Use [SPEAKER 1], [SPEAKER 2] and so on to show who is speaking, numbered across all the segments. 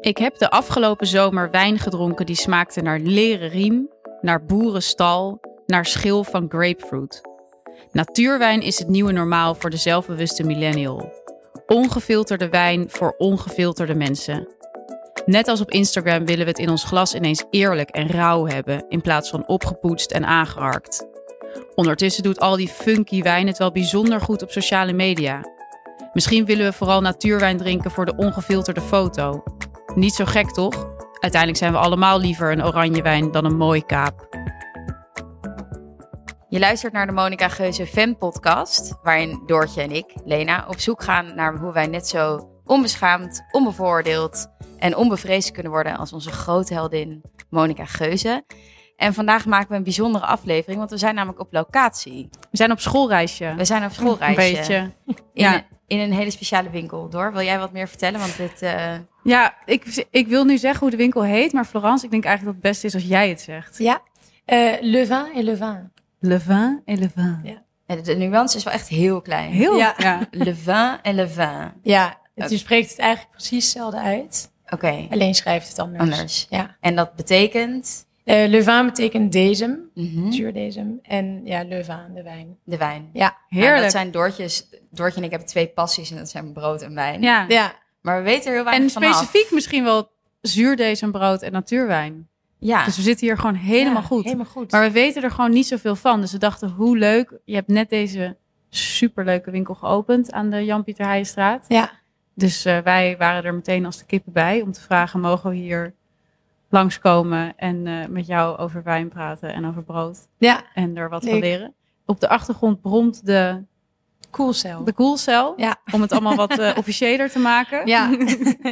[SPEAKER 1] Ik heb de afgelopen zomer wijn gedronken die smaakte naar leren riem, naar boerenstal, naar schil van grapefruit. Natuurwijn is het nieuwe normaal voor de zelfbewuste millennial. Ongefilterde wijn voor ongefilterde mensen. Net als op Instagram willen we het in ons glas ineens eerlijk en rauw hebben, in plaats van opgepoetst en aangeharkt. Ondertussen doet al die funky wijn het wel bijzonder goed op sociale media. Misschien willen we vooral natuurwijn drinken voor de ongefilterde foto. Niet zo gek toch? Uiteindelijk zijn we allemaal liever een oranje wijn dan een mooi kaap.
[SPEAKER 2] Je luistert naar de Monica Geuze Fan Podcast, waarin Doortje en ik, Lena, op zoek gaan naar hoe wij net zo onbeschaamd, onbevooroordeeld en onbevreesd kunnen worden als onze grootheldin Monica Geuze. En vandaag maken we een bijzondere aflevering, want we zijn namelijk op locatie.
[SPEAKER 1] We zijn op schoolreisje.
[SPEAKER 2] We zijn op
[SPEAKER 1] Een
[SPEAKER 2] schoolreisje.
[SPEAKER 1] beetje.
[SPEAKER 2] In,
[SPEAKER 1] Ja.
[SPEAKER 2] in een hele speciale winkel. Door, wil jij wat meer vertellen? Want dit, eh,
[SPEAKER 1] Ja, ik, ik wil nu zeggen hoe de winkel heet, maar Florence, ik denk eigenlijk dat het beste is als jij het zegt.
[SPEAKER 3] Ja, Eh le vin et le vin.
[SPEAKER 1] Le vin et le vin.
[SPEAKER 2] de- de nuance is wel echt heel klein.
[SPEAKER 1] Heel, ja.
[SPEAKER 3] Ja.
[SPEAKER 2] Le vin en le vin.
[SPEAKER 3] Ja, het,
[SPEAKER 2] Oké.
[SPEAKER 3] je spreekt het eigenlijk precies hetzelfde uit.
[SPEAKER 2] Oké,
[SPEAKER 3] Alleen schrijft het anders.
[SPEAKER 2] anders.
[SPEAKER 3] Ja.
[SPEAKER 2] En dat betekent
[SPEAKER 3] Eh le vin betekent dezem,
[SPEAKER 1] Hm?
[SPEAKER 2] mhm,
[SPEAKER 3] zuurdezem. En ja, le vin, de wijn.
[SPEAKER 2] de wijn.
[SPEAKER 3] Ja,
[SPEAKER 2] Nou,
[SPEAKER 1] heerlijk.
[SPEAKER 2] dat zijn Doortjes. Doortje en ik hebben twee passies en dat zijn brood en wijn.
[SPEAKER 1] ja.
[SPEAKER 3] ja.
[SPEAKER 2] Maar we weten er heel weinig
[SPEAKER 1] En
[SPEAKER 2] vanaf.
[SPEAKER 1] specifiek misschien wel zuurdesembrood en natuurwijn.
[SPEAKER 2] Ja,
[SPEAKER 1] Dus we zitten hier gewoon helemaal
[SPEAKER 3] Ja,
[SPEAKER 1] goed.
[SPEAKER 3] Helemaal goed.
[SPEAKER 1] Maar we weten er gewoon niet zoveel van. Dus we dachten, hoe leuk. Je hebt net deze superleuke winkel geopend aan de Jan-Pieter Heijenstraat.
[SPEAKER 3] Ja,
[SPEAKER 1] Dus eh, wij waren er meteen als de kippen bij om te vragen, mogen we hier langskomen en eh, met jou over wijn praten en over brood
[SPEAKER 3] ja.
[SPEAKER 1] en er wat van
[SPEAKER 3] Leuk.
[SPEAKER 1] leren. Op de achtergrond bromt de,
[SPEAKER 3] koelcel.
[SPEAKER 1] de koelcel
[SPEAKER 3] Ja.
[SPEAKER 1] om het allemaal wat eh, officiëler te maken.
[SPEAKER 3] Ja,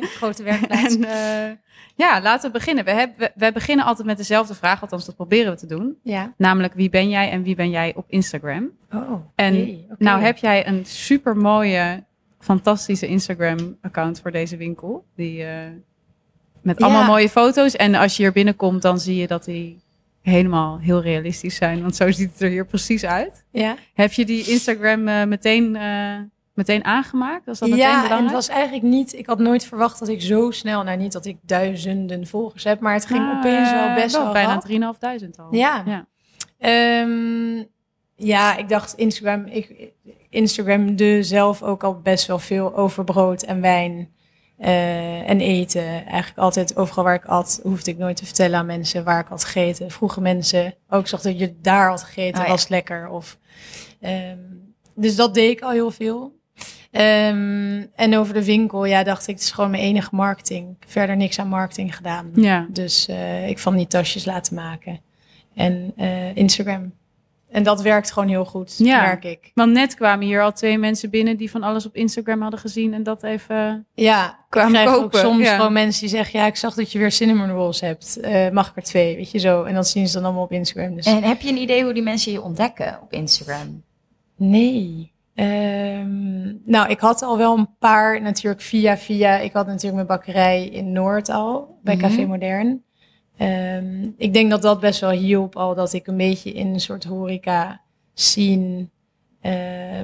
[SPEAKER 3] grote werkplaats.
[SPEAKER 1] En eh, ja, laten we beginnen. We, hebben, we, we beginnen altijd met dezelfde vraag, althans dat proberen we te doen.
[SPEAKER 3] Ja.
[SPEAKER 1] Namelijk wie ben jij en wie ben jij op Instagram?
[SPEAKER 3] Oh,
[SPEAKER 1] En
[SPEAKER 3] jee, oké.
[SPEAKER 1] Nou heb jij een super mooie, fantastische Instagram-account voor deze winkel. Die, eh, met
[SPEAKER 3] Ja.
[SPEAKER 1] allemaal mooie foto's. En als je hier binnenkomt, dan zie je dat die helemaal heel realistisch zijn. Want zo ziet het er hier precies uit.
[SPEAKER 3] Ja,
[SPEAKER 1] Heb je die Instagram eh, meteen, eh, meteen aangemaakt? Was dat meteen
[SPEAKER 3] ja en het
[SPEAKER 1] belangrijk?
[SPEAKER 3] was eigenlijk niet... Ik had nooit verwacht dat ik zo snel... Nou, niet dat ik duizenden volgers heb, maar het ging
[SPEAKER 1] Ah,
[SPEAKER 3] opeens wel best
[SPEAKER 1] wel
[SPEAKER 3] wel rap.
[SPEAKER 1] bijna 3.500 al.
[SPEAKER 3] Ja.
[SPEAKER 1] Ja.
[SPEAKER 3] Ehm, ja, ik dacht Instagram. Ik Instagramde zelf ook al best wel veel over brood en wijn eh, en eten. Eigenlijk altijd overal waar ik at, hoefde ik nooit te vertellen aan mensen waar ik had gegeten. Vroegen mensen, ook ik zag dat je daar had gegeten,
[SPEAKER 2] Oh ja.
[SPEAKER 3] was lekker. Of, ehm, dus dat deed ik al heel veel. Ehm, en over de winkel, ja, dacht ik, het is gewoon mijn enige marketing. Verder niks aan marketing gedaan.
[SPEAKER 1] ja.
[SPEAKER 3] Dus eh, ik van die tasjes laten maken. En eh, Instagram. En dat werkt gewoon heel goed,
[SPEAKER 1] Ja.
[SPEAKER 3] merk ik.
[SPEAKER 1] Want net kwamen hier al twee mensen binnen die van alles op Instagram hadden gezien en dat even...
[SPEAKER 3] Ja,
[SPEAKER 1] Kwamen
[SPEAKER 3] ik krijg
[SPEAKER 1] kopen,
[SPEAKER 3] ook soms
[SPEAKER 1] ja.
[SPEAKER 3] gewoon mensen die zeggen... ja, ik zag dat je weer cinnamon rolls hebt. Eh, mag ik er twee? Weet je zo. En dat zien ze dan allemaal op Instagram. Dus
[SPEAKER 1] Eh.
[SPEAKER 2] En heb je een idee hoe die mensen je ontdekken op Instagram?
[SPEAKER 3] nee. Ehm, nou, ik had al wel een paar natuurlijk via via. Ik had natuurlijk mijn bakkerij in Noord al, bij
[SPEAKER 2] Mhm.
[SPEAKER 3] Café Modern. Ehm, ik denk dat dat best wel hielp al, dat ik een beetje in een soort horeca zien. eh,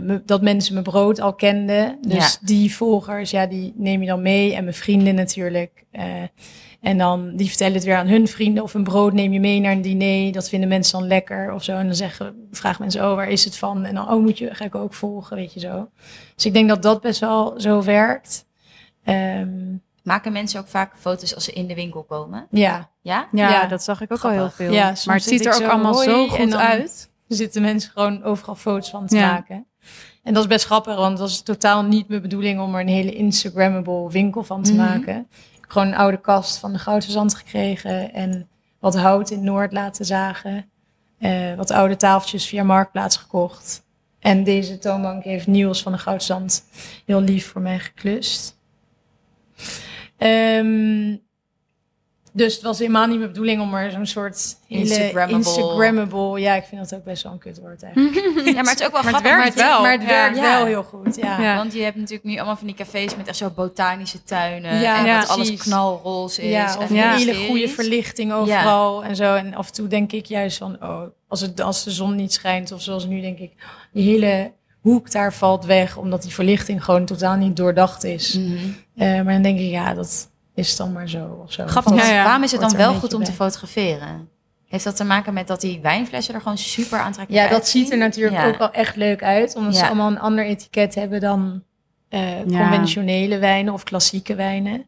[SPEAKER 3] me- dat mensen mijn brood al kenden. Dus die volgers, ja, die neem je dan mee. En mijn vrienden natuurlijk. eh, en dan, die vertellen het weer aan hun vrienden. Of een brood neem je mee naar een diner. Dat vinden mensen dan lekker of zo. En dan zeggen, vragen mensen, oh, waar is het van? En dan, oh, moet je, ga ik ook volgen, weet je zo. Dus ik denk dat dat best wel zo werkt. Ehm,
[SPEAKER 2] Maken mensen ook vaak foto's als ze in de winkel komen?
[SPEAKER 3] ja,
[SPEAKER 2] Ja?
[SPEAKER 1] Ja,
[SPEAKER 3] Ja.
[SPEAKER 1] dat zag ik ook al
[SPEAKER 2] Grappig.
[SPEAKER 1] heel veel.
[SPEAKER 3] Ja, soms
[SPEAKER 1] maar het
[SPEAKER 3] zit
[SPEAKER 1] ziet er
[SPEAKER 3] ik
[SPEAKER 1] ook
[SPEAKER 3] zo,
[SPEAKER 1] allemaal zo
[SPEAKER 3] hoi, en
[SPEAKER 1] goed
[SPEAKER 3] dan-
[SPEAKER 1] uit.
[SPEAKER 3] Er zitten mensen gewoon overal foto's van te
[SPEAKER 1] Ja.
[SPEAKER 3] maken. En dat is best grappig, want dat is totaal niet mijn bedoeling om er een hele Instagrammable winkel van te
[SPEAKER 2] Mhm.
[SPEAKER 3] maken. Ik heb gewoon een oude kast van de goudverzand gekregen en wat hout in Noord laten zagen. Eh, wat oude tafeltjes via Marktplaats gekocht. En deze toonbank heeft Niels van de Goudzand heel lief voor mij geklust. Ehm, dus het was helemaal niet mijn bedoeling om er zo'n soort hele
[SPEAKER 2] Instagrammable.
[SPEAKER 3] Instagrammable- Ja, ik vind dat ook best wel een kutwoord eigenlijk.
[SPEAKER 2] Ja, maar het is ook wel
[SPEAKER 1] Maar het
[SPEAKER 2] grappig.
[SPEAKER 1] werkt wel.
[SPEAKER 3] Maar het
[SPEAKER 1] Ja.
[SPEAKER 3] werkt
[SPEAKER 2] Ja.
[SPEAKER 3] wel heel goed, ja.
[SPEAKER 1] Ja.
[SPEAKER 3] Ja,
[SPEAKER 2] Want je hebt natuurlijk nu allemaal van die cafés met echt zo botanische tuinen.
[SPEAKER 3] Ja,
[SPEAKER 2] en
[SPEAKER 1] ja,
[SPEAKER 2] dat alles
[SPEAKER 3] precies.
[SPEAKER 2] knalroze is. en
[SPEAKER 3] of een
[SPEAKER 1] Ja.
[SPEAKER 3] hele
[SPEAKER 2] mystisch.
[SPEAKER 3] goede verlichting overal en zo. En af en toe denk ik juist van, oh, als, het, als de zon niet schijnt of zoals nu denk ik, die hele hoek daar valt weg, omdat die verlichting gewoon totaal niet doordacht is.
[SPEAKER 2] Mhm.
[SPEAKER 3] Eh, maar dan denk ik, ja, dat is dan maar zo of zo.
[SPEAKER 2] Grappig,
[SPEAKER 3] Dat
[SPEAKER 4] Ja, ja.
[SPEAKER 2] waarom is het
[SPEAKER 3] hoort
[SPEAKER 2] dan
[SPEAKER 3] er
[SPEAKER 2] wel
[SPEAKER 3] een
[SPEAKER 2] goed om
[SPEAKER 3] beetje
[SPEAKER 2] te
[SPEAKER 3] bij.
[SPEAKER 2] fotograferen? Heeft dat te maken met dat die wijnflessen er gewoon super aantrekkelijk
[SPEAKER 3] Ja, dat
[SPEAKER 2] uitzien?
[SPEAKER 3] ziet er natuurlijk
[SPEAKER 2] Ja.
[SPEAKER 3] ook wel echt leuk uit. Omdat ze
[SPEAKER 2] Ja.
[SPEAKER 3] allemaal een ander etiket hebben dan eh,
[SPEAKER 4] Ja.
[SPEAKER 3] conventionele wijnen of klassieke wijnen.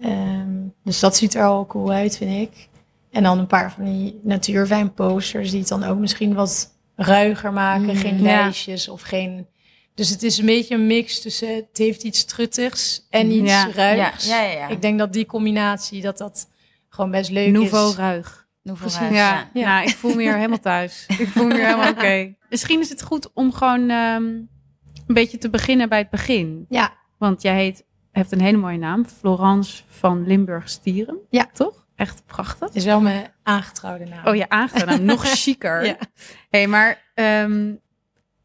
[SPEAKER 3] Ehm, dus dat ziet er al cool uit, vind ik. En dan een paar van die natuurwijnposters die het dan ook misschien wat ruiger maken.
[SPEAKER 2] Mm,
[SPEAKER 3] geen
[SPEAKER 4] ja.
[SPEAKER 3] lijstjes of geen... Dus het is een beetje een mix tussen het heeft iets truttigs en iets
[SPEAKER 4] Ja.
[SPEAKER 3] ruigs.
[SPEAKER 2] Ja, ja, ja, ja.
[SPEAKER 3] Ik denk dat die combinatie, dat dat gewoon best leuk
[SPEAKER 4] Nouveau
[SPEAKER 3] is.
[SPEAKER 4] ruig.
[SPEAKER 2] Nouveau
[SPEAKER 3] Precies.
[SPEAKER 2] Ruis,
[SPEAKER 4] Ja,
[SPEAKER 2] ja.
[SPEAKER 4] ja. ik voel me hier helemaal thuis. Ik voel me hier helemaal oké. Misschien is het goed om gewoon ehm, een beetje te beginnen bij het begin.
[SPEAKER 3] Ja,
[SPEAKER 4] Want jij heet, hebt een hele mooie naam. Florence van Limburg Stieren.
[SPEAKER 3] Ja.
[SPEAKER 4] Toch? Echt prachtig.
[SPEAKER 3] is wel mijn aangetrouwde naam.
[SPEAKER 4] Oh ja, aangenaam. Nog chiquer.
[SPEAKER 3] Ja.
[SPEAKER 4] hey, maar ehm,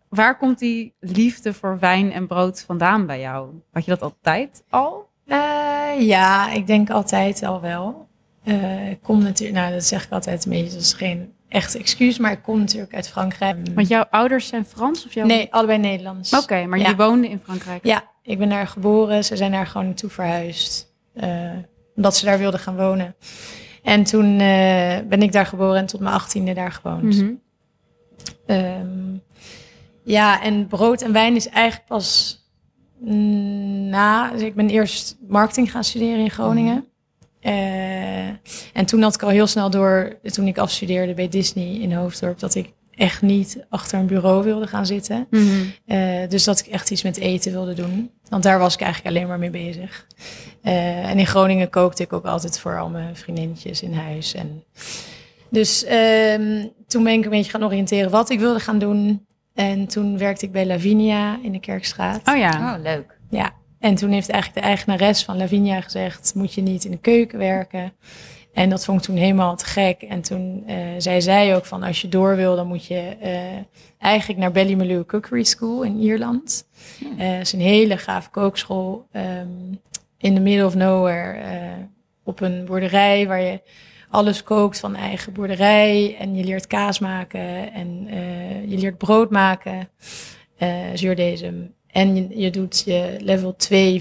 [SPEAKER 4] waar komt die liefde voor wijn en brood vandaan bij jou? Had je dat altijd al?
[SPEAKER 3] Eh, ja, ik denk altijd al wel. Eh, ik kom natuurlijk, nou dat zeg ik altijd een beetje, dat is geen echt excuus, maar ik kom natuurlijk uit Frankrijk. Mm.
[SPEAKER 4] Want jouw ouders zijn Frans of jouw...
[SPEAKER 3] Nee, allebei Nederlands.
[SPEAKER 4] Oké, maar
[SPEAKER 3] Ja.
[SPEAKER 4] jullie woonden in Frankrijk.
[SPEAKER 3] Ja, ik ben daar geboren, ze zijn daar gewoon naartoe verhuisd, eh, omdat ze daar wilden gaan wonen. En toen eh, ben ik daar geboren en tot mijn achttiende daar gewoond.
[SPEAKER 4] Mhm.
[SPEAKER 3] Ehm, ja, en brood en wijn is eigenlijk pas mm, na. Dus ik ben eerst marketing gaan studeren in Groningen. Eh, en toen had ik al heel snel door, toen ik afstudeerde bij Disney in Hoofddorp, dat ik echt niet achter een bureau wilde gaan zitten.
[SPEAKER 4] Mhm.
[SPEAKER 3] Eh, dus dat ik echt iets met eten wilde doen. Want daar was ik eigenlijk alleen maar mee bezig. Eh, en in Groningen kookte ik ook altijd voor al mijn vriendinnetjes in huis. En dus ehm, toen ben ik een beetje gaan oriënteren wat ik wilde gaan doen. En toen werkte ik bij Lavinia in de Kerkstraat.
[SPEAKER 1] Ah,
[SPEAKER 4] Oh ja.
[SPEAKER 2] Oh, leuk.
[SPEAKER 3] Ja, en toen heeft eigenlijk de eigenares van Lavinia gezegd: Moet je niet in de keuken werken? En dat vond ik toen helemaal te gek. En toen eh, zei zij ook: van, Als je door wil, dan moet je eh, eigenlijk naar Ballymaloe Cookery School in Ierland.
[SPEAKER 2] Hmm.
[SPEAKER 3] Eh, is een hele gave kookschool ehm, in the middle of nowhere eh, op een boerderij waar je. Alles kookt van eigen boerderij en je leert kaas maken en eh, je leert brood maken eh zuurdesem. En je, je doet je level 2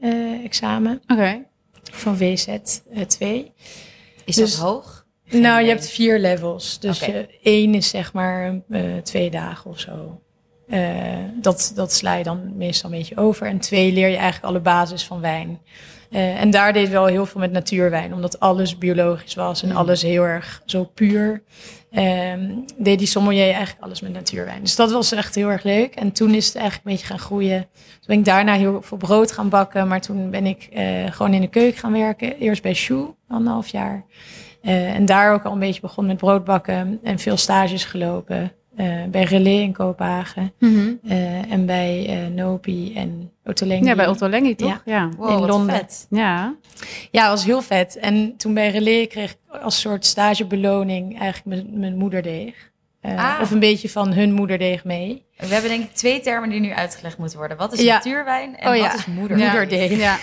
[SPEAKER 3] wijn-examen eh,
[SPEAKER 4] Oké.
[SPEAKER 3] van eh, WZ 2.
[SPEAKER 2] Is
[SPEAKER 3] Dus-
[SPEAKER 2] dat hoog?
[SPEAKER 3] Nou, je
[SPEAKER 2] idee.
[SPEAKER 3] hebt vier levels. Dus
[SPEAKER 2] Oké.
[SPEAKER 3] je, één is zeg maar eh, twee dagen of zo. Eh, dat, dat sla je dan meestal een beetje over. En twee leer je eigenlijk alle basis van wijn. Eh, en daar deed ik wel heel veel met natuurwijn, omdat alles biologisch was en
[SPEAKER 2] Mm.
[SPEAKER 3] alles heel erg zo puur. Ehm, deed die sommelier eigenlijk alles met natuurwijn. Dus dat was echt heel erg leuk. En toen is het eigenlijk een beetje gaan groeien. Toen ben ik daarna heel veel brood gaan bakken, maar toen ben ik eh, gewoon in de keuken gaan werken. Eerst bij Shoe, anderhalf jaar. Eh, en daar ook al een beetje begon met broodbakken en veel stages gelopen. Eh, bij Relais in Kopenhagen
[SPEAKER 4] Mhm.
[SPEAKER 3] eh, en bij eh, Nopi en Ottolenghi.
[SPEAKER 4] Ja, bij Ottolenghi toch? Ja.
[SPEAKER 2] Wow,
[SPEAKER 3] In
[SPEAKER 2] wat
[SPEAKER 3] Londen.
[SPEAKER 2] vet.
[SPEAKER 4] Ja.
[SPEAKER 3] Ja, dat was heel vet. En toen bij Relais kreeg ik als soort stagebeloning eigenlijk mijn, mijn moederdeeg. Eh,
[SPEAKER 2] Ah.
[SPEAKER 3] Of een beetje van hun moederdeeg mee.
[SPEAKER 2] We hebben denk ik twee termen die nu uitgelegd moeten worden. Wat is
[SPEAKER 3] Ja.
[SPEAKER 2] natuurwijn en
[SPEAKER 3] Oh ja.
[SPEAKER 2] wat is moeder?
[SPEAKER 3] Moederdeeg.
[SPEAKER 4] Ja.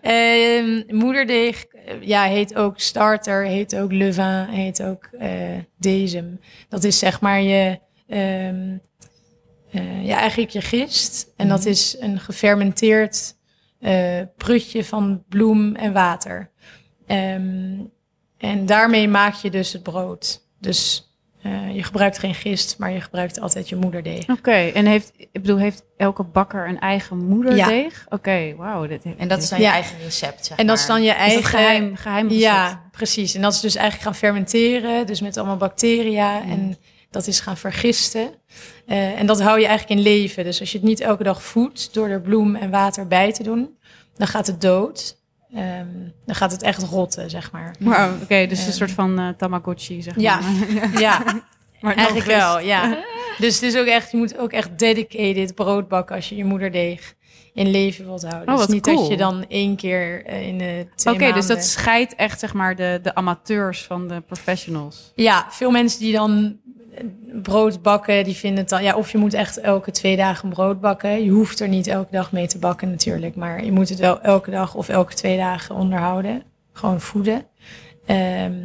[SPEAKER 3] Ehm, moederdeeg eh, ja, heet ook starter, heet ook levain, heet ook eh dezem. Dat is zeg maar je, ehm, eh, ja, eigenlijk je gist. En dat
[SPEAKER 2] Mhm.
[SPEAKER 3] is een gefermenteerd eh, prutje van bloem en water. Ehm, en daarmee maak je dus het brood. Dus eh, je gebruikt geen gist, maar je gebruikt altijd je moederdeeg.
[SPEAKER 4] Oké, en heeft, ik bedoel, heeft elke bakker een eigen moederdeeg? Oké, wauw. Dit,
[SPEAKER 2] En dat is dan
[SPEAKER 3] Ja.
[SPEAKER 2] je eigen recept, zeg
[SPEAKER 3] En dat is
[SPEAKER 2] maar.
[SPEAKER 3] dan je
[SPEAKER 4] is
[SPEAKER 3] eigen
[SPEAKER 4] het geheim, geheim recept?
[SPEAKER 3] Ja, precies. En dat is dus eigenlijk gaan fermenteren, dus met allemaal bacteriën.
[SPEAKER 2] Mm.
[SPEAKER 3] En dat is gaan vergisten. Eh, en dat hou je eigenlijk in leven. Dus als je het niet elke dag voedt door er bloem en water bij te doen, dan gaat het dood. Ehm, dan gaat het echt rotten, zeg maar.
[SPEAKER 4] Wauw, oké, dus
[SPEAKER 3] Ehm.
[SPEAKER 4] een soort van eh, Tamagotchi, zeg
[SPEAKER 3] Ja.
[SPEAKER 4] maar.
[SPEAKER 3] Ja,
[SPEAKER 4] maar dan
[SPEAKER 3] eigenlijk
[SPEAKER 4] gerust.
[SPEAKER 3] wel, ja. Dus het is ook echt, je moet ook echt dedicated brood bakken als je je moederdeeg in leven wilt houden.
[SPEAKER 4] Oh,
[SPEAKER 3] dus
[SPEAKER 4] wat
[SPEAKER 3] niet
[SPEAKER 4] cool.
[SPEAKER 3] dat je dan één keer eh, in de twee
[SPEAKER 4] Oké, dus dat
[SPEAKER 3] maanden-
[SPEAKER 4] scheidt echt zeg maar de, de amateurs van de professionals.
[SPEAKER 3] Ja, veel mensen die dan eh, brood bakken, die vinden het dan... Ja, of je moet echt elke twee dagen brood bakken. Je hoeft er niet elke dag mee te bakken natuurlijk. Maar je moet het wel elke dag of elke twee dagen onderhouden. Gewoon voeden. Ehm,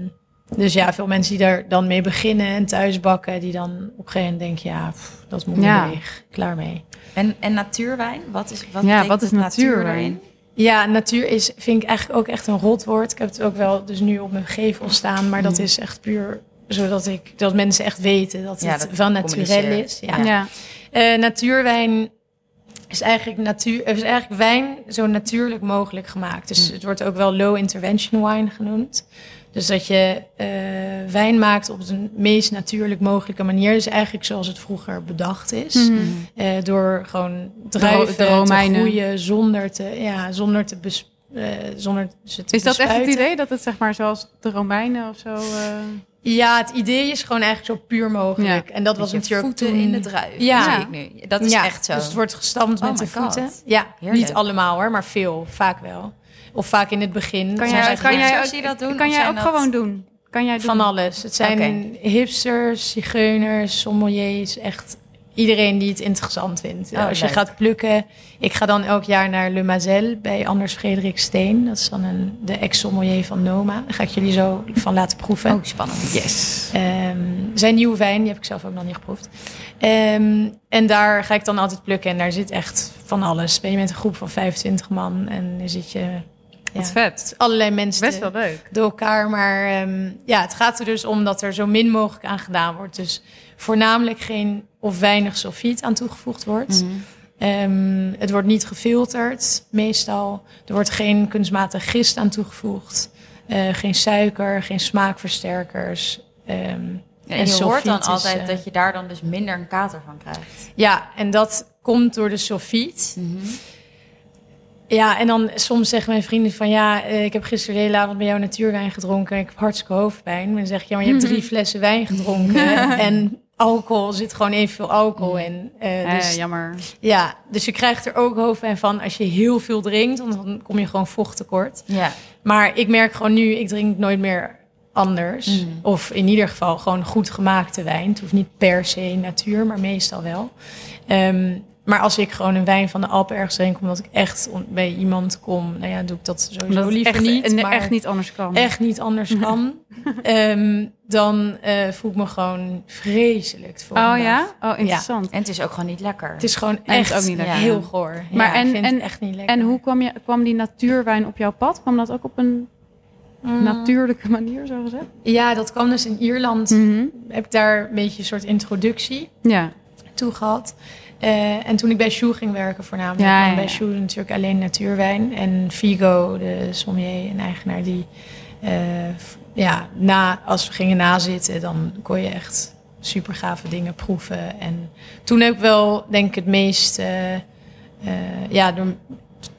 [SPEAKER 3] dus ja, veel mensen die daar dan mee beginnen en thuis bakken... die dan op een gegeven moment denken... Ja, pff, dat moet
[SPEAKER 4] Ja.
[SPEAKER 3] leeg. Klaar mee.
[SPEAKER 2] En, en natuurwijn? Wat is, wat
[SPEAKER 4] Ja,
[SPEAKER 2] betekent
[SPEAKER 4] wat is
[SPEAKER 2] het natuur
[SPEAKER 4] natuurwijn?
[SPEAKER 2] erin?
[SPEAKER 3] Ja, natuur is, vind ik eigenlijk ook echt een rotwoord. Ik heb het ook wel dus nu op mijn gevel staan, maar dat
[SPEAKER 2] Mhm.
[SPEAKER 3] is echt puur zodat ik, dat mensen echt weten dat
[SPEAKER 2] Ja,
[SPEAKER 3] het
[SPEAKER 2] dat
[SPEAKER 3] van naturel
[SPEAKER 2] communiceert.
[SPEAKER 3] is.
[SPEAKER 2] Ja.
[SPEAKER 3] Ja. Eh, natuurwijn is eigenlijk, natuur, is eigenlijk wijn zo natuurlijk mogelijk gemaakt. Dus
[SPEAKER 2] Hm.
[SPEAKER 3] het wordt ook wel low intervention wine genoemd. Dus dat je eh, wijn maakt op de meest natuurlijk mogelijke manier. Dus eigenlijk zoals het vroeger bedacht is. Eh, door gewoon druiven
[SPEAKER 4] de Romeinen.
[SPEAKER 3] te groeien zonder te, ja, zonder te, bes, eh, zonder ze te
[SPEAKER 1] Is dat echt het
[SPEAKER 3] bespuiten.
[SPEAKER 1] idee dat het zeg maar zoals de Romeinen of zo... eh,
[SPEAKER 3] Ja, het idee is gewoon eigenlijk zo puur mogelijk. En dat
[SPEAKER 2] Met
[SPEAKER 3] was
[SPEAKER 2] je
[SPEAKER 3] natuurlijk
[SPEAKER 2] voeten
[SPEAKER 3] toen-
[SPEAKER 2] in de druif.
[SPEAKER 3] Ja.
[SPEAKER 2] Ja. Zie ik nu. Dat is
[SPEAKER 3] Ja,
[SPEAKER 2] echt zo.
[SPEAKER 3] Dus het wordt gestampt
[SPEAKER 2] Oh
[SPEAKER 3] met
[SPEAKER 2] my
[SPEAKER 3] de voeten.
[SPEAKER 2] God.
[SPEAKER 3] Ja,
[SPEAKER 2] Heerlijk.
[SPEAKER 3] niet allemaal hoor, maar veel, vaak wel. Of vaak in het begin. Het
[SPEAKER 1] Kan
[SPEAKER 3] zijn
[SPEAKER 1] jij,
[SPEAKER 3] eigenlijk
[SPEAKER 1] kan jij
[SPEAKER 2] hipsters
[SPEAKER 1] ook,
[SPEAKER 2] die dat doen,
[SPEAKER 1] Kan
[SPEAKER 2] of
[SPEAKER 1] jij
[SPEAKER 2] zijn
[SPEAKER 1] ook
[SPEAKER 2] dat-
[SPEAKER 1] gewoon doen? Kan jij doen?
[SPEAKER 3] van alles. Het zijn hipsters, zigeuners, sommeliers, echt iedereen die het interessant vindt.
[SPEAKER 2] Oh,
[SPEAKER 3] Als
[SPEAKER 2] leuk.
[SPEAKER 3] je gaat plukken, ik ga dan elk jaar naar Le Mazel bij Anders Frederik Steen. Dat is dan een, de ex-sommelier van Noma. Daar ga ik jullie zo van laten proeven.
[SPEAKER 2] Oh, spannend.
[SPEAKER 1] Yes.
[SPEAKER 3] Ehm, zijn nieuwe wijn, die heb ik zelf ook nog niet geproefd. Ehm, en daar ga ik dan altijd plukken. En daar zit echt van alles. Ben je met een groep van 25 man en dan zit je ja,
[SPEAKER 1] Wat vet.
[SPEAKER 3] allerlei mensen
[SPEAKER 1] Best wel leuk.
[SPEAKER 3] door elkaar. Maar ehm, ja, het gaat er dus om dat er zo min mogelijk aan gedaan wordt. Dus voornamelijk geen of weinig sulfiet aan toegevoegd wordt.
[SPEAKER 2] Mhm.
[SPEAKER 3] Ehm, het wordt niet gefilterd, meestal. Er wordt geen kunstmatig gist aan toegevoegd. Eh, geen suiker, geen smaakversterkers. Ehm,
[SPEAKER 2] Ja,
[SPEAKER 3] En
[SPEAKER 2] en je hoort dan
[SPEAKER 3] sulfiet is,
[SPEAKER 2] altijd
[SPEAKER 3] eh,
[SPEAKER 2] dat je daar dan dus minder een kater van krijgt.
[SPEAKER 3] ja, en dat komt door de sulfiet. Ja, en dan soms zeggen mijn vrienden van... ja, eh, ik heb gisteren de hele avond bij jou natuurwijn gedronken... en ik heb hartstikke hoofdpijn. En dan zeg ik, ja, maar je hebt drie flessen wijn gedronken... en alcohol, er zit gewoon evenveel alcohol in. Eh, dus
[SPEAKER 1] Eh, jammer.
[SPEAKER 3] Ja, dus je krijgt er ook hoofdpijn van als je heel veel drinkt, want dan kom je gewoon vocht tekort.
[SPEAKER 2] Ja.
[SPEAKER 3] Maar ik merk gewoon nu, ik drink nooit meer anders.
[SPEAKER 1] Mm.
[SPEAKER 2] Mhm.
[SPEAKER 3] Of in ieder geval gewoon goed gemaakte wijn. Het hoeft niet per se natuur, maar meestal wel. Ehm, maar als ik gewoon een wijn van de Alpen ergens drink, omdat ik echt on- bij iemand kom, nou ja, doe ik dat sowieso
[SPEAKER 1] Omdat het
[SPEAKER 3] liever
[SPEAKER 1] echt,
[SPEAKER 3] niet.
[SPEAKER 1] en
[SPEAKER 3] maar
[SPEAKER 1] echt niet anders Mm. kan.
[SPEAKER 3] echt niet anders kan, Ehm, dan eh, voel ik me gewoon vreselijk. de
[SPEAKER 1] Oh
[SPEAKER 3] volgende dag.
[SPEAKER 1] ja? Oh, interessant.
[SPEAKER 2] En het is ook gewoon niet lekker.
[SPEAKER 3] Het is gewoon
[SPEAKER 1] En het is
[SPEAKER 3] echt
[SPEAKER 1] ook niet
[SPEAKER 2] lekker.
[SPEAKER 3] heel goor.
[SPEAKER 1] Maar
[SPEAKER 3] Ja,
[SPEAKER 1] en-
[SPEAKER 3] ik vind
[SPEAKER 1] en-
[SPEAKER 3] het echt niet lekker.
[SPEAKER 1] En hoe kwam, je, kwam die natuurwijn op jouw pad? Kwam dat ook op een Mm. Nou. natuurlijke manier, zo gezegd?
[SPEAKER 3] Mm. Ja, dat kwam dus in Ierland.
[SPEAKER 1] Mm. Mhm.
[SPEAKER 3] Heb ik daar een beetje een soort introductie
[SPEAKER 1] Ja.
[SPEAKER 3] toe gehad. Eh, en toen ik bij Shoe ging werken voornamelijk.
[SPEAKER 1] Ja,
[SPEAKER 3] want
[SPEAKER 1] ja,
[SPEAKER 3] Bij
[SPEAKER 1] ja.
[SPEAKER 3] Shoe natuurlijk alleen natuurwijn. En Vigo, de sommelier en eigenaar, die... eh, f- ja, na, als we gingen nazitten, dan kon je echt super gave dingen proeven. En toen heb ik wel, denk ik, het meest... eh, eh, ja, door,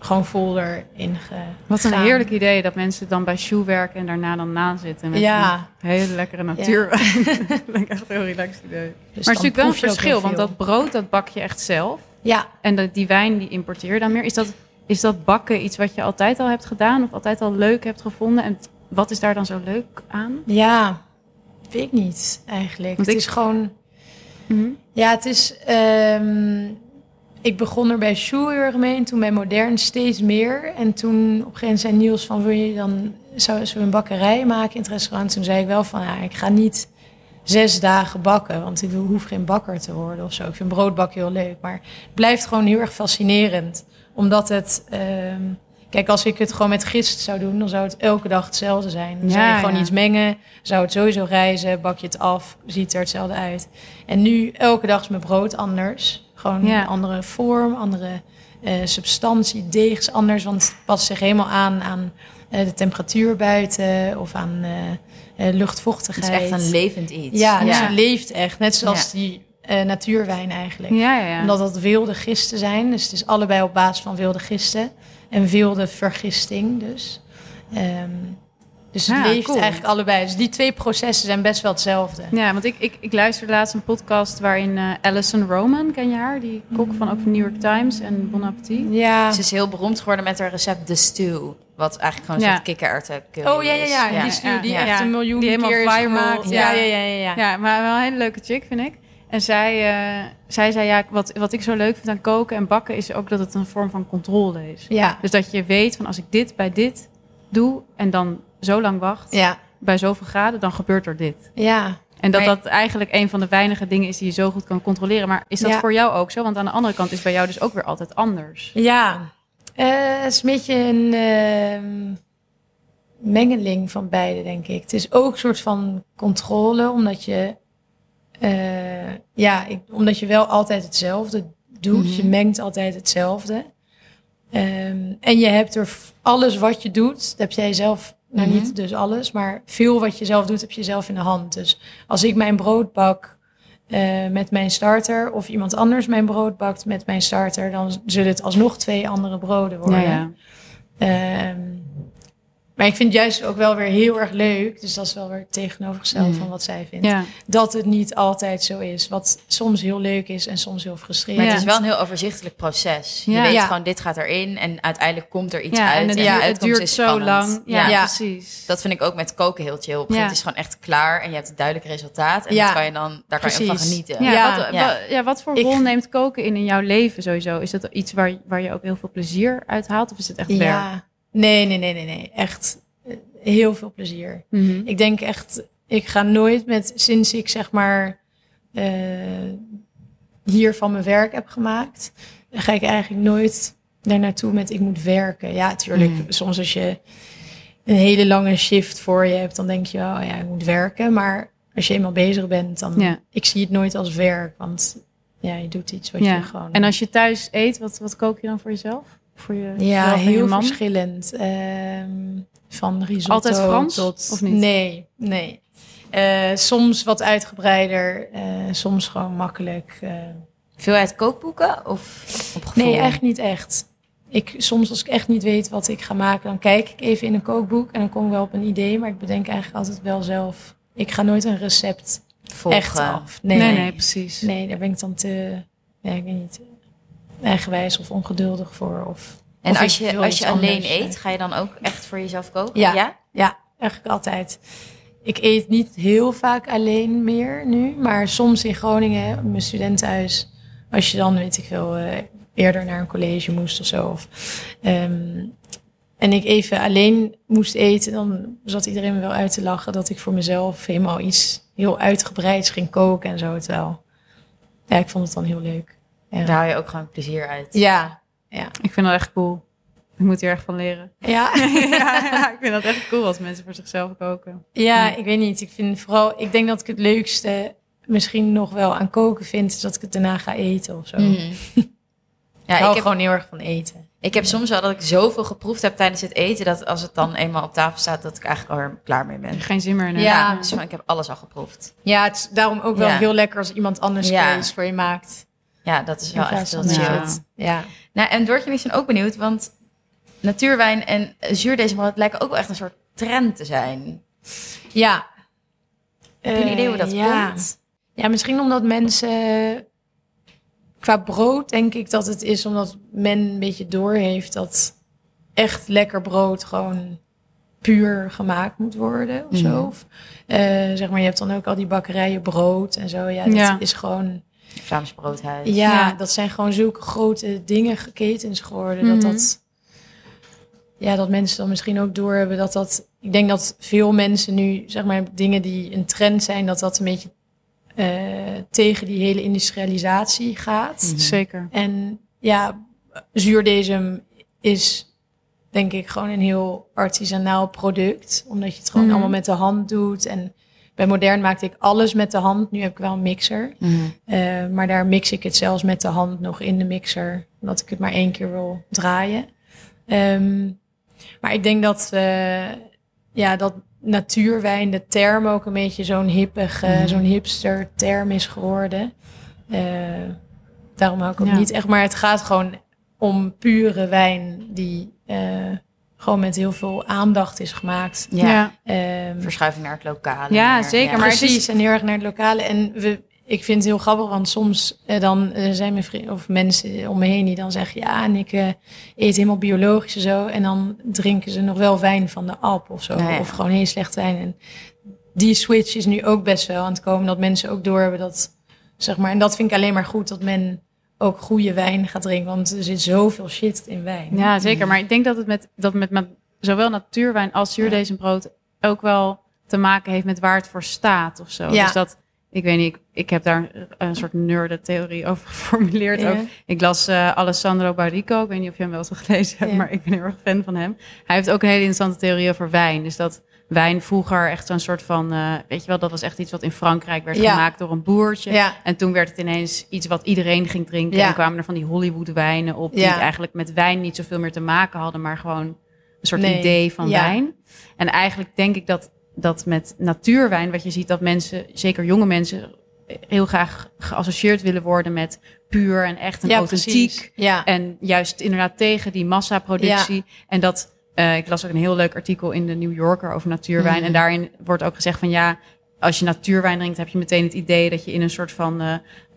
[SPEAKER 3] gewoon vol erin gegaan.
[SPEAKER 1] Wat een heerlijk idee dat mensen dan bij Shoe werken en daarna dan na zitten. Met
[SPEAKER 3] Ja, dus
[SPEAKER 1] een hele lekkere natuurwijn. dat vind ik echt een heel relaxed idee.
[SPEAKER 3] Dus
[SPEAKER 1] maar
[SPEAKER 3] dan
[SPEAKER 1] het is natuurlijk wel een
[SPEAKER 3] proef je ook heel
[SPEAKER 1] verschil, want
[SPEAKER 3] veel.
[SPEAKER 1] dat brood dat bak je echt zelf.
[SPEAKER 3] Ja,
[SPEAKER 1] En dat, die wijn die importeer je dan meer. Is dat, is dat bakken iets wat je altijd al hebt gedaan of altijd al leuk hebt gevonden? En wat is daar dan zo leuk aan?
[SPEAKER 3] ja, weet ik niet eigenlijk.
[SPEAKER 1] Want
[SPEAKER 3] het
[SPEAKER 1] ik- Mhm.
[SPEAKER 3] is gewoon... Ja, het is... ehm, ik begon er bij Shoe heel erg mee en toen bij Modern steeds meer. En toen op een gegeven moment zei Niels van... Wil je dan... Zou, zullen we een bakkerij maken in het restaurant? Toen zei ik wel van... Ja, ik ga niet zes dagen bakken, want ik hoef geen bakker te worden of zo. Ik vind broodbak heel leuk, maar het blijft gewoon heel erg fascinerend. Omdat het... ehm, kijk, als ik het gewoon met gist zou doen, dan zou het elke dag hetzelfde zijn. Dan zou je
[SPEAKER 1] Ja,
[SPEAKER 3] gewoon
[SPEAKER 1] ja.
[SPEAKER 3] iets mengen, zou het sowieso rijzen, bak je het af, ziet er hetzelfde uit. En nu elke dag is mijn brood anders. Gewoon
[SPEAKER 1] Ja.
[SPEAKER 3] een andere vorm, andere eh, substantie, deeg is anders. Want het past zich helemaal aan aan eh, de temperatuur buiten of aan eh, eh,
[SPEAKER 2] Het
[SPEAKER 3] luchtvochtigheid.
[SPEAKER 2] is echt een levend iets.
[SPEAKER 3] Ja, dus
[SPEAKER 2] ja.
[SPEAKER 3] het leeft echt. Net zoals die eh, natuurwijn eigenlijk.
[SPEAKER 1] Ja, ja, ja.
[SPEAKER 3] Omdat dat wilde gisten zijn. Dus het is allebei op basis van wilde gisten. En wilde vergisting dus. Ehm, dus het
[SPEAKER 1] Ja,
[SPEAKER 3] leeft
[SPEAKER 1] cool.
[SPEAKER 3] eigenlijk allebei. Dus die twee processen zijn best wel hetzelfde.
[SPEAKER 1] Ja, want ik, ik, ik luisterde laatst een podcast waarin eh, Alison Roman, ken je haar? Die kok van ook van New York Times en Bon Appetit.
[SPEAKER 3] Ja.
[SPEAKER 2] Ze is heel beroemd geworden met haar recept The Stew. Wat eigenlijk gewoon
[SPEAKER 1] Ja.
[SPEAKER 2] een soort kikkererwten curry
[SPEAKER 3] Oh ja, ja, ja.
[SPEAKER 2] is.
[SPEAKER 3] die
[SPEAKER 1] stu-
[SPEAKER 3] stuur die
[SPEAKER 1] ja.
[SPEAKER 3] echt een miljoen
[SPEAKER 1] Die helemaal
[SPEAKER 3] keer is
[SPEAKER 1] viral.
[SPEAKER 3] gemaakt.
[SPEAKER 2] Ja.
[SPEAKER 3] Ja, ja, ja. ja, ja.
[SPEAKER 1] Ja, maar wel een hele leuke chick, vind ik. En zij, eh, zij zei, ja, wat, wat ik zo leuk vind aan koken en bakken is ook dat het een vorm van controle is.
[SPEAKER 3] Ja.
[SPEAKER 1] Dus dat je weet van als ik dit bij dit doe en dan zo lang wacht,
[SPEAKER 3] Ja.
[SPEAKER 1] bij zoveel graden, dan gebeurt er dit.
[SPEAKER 3] Ja.
[SPEAKER 1] En dat
[SPEAKER 2] Maar-
[SPEAKER 1] dat eigenlijk een van de weinige dingen is die je zo goed kan controleren. Maar is dat
[SPEAKER 3] Ja.
[SPEAKER 1] voor jou ook zo? Want aan de andere kant is bij jou dus ook weer altijd anders.
[SPEAKER 3] Ja. Eh, het is een beetje een ehm, mengeling van beide, denk ik. Het is ook een soort van controle, omdat je, eh, ja, ik, omdat je wel altijd hetzelfde doet.
[SPEAKER 2] Mhm.
[SPEAKER 3] Je mengt altijd hetzelfde. Ehm, en je hebt er v- alles wat je doet, heb jij zelf, nou
[SPEAKER 2] Mhm.
[SPEAKER 3] niet dus alles, maar veel wat je zelf doet, heb je zelf in de hand. Dus als ik mijn brood bak eh, met mijn starter of iemand anders mijn brood bakt met mijn starter, dan zullen het alsnog twee andere broden worden.
[SPEAKER 1] Nou ja.
[SPEAKER 3] Ehm, maar ik vind het juist ook wel weer heel erg leuk, dus dat is wel weer het tegenovergestelde
[SPEAKER 2] Mm.
[SPEAKER 3] van wat zij vindt,
[SPEAKER 1] ja.
[SPEAKER 3] dat het niet altijd zo is. Wat soms heel leuk is en soms heel frustrerend.
[SPEAKER 2] Maar het is wel een heel overzichtelijk proces. Je
[SPEAKER 1] Ja.
[SPEAKER 2] weet
[SPEAKER 3] Ja.
[SPEAKER 2] gewoon, dit gaat erin en uiteindelijk komt er iets
[SPEAKER 1] Ja,
[SPEAKER 2] uit.
[SPEAKER 1] en het,
[SPEAKER 2] de
[SPEAKER 1] duurt- het
[SPEAKER 2] uitkomst
[SPEAKER 1] duurt
[SPEAKER 2] is
[SPEAKER 1] zo
[SPEAKER 2] spannend.
[SPEAKER 1] lang. Ja,
[SPEAKER 2] Ja.
[SPEAKER 3] Ja.
[SPEAKER 1] precies.
[SPEAKER 2] Dat vind ik ook met koken heel chill. Op een gegeven moment
[SPEAKER 1] Ja.
[SPEAKER 2] is het gewoon echt klaar en je hebt een duidelijk resultaat. En
[SPEAKER 3] Ja.
[SPEAKER 2] dat kan je dan, daar kan je ook van
[SPEAKER 3] Precies.
[SPEAKER 2] genieten.
[SPEAKER 1] ja,
[SPEAKER 3] Ja.
[SPEAKER 1] Wat,
[SPEAKER 2] Ja.
[SPEAKER 1] wa- ja, wat voor
[SPEAKER 3] Ik-
[SPEAKER 1] rol neemt koken in in jouw leven sowieso? Is dat iets waar, waar je ook heel veel plezier uit haalt? Of is het echt werk?
[SPEAKER 3] ja. Nee, nee, nee, nee, nee. Echt eh, heel veel plezier.
[SPEAKER 1] Mhm.
[SPEAKER 3] Ik denk echt, ik ga nooit met, sinds ik zeg maar eh, hier van mijn werk heb gemaakt, ga ik eigenlijk nooit daar naartoe met ik moet werken. Ja, natuurlijk,
[SPEAKER 1] Hm.
[SPEAKER 2] Mm.
[SPEAKER 3] soms als je een hele lange shift voor je hebt, dan denk je, oh ja, ik moet werken. Maar als je eenmaal bezig bent, dan,
[SPEAKER 1] Ja.
[SPEAKER 3] ik zie het nooit als werk, want ja, je doet iets wat
[SPEAKER 1] Ja.
[SPEAKER 3] je gewoon...
[SPEAKER 1] En als je thuis eet, wat, wat kook je dan voor jezelf? Voor je,
[SPEAKER 3] ja,
[SPEAKER 1] jezelf en je
[SPEAKER 3] heel
[SPEAKER 1] man?
[SPEAKER 3] verschillend. Ehm, van risotto
[SPEAKER 1] Altijd Frans,
[SPEAKER 3] tot...
[SPEAKER 1] of niet?
[SPEAKER 3] Nee, nee. Eh, soms wat uitgebreider, eh, soms gewoon makkelijk. eh.
[SPEAKER 2] Veel uit kookboeken of op gevoel?
[SPEAKER 3] nee, eigenlijk niet echt. Ik, soms als ik echt niet weet wat ik ga maken, dan kijk ik even in een kookboek en dan kom ik wel op een idee. Maar ik bedenk eigenlijk altijd wel zelf. Ik ga nooit een recept
[SPEAKER 2] Volgen.
[SPEAKER 3] echt af.
[SPEAKER 1] Nee,
[SPEAKER 3] Nee,
[SPEAKER 1] nee,
[SPEAKER 3] nee,
[SPEAKER 1] precies.
[SPEAKER 3] daar ben ik dan te, ja, ik weet niet, eigenwijs of ongeduldig voor. Of,
[SPEAKER 2] En
[SPEAKER 3] of
[SPEAKER 2] als
[SPEAKER 3] ik
[SPEAKER 2] je,
[SPEAKER 3] wil
[SPEAKER 2] als
[SPEAKER 3] iets
[SPEAKER 2] je alleen
[SPEAKER 3] anders. eh.
[SPEAKER 2] eet, ga je dan ook echt voor jezelf koken?
[SPEAKER 3] Ja. Ja, eigenlijk altijd. Ik eet niet heel vaak alleen meer nu, maar soms in Groningen, op mijn studentenhuis, als je dan, weet ik veel, eh, eerder naar een college moest of zo. Of, ehm, en ik even alleen moest eten, dan zat iedereen me wel uit te lachen dat ik voor mezelf helemaal iets heel uitgebreids ging koken en zo. Terwijl, ja, ik vond het dan heel leuk.
[SPEAKER 2] Daar haal je ook gewoon plezier uit.
[SPEAKER 3] Ja,
[SPEAKER 1] Ik vind dat echt cool. Ik moet hier echt van leren.
[SPEAKER 3] ja.
[SPEAKER 1] ja, ik vind dat echt cool als mensen voor zichzelf koken.
[SPEAKER 3] Ja, ik weet niet. Ik vind vooral, ik denk dat ik het leukste misschien nog wel aan koken vind, is dat ik het daarna ga eten of zo. Ik
[SPEAKER 2] Mhm. Ja,
[SPEAKER 3] hou
[SPEAKER 2] ik heb,
[SPEAKER 3] gewoon heel erg van eten.
[SPEAKER 2] ik heb soms wel dat ik zoveel geproefd heb tijdens het eten... dat als het dan eenmaal op tafel staat, dat ik eigenlijk alweer klaar mee ben.
[SPEAKER 1] Geen zin meer in. hebben.
[SPEAKER 2] Ja,
[SPEAKER 3] Ja.
[SPEAKER 2] dus van, ik heb alles al geproefd.
[SPEAKER 3] Ja, het is daarom ook wel
[SPEAKER 2] Ja.
[SPEAKER 3] heel lekker als iemand anders
[SPEAKER 2] Ja.
[SPEAKER 3] iets voor je maakt.
[SPEAKER 2] Ja, dat is wel
[SPEAKER 3] In
[SPEAKER 2] echt
[SPEAKER 3] plaats
[SPEAKER 2] heel
[SPEAKER 3] van
[SPEAKER 2] chill.
[SPEAKER 1] ja.
[SPEAKER 3] dat je het- Ja.
[SPEAKER 2] Nou, en Doortje en ik zijn ook benieuwd, want natuurwijn en eh, zuurdesmorat lijken ook wel echt een soort trend te zijn.
[SPEAKER 3] ja.
[SPEAKER 2] Heb je een idee hoe dat
[SPEAKER 3] Eh, ja.
[SPEAKER 2] komt?
[SPEAKER 3] Ja, misschien omdat mensen... Qua brood denk ik dat het is omdat men een beetje doorheeft dat echt lekker brood gewoon puur gemaakt moet worden of zo.
[SPEAKER 2] Mhm.
[SPEAKER 3] Of, eh, zeg maar, je hebt dan ook al die bakkerijen brood en zo. Ja, dat
[SPEAKER 1] Ja.
[SPEAKER 3] is gewoon...
[SPEAKER 2] Vlaams broodhuis.
[SPEAKER 3] Ja,
[SPEAKER 1] Ja.
[SPEAKER 3] dat zijn gewoon zulke grote dingen, ketens geworden.
[SPEAKER 1] Mhm.
[SPEAKER 3] Dat dat... Ja, dat mensen dan misschien ook doorhebben dat dat... Ik denk dat veel mensen nu, zeg maar, dingen die een trend zijn... dat dat een beetje eh, tegen die hele industrialisatie gaat.
[SPEAKER 2] Mhm.
[SPEAKER 1] Zeker.
[SPEAKER 3] En ja, zuurdesem is denk ik gewoon een heel artisanaal product. Omdat je het gewoon
[SPEAKER 1] Mhm.
[SPEAKER 3] allemaal met de hand doet. En bij modern maakte ik alles met de hand. Nu heb ik wel een mixer.
[SPEAKER 2] Mhm.
[SPEAKER 3] Eh, maar daar mix ik het zelfs met de hand nog in de mixer. Omdat ik het maar één keer wil draaien. Ehm, maar ik denk dat, eh, ja, dat natuurwijn, de term ook een beetje zo'n hippig, eh,
[SPEAKER 2] Mhm.
[SPEAKER 3] zo'n hipster term is geworden. Eh, daarom hou ik het
[SPEAKER 1] Ja.
[SPEAKER 3] niet echt. Maar het gaat gewoon om pure wijn die eh, gewoon met heel veel aandacht is gemaakt.
[SPEAKER 2] Ja.
[SPEAKER 1] ja.
[SPEAKER 3] Ehm,
[SPEAKER 2] Verschuiving naar het lokale.
[SPEAKER 1] Ja,
[SPEAKER 2] naar-
[SPEAKER 1] zeker,
[SPEAKER 2] ja.
[SPEAKER 1] maar- het
[SPEAKER 3] precies, en heel erg naar het lokale. En we, ik vind het heel grappig, want soms eh, dan eh, zijn mijn vrienden of mensen om me heen die dan zeggen: Ja, en ik eh, eet helemaal biologisch en zo. En dan drinken ze nog wel wijn van de app of zo.
[SPEAKER 1] Nou
[SPEAKER 2] Ja, ja.
[SPEAKER 3] Of gewoon heel slecht wijn. En die switch is nu ook best wel aan het komen, dat mensen ook doorhebben dat, zeg maar. En dat vind ik alleen maar goed dat men ook goede wijn gaat drinken, want er zit zoveel shit in wijn.
[SPEAKER 1] Ja, zeker. Maar ik denk dat het met, dat met, met zowel natuurwijn als zuurdezenbrood ook wel te maken heeft met waar het voor staat of zo.
[SPEAKER 3] Ja.
[SPEAKER 1] Dus dat Ik weet niet, ik, ik heb daar een soort nerde theorie over geformuleerd.
[SPEAKER 3] Ja.
[SPEAKER 1] Ook. Ik las eh, Alessandro Barrico. Ik weet niet of je hem wel eens gelezen hebt,
[SPEAKER 3] Ja.
[SPEAKER 1] maar ik ben heel erg fan van hem. Hij heeft ook een hele interessante theorie over wijn. Dus dat wijn vroeger echt zo'n soort van... eh, weet je wel, dat was echt iets wat in Frankrijk werd
[SPEAKER 3] Ja.
[SPEAKER 1] gemaakt door een boertje.
[SPEAKER 3] Ja.
[SPEAKER 1] En toen werd het ineens iets wat iedereen ging drinken.
[SPEAKER 3] Ja.
[SPEAKER 1] En kwamen er van die Hollywood wijnen op. Die
[SPEAKER 3] Ja.
[SPEAKER 1] het eigenlijk met wijn niet zoveel meer te maken hadden. Maar gewoon een soort
[SPEAKER 3] Nee.
[SPEAKER 1] idee van
[SPEAKER 3] Ja.
[SPEAKER 1] wijn. En eigenlijk denk ik dat, dat met natuurwijn, wat je ziet, dat mensen, zeker jonge mensen, heel graag geassocieerd willen worden met puur en echt en
[SPEAKER 3] ja,
[SPEAKER 1] authentiek.
[SPEAKER 3] precies. Ja.
[SPEAKER 1] En juist inderdaad tegen die massaproductie. En dat, eh, ik las ook een heel leuk artikel in de New Yorker over natuurwijn.
[SPEAKER 2] Mhm.
[SPEAKER 1] En daarin wordt ook gezegd van ja, als je natuurwijn drinkt, heb je meteen het idee dat je in een soort van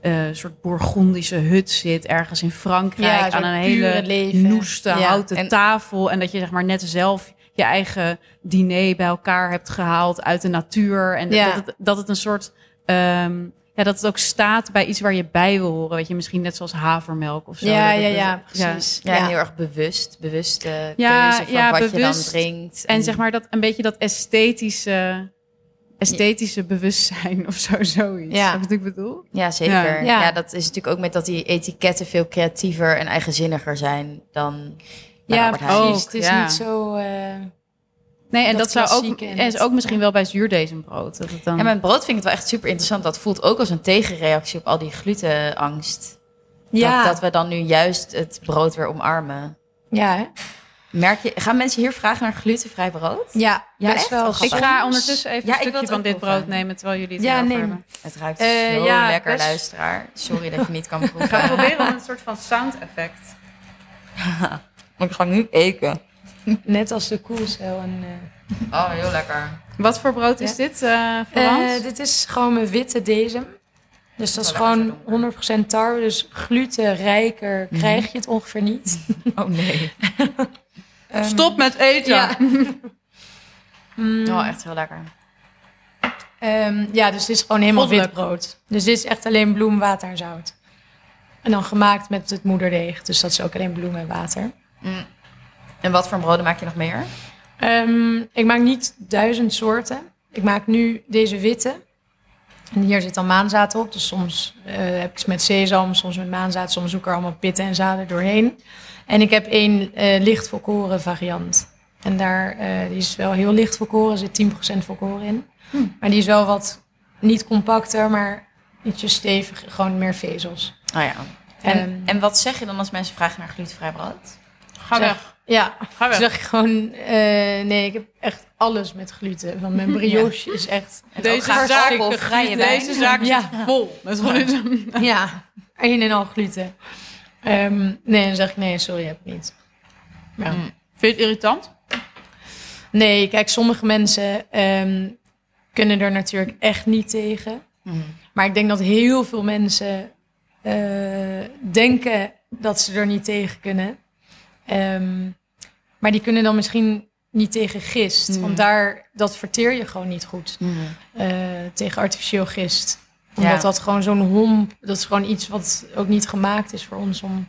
[SPEAKER 1] eh, eh, soort bourgondische hut zit, ergens in Frankrijk,
[SPEAKER 3] Ja, een soort
[SPEAKER 1] aan een
[SPEAKER 3] pure
[SPEAKER 1] hele
[SPEAKER 3] leven.
[SPEAKER 1] noeste
[SPEAKER 3] Ja,
[SPEAKER 1] houten
[SPEAKER 2] en-
[SPEAKER 1] tafel. En dat je zeg maar net zelf je eigen diner bij elkaar hebt gehaald uit de natuur. En
[SPEAKER 3] Ja.
[SPEAKER 1] dat, het, dat het een soort. ehm, ja, dat het ook staat bij iets waar je bij wil horen. Weet je, misschien net zoals havermelk of zo.
[SPEAKER 3] ja,
[SPEAKER 1] Dat
[SPEAKER 3] ja,
[SPEAKER 1] het-
[SPEAKER 3] ja, precies.
[SPEAKER 2] Ja, en heel erg bewust. Bewuste
[SPEAKER 1] Ja,
[SPEAKER 2] keuze van
[SPEAKER 1] ja,
[SPEAKER 2] wat je dan
[SPEAKER 1] bewust.
[SPEAKER 2] drinkt.
[SPEAKER 1] En zeg maar dat een beetje dat esthetische, esthetische bewustzijn of zo, zoiets.
[SPEAKER 3] Ja.
[SPEAKER 1] Snap je wat ik bedoel?
[SPEAKER 2] Ja, zeker. Ja.
[SPEAKER 3] Ja.
[SPEAKER 2] dat is natuurlijk ook met dat die etiketten veel creatiever en eigenzinniger zijn dan bij
[SPEAKER 3] Ja, oh.
[SPEAKER 2] Albert Heijn.
[SPEAKER 1] ook,
[SPEAKER 3] precies. Het is
[SPEAKER 1] ja.
[SPEAKER 3] niet zo... eh,
[SPEAKER 1] Nee, en dat,
[SPEAKER 3] Dat
[SPEAKER 1] zou ook,
[SPEAKER 3] klassieke en
[SPEAKER 1] is
[SPEAKER 3] dat-
[SPEAKER 1] ook misschien wel bij zuurdezenbrood. Dat het dan...
[SPEAKER 2] En mijn brood vind ik het wel echt super interessant. Dat voelt ook als een tegenreactie op al die glutenangst.
[SPEAKER 3] ja,
[SPEAKER 2] Dat, dat we dan nu juist het brood weer omarmen.
[SPEAKER 3] ja, hè?
[SPEAKER 2] Merk je, gaan mensen hier vragen naar glutenvrij brood?
[SPEAKER 3] ja,
[SPEAKER 2] Ja,
[SPEAKER 3] best
[SPEAKER 2] echt?
[SPEAKER 3] wel
[SPEAKER 2] Oh,
[SPEAKER 1] ik
[SPEAKER 2] grappig.
[SPEAKER 1] ga ondertussen even
[SPEAKER 2] Ja,
[SPEAKER 1] een
[SPEAKER 2] ik wil
[SPEAKER 1] stukje
[SPEAKER 2] het
[SPEAKER 1] van
[SPEAKER 2] ook
[SPEAKER 1] dit
[SPEAKER 2] proeven.
[SPEAKER 1] brood nemen terwijl jullie het
[SPEAKER 3] Ja,
[SPEAKER 1] ja,
[SPEAKER 3] neem.
[SPEAKER 1] hebben.
[SPEAKER 2] Het ruikt
[SPEAKER 3] Eh,
[SPEAKER 2] zo
[SPEAKER 3] ja,
[SPEAKER 2] lekker,
[SPEAKER 3] best-
[SPEAKER 2] luisteraar. Sorry dat je niet kan proeven.
[SPEAKER 1] Ik ga proberen om een soort van sound effect.
[SPEAKER 2] Maar ik ga nu eten.
[SPEAKER 3] Net als de koelcel. En, eh.
[SPEAKER 2] Oh, heel lekker.
[SPEAKER 1] Wat voor brood is
[SPEAKER 3] Ja.
[SPEAKER 1] dit, eh Florence?
[SPEAKER 3] Eh, dit is gewoon mijn witte dezem. Dus dat is gewoon 100% tarwe. Dus glutenrijker krijg je het ongeveer niet.
[SPEAKER 2] Oh nee.
[SPEAKER 3] Ehm,
[SPEAKER 1] Stop met eten!
[SPEAKER 3] ja. Mm,
[SPEAKER 2] Oh, echt heel lekker.
[SPEAKER 3] ehm, ja, dus dit is gewoon helemaal wit
[SPEAKER 1] Goddelijk.
[SPEAKER 3] brood. Dus dit is echt alleen bloem, water en zout. En dan gemaakt met het moederdeeg. Dus dat is ook alleen bloem en water.
[SPEAKER 2] Mm. En wat voor broden maak je nog meer?
[SPEAKER 3] Ehm, ik maak niet duizend soorten. Ik maak nu deze witte. En hier zit dan maanzaad op. Dus soms eh, heb ik ze met sesam, soms met maanzaad. Soms zoek ik er allemaal pitten en zaden doorheen. En ik heb één eh, licht volkoren variant. En daar, eh, die is wel heel licht volkoren. Er zit 10% volkoren in.
[SPEAKER 2] Hm.
[SPEAKER 3] Maar die is wel wat, niet compacter, maar ietsje steviger. Gewoon meer vezels.
[SPEAKER 2] Oh ja. En,
[SPEAKER 3] Ehm,
[SPEAKER 2] en wat zeg je dan als mensen vragen naar glutenvrij brood?
[SPEAKER 1] Ga
[SPEAKER 3] Zeg,
[SPEAKER 1] weg,
[SPEAKER 3] Ja,
[SPEAKER 2] Oh
[SPEAKER 1] ga weg.
[SPEAKER 3] Toen dacht ik gewoon, eh, nee, ik heb echt alles met gluten. Want mijn brioche is echt...
[SPEAKER 2] ook
[SPEAKER 1] Deze
[SPEAKER 2] graag
[SPEAKER 1] zaak,
[SPEAKER 2] alcoholvrije wijn.
[SPEAKER 1] deze zaak is
[SPEAKER 3] Ja.
[SPEAKER 1] vol. Dat is gewoon
[SPEAKER 3] Ja, een en al gluten. Ehm, nee, dan zeg ik, nee, sorry, heb ik niet. Ja.
[SPEAKER 2] Mm.
[SPEAKER 1] Vind je het irritant?
[SPEAKER 3] Nee, kijk, sommige mensen ehm, kunnen er natuurlijk echt niet tegen. Maar ik denk dat heel veel mensen eh, denken dat ze er niet tegen kunnen. Ehm, maar die kunnen dan misschien niet tegen gist.
[SPEAKER 2] Mm.
[SPEAKER 3] Want daar, dat verteer je gewoon niet goed. eh, tegen artificieel gist. Omdat
[SPEAKER 2] Ja.
[SPEAKER 3] dat gewoon zo'n homp, dat is gewoon iets wat ook niet gemaakt is voor ons om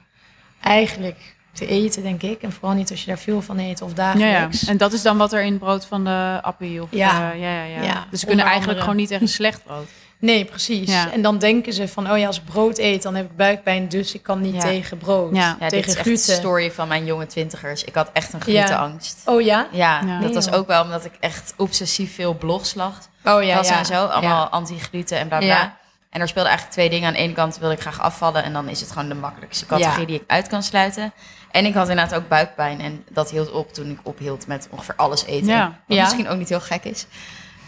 [SPEAKER 3] eigenlijk te eten, denk ik. En vooral niet als je daar veel van eet of
[SPEAKER 1] Ja, ja.
[SPEAKER 3] dagelijks.
[SPEAKER 1] En dat is dan wat er in het brood van de appie of
[SPEAKER 3] Ja.
[SPEAKER 1] eh, ja, ja, ja.
[SPEAKER 3] Ja,
[SPEAKER 1] Dus ze
[SPEAKER 3] onder
[SPEAKER 1] kunnen eigenlijk
[SPEAKER 3] andere.
[SPEAKER 1] gewoon niet echt een slecht brood.
[SPEAKER 3] Nee, precies.
[SPEAKER 1] Ja.
[SPEAKER 3] En dan denken ze van, oh ja, als ik brood eet, dan heb ik buikpijn, dus ik kan niet
[SPEAKER 2] Ja.
[SPEAKER 3] tegen brood.
[SPEAKER 1] Ja.
[SPEAKER 2] Ja, dit
[SPEAKER 3] tegen
[SPEAKER 2] is echt
[SPEAKER 3] gluten.
[SPEAKER 2] de story van mijn jonge twintigers. Ik had echt een glutenangst.
[SPEAKER 3] Oh ja?
[SPEAKER 2] Ja,
[SPEAKER 1] Ja.
[SPEAKER 2] dat was
[SPEAKER 3] Heel.
[SPEAKER 2] ook wel omdat ik echt obsessief veel blogs las.
[SPEAKER 3] Oh ja,
[SPEAKER 2] las
[SPEAKER 3] ja.
[SPEAKER 2] en zo, allemaal
[SPEAKER 3] Ja.
[SPEAKER 2] anti-gluten en bla bla.
[SPEAKER 3] Ja.
[SPEAKER 2] En er speelden eigenlijk twee dingen. Aan de ene kant wilde ik graag afvallen en dan is het gewoon de makkelijkste categorie
[SPEAKER 3] Ja.
[SPEAKER 2] die ik uit kan sluiten. En ik had inderdaad ook buikpijn en dat hield op toen ik ophield met ongeveer alles eten.
[SPEAKER 1] Ja.
[SPEAKER 2] Wat
[SPEAKER 3] Ja.
[SPEAKER 2] misschien ook niet heel gek is.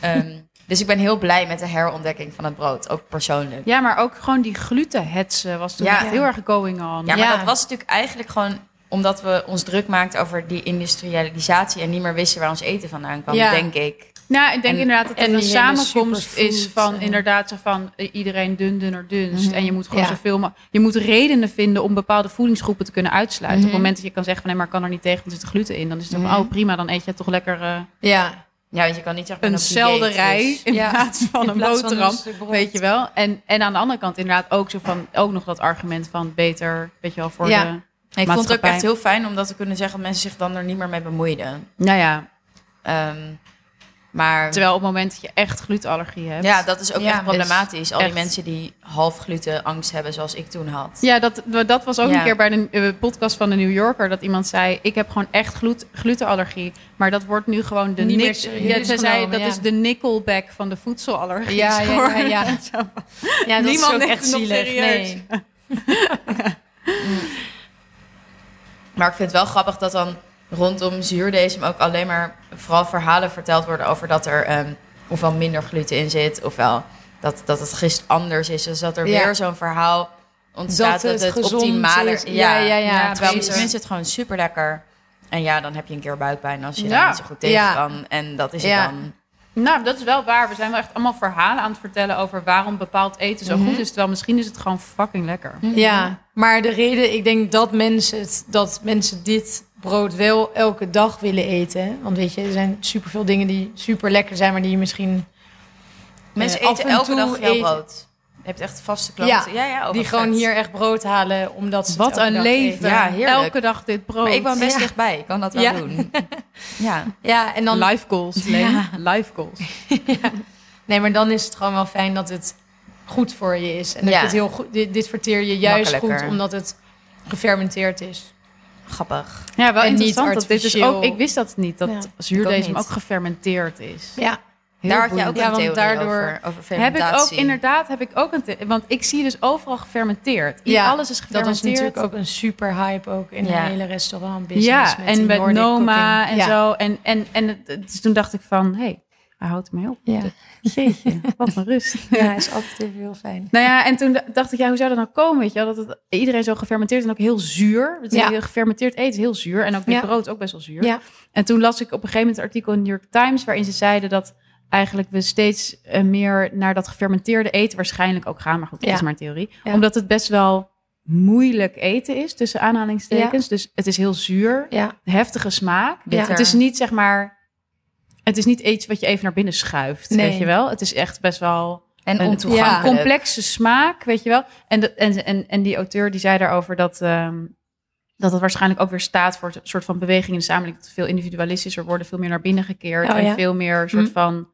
[SPEAKER 2] Ehm, dus ik ben heel blij met de herontdekking van het brood, ook persoonlijk.
[SPEAKER 1] Ja, maar ook gewoon die glutenhetsen was toen
[SPEAKER 2] Ja.
[SPEAKER 1] echt heel erg going on.
[SPEAKER 2] Ja, maar
[SPEAKER 3] Ja.
[SPEAKER 2] dat was natuurlijk eigenlijk gewoon omdat we ons druk maakten over die industrialisatie en niet meer wisten waar ons eten vandaan kwam,
[SPEAKER 3] Ja.
[SPEAKER 2] denk ik.
[SPEAKER 1] Nou, ik denk
[SPEAKER 2] En-
[SPEAKER 1] inderdaad dat het
[SPEAKER 3] en
[SPEAKER 1] een
[SPEAKER 3] die hele
[SPEAKER 1] samenkomst is
[SPEAKER 3] superfood,
[SPEAKER 1] van
[SPEAKER 3] eh.
[SPEAKER 1] inderdaad zo van eh, iedereen dun, dunner, dunst.
[SPEAKER 2] Mhm.
[SPEAKER 1] En je moet gewoon
[SPEAKER 3] Ja.
[SPEAKER 1] zoveel maar Je moet redenen vinden om bepaalde voedingsgroepen te kunnen uitsluiten. Op
[SPEAKER 2] Mhm.
[SPEAKER 1] het moment dat je kan zeggen van nee, maar ik kan er niet tegen, want er zit gluten in. Dan is het
[SPEAKER 2] Mhm.
[SPEAKER 1] van oh prima, dan eet je toch lekker eh,
[SPEAKER 3] Ja.
[SPEAKER 2] Ja, want je kan niet zeggen...
[SPEAKER 1] een selderij in
[SPEAKER 3] Ja.
[SPEAKER 1] plaats van een
[SPEAKER 3] In plaats van
[SPEAKER 1] boterham.
[SPEAKER 3] een stuk brood.
[SPEAKER 1] Weet je wel? En, en aan de andere kant inderdaad ook, zo van, ook nog dat argument van beter, weet je wel, voor
[SPEAKER 3] Ja.
[SPEAKER 1] de...
[SPEAKER 2] Ik vond het ook
[SPEAKER 1] maatschappij.
[SPEAKER 2] echt heel fijn om dat te kunnen zeggen... dat mensen zich dan er niet meer mee bemoeiden.
[SPEAKER 1] Nou ja,
[SPEAKER 2] Ehm, Maar
[SPEAKER 1] Terwijl op het moment dat je echt glutenallergie hebt.
[SPEAKER 2] ja, dat is ook
[SPEAKER 3] Ja,
[SPEAKER 2] echt problematisch. Al die
[SPEAKER 1] echt.
[SPEAKER 2] mensen die half gluten angst hebben, zoals ik toen had.
[SPEAKER 1] Ja, dat, dat was ook
[SPEAKER 2] Ja.
[SPEAKER 1] een keer bij de eh, podcast van de New Yorker. Dat iemand zei, ik heb gewoon echt glut- glutenallergie. Maar dat wordt nu gewoon de...
[SPEAKER 3] Niet meer
[SPEAKER 1] nik-
[SPEAKER 3] serieus
[SPEAKER 1] ja, ze zei,
[SPEAKER 3] genomen,
[SPEAKER 1] dat
[SPEAKER 3] ja.
[SPEAKER 1] is de nickelback van de voedselallergie.
[SPEAKER 3] Ja, ja, ja, ja. Ja, dat
[SPEAKER 1] Niemand
[SPEAKER 3] is ook
[SPEAKER 1] neemt
[SPEAKER 3] echt
[SPEAKER 1] het nog
[SPEAKER 3] zielig.
[SPEAKER 1] serieus.
[SPEAKER 3] Nee.
[SPEAKER 2] Maar ik vind het wel grappig dat dan rondom zuurdesem ook alleen maar vooral verhalen verteld worden over dat er ehm, ofwel minder gluten in zit, ofwel dat, dat het gist anders is. Dus dat er
[SPEAKER 3] Ja.
[SPEAKER 2] weer zo'n verhaal ontstaat dat
[SPEAKER 3] Dat het
[SPEAKER 2] het,
[SPEAKER 3] gezond
[SPEAKER 2] optimaler
[SPEAKER 3] is. Ja, ja, ja,
[SPEAKER 2] terwijl
[SPEAKER 3] precies.
[SPEAKER 2] mensen mensen het gewoon super lekker. En ja, dan heb je een keer buikpijn als je
[SPEAKER 1] Ja.
[SPEAKER 2] daar niet zo goed tegen
[SPEAKER 3] Ja.
[SPEAKER 2] kan. En dat is
[SPEAKER 3] Ja.
[SPEAKER 2] het dan.
[SPEAKER 1] Nou, dat is wel waar. We zijn wel echt allemaal verhalen aan het vertellen over waarom bepaald eten zo
[SPEAKER 2] Mhm.
[SPEAKER 1] goed is. Terwijl misschien is het gewoon fucking lekker.
[SPEAKER 3] Ja, maar de reden, ik denk dat mensen, het, dat mensen dit brood wel elke dag willen eten. Want weet je, er zijn superveel dingen die super lekker zijn, maar die je misschien
[SPEAKER 2] Mensen
[SPEAKER 3] af
[SPEAKER 2] eten
[SPEAKER 3] en
[SPEAKER 2] elke
[SPEAKER 3] toe
[SPEAKER 2] dag jouw
[SPEAKER 3] eten-
[SPEAKER 2] brood. Je hebt echt vaste klanten. Ja, ja, oh,
[SPEAKER 3] die
[SPEAKER 2] wat
[SPEAKER 3] gewoon
[SPEAKER 2] vet.
[SPEAKER 3] hier echt brood halen, omdat ze
[SPEAKER 1] Wat
[SPEAKER 3] het elke
[SPEAKER 1] een
[SPEAKER 3] dag
[SPEAKER 1] leven.
[SPEAKER 3] eten.
[SPEAKER 2] Ja, heerlijk.
[SPEAKER 1] Elke dag dit brood.
[SPEAKER 2] Maar ik woon best
[SPEAKER 3] Ja.
[SPEAKER 2] dichtbij. Ik kan dat wel
[SPEAKER 3] Ja.
[SPEAKER 2] doen. Ja.
[SPEAKER 3] Ja, en dan
[SPEAKER 1] Life goals, Leen.
[SPEAKER 3] Ja.
[SPEAKER 1] Life goals.
[SPEAKER 3] Nee, maar dan is het gewoon wel fijn dat het goed voor je is. En dat
[SPEAKER 2] Ja.
[SPEAKER 3] je het heel goed, dit, dit verteer je juist
[SPEAKER 2] Makkelijker.
[SPEAKER 3] goed omdat het gefermenteerd is.
[SPEAKER 2] Grappig.
[SPEAKER 1] Ja, wel
[SPEAKER 3] En niet
[SPEAKER 1] interessant dat dit is
[SPEAKER 3] artificieel.
[SPEAKER 1] ook... Ik wist dat niet, dat
[SPEAKER 3] Ja.
[SPEAKER 1] zuurdesem
[SPEAKER 2] Ik
[SPEAKER 1] ook,
[SPEAKER 2] ook niet.
[SPEAKER 1] gefermenteerd is.
[SPEAKER 3] Ja,
[SPEAKER 1] Heel
[SPEAKER 2] Daar had jij ook
[SPEAKER 1] boeiend.
[SPEAKER 3] Ja,
[SPEAKER 2] een
[SPEAKER 3] want
[SPEAKER 2] theorie
[SPEAKER 3] daardoor
[SPEAKER 2] over, over
[SPEAKER 1] Heb ik ook,
[SPEAKER 2] fermentatie.
[SPEAKER 1] inderdaad, heb ik ook een... the- Want ik zie dus overal gefermenteerd. I-
[SPEAKER 3] Ja,
[SPEAKER 1] Alles is
[SPEAKER 3] dat was
[SPEAKER 1] gefermenteerd.
[SPEAKER 3] natuurlijk ook een super hype ook in
[SPEAKER 2] Ja.
[SPEAKER 3] de hele restaurantbusiness.
[SPEAKER 1] Ja,
[SPEAKER 3] met
[SPEAKER 1] en
[SPEAKER 3] die
[SPEAKER 1] met
[SPEAKER 3] Nordic
[SPEAKER 1] Noma
[SPEAKER 3] cooking.
[SPEAKER 1] en
[SPEAKER 3] Ja.
[SPEAKER 1] zo. En, en, en het- het- dus toen dacht ik van, hé, hey, hij houdt mij op.
[SPEAKER 3] Ja.
[SPEAKER 1] Jeetje, wat een rust.
[SPEAKER 3] Ja, is altijd even heel fijn.
[SPEAKER 1] Nou ja, en toen d- dacht ik, ja, hoe zou dat nou komen? Weet je wel, dat het, iedereen zo gefermenteerd en ook heel zuur. Het
[SPEAKER 3] Ja.
[SPEAKER 1] heel Gefermenteerd eten is heel zuur. En ook dit
[SPEAKER 3] Ja.
[SPEAKER 1] brood ook best wel zuur.
[SPEAKER 3] Ja.
[SPEAKER 1] En toen las ik op een gegeven moment een artikel in de New York Times... waarin ze zeiden dat eigenlijk we steeds eh, meer naar dat gefermenteerde eten waarschijnlijk ook gaan. Maar goed, dat
[SPEAKER 3] Ja.
[SPEAKER 1] is maar een theorie.
[SPEAKER 3] Ja.
[SPEAKER 1] Omdat het best wel moeilijk eten is, tussen aanhalingstekens. Dus het is heel zuur,
[SPEAKER 3] Ja,
[SPEAKER 1] heftige smaak.
[SPEAKER 2] Bitter.
[SPEAKER 1] Het is niet, zeg maar... Het is niet iets wat je even naar binnen schuift,
[SPEAKER 3] Nee.
[SPEAKER 1] weet je wel? Het is echt best wel
[SPEAKER 2] En
[SPEAKER 1] een
[SPEAKER 2] ontoegankelijk.
[SPEAKER 3] Ja.
[SPEAKER 1] complexe smaak, weet je wel. En, de, en, en, en die auteur die zei daarover dat, ehm, dat het waarschijnlijk ook weer staat voor een soort van beweging in de samenleving. Dat we veel individualistischer worden, veel meer naar binnen gekeerd.
[SPEAKER 3] Oh,
[SPEAKER 1] en
[SPEAKER 3] ja.
[SPEAKER 1] veel meer soort van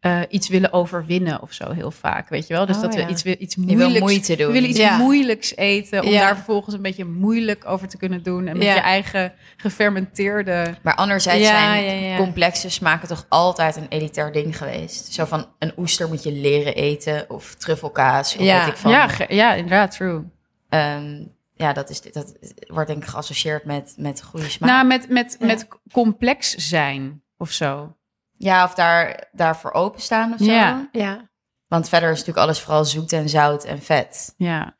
[SPEAKER 1] eh, iets willen overwinnen of zo heel vaak, weet je wel. Dus
[SPEAKER 3] Oh,
[SPEAKER 1] dat we
[SPEAKER 3] ja.
[SPEAKER 1] iets, wi- iets
[SPEAKER 2] Je wil
[SPEAKER 1] moeilijks...
[SPEAKER 2] moeite
[SPEAKER 1] we
[SPEAKER 2] doen.
[SPEAKER 1] willen iets
[SPEAKER 3] Ja.
[SPEAKER 1] moeilijks eten om
[SPEAKER 3] Ja.
[SPEAKER 1] daar vervolgens een beetje moeilijk over te kunnen doen. En met
[SPEAKER 3] Ja.
[SPEAKER 1] je eigen gefermenteerde...
[SPEAKER 2] Maar anderzijds
[SPEAKER 3] Ja,
[SPEAKER 2] zijn
[SPEAKER 3] ja, ja.
[SPEAKER 2] complexe smaken toch altijd een elitair ding geweest. Zo van een oester moet je leren eten of truffelkaas of
[SPEAKER 3] Ja.
[SPEAKER 2] weet ik van.
[SPEAKER 1] Ja, ge- ja, inderdaad, true.
[SPEAKER 2] Ehm, ja, dat, is, dat wordt denk ik geassocieerd met, met goede smaak.
[SPEAKER 1] nou, met, met,
[SPEAKER 3] Ja.
[SPEAKER 1] met complex zijn of zo.
[SPEAKER 2] ja, of daar, daarvoor openstaan of zo.
[SPEAKER 1] Ja.
[SPEAKER 3] ja.
[SPEAKER 2] Want verder is natuurlijk alles vooral zoet en zout en vet.
[SPEAKER 1] Ja.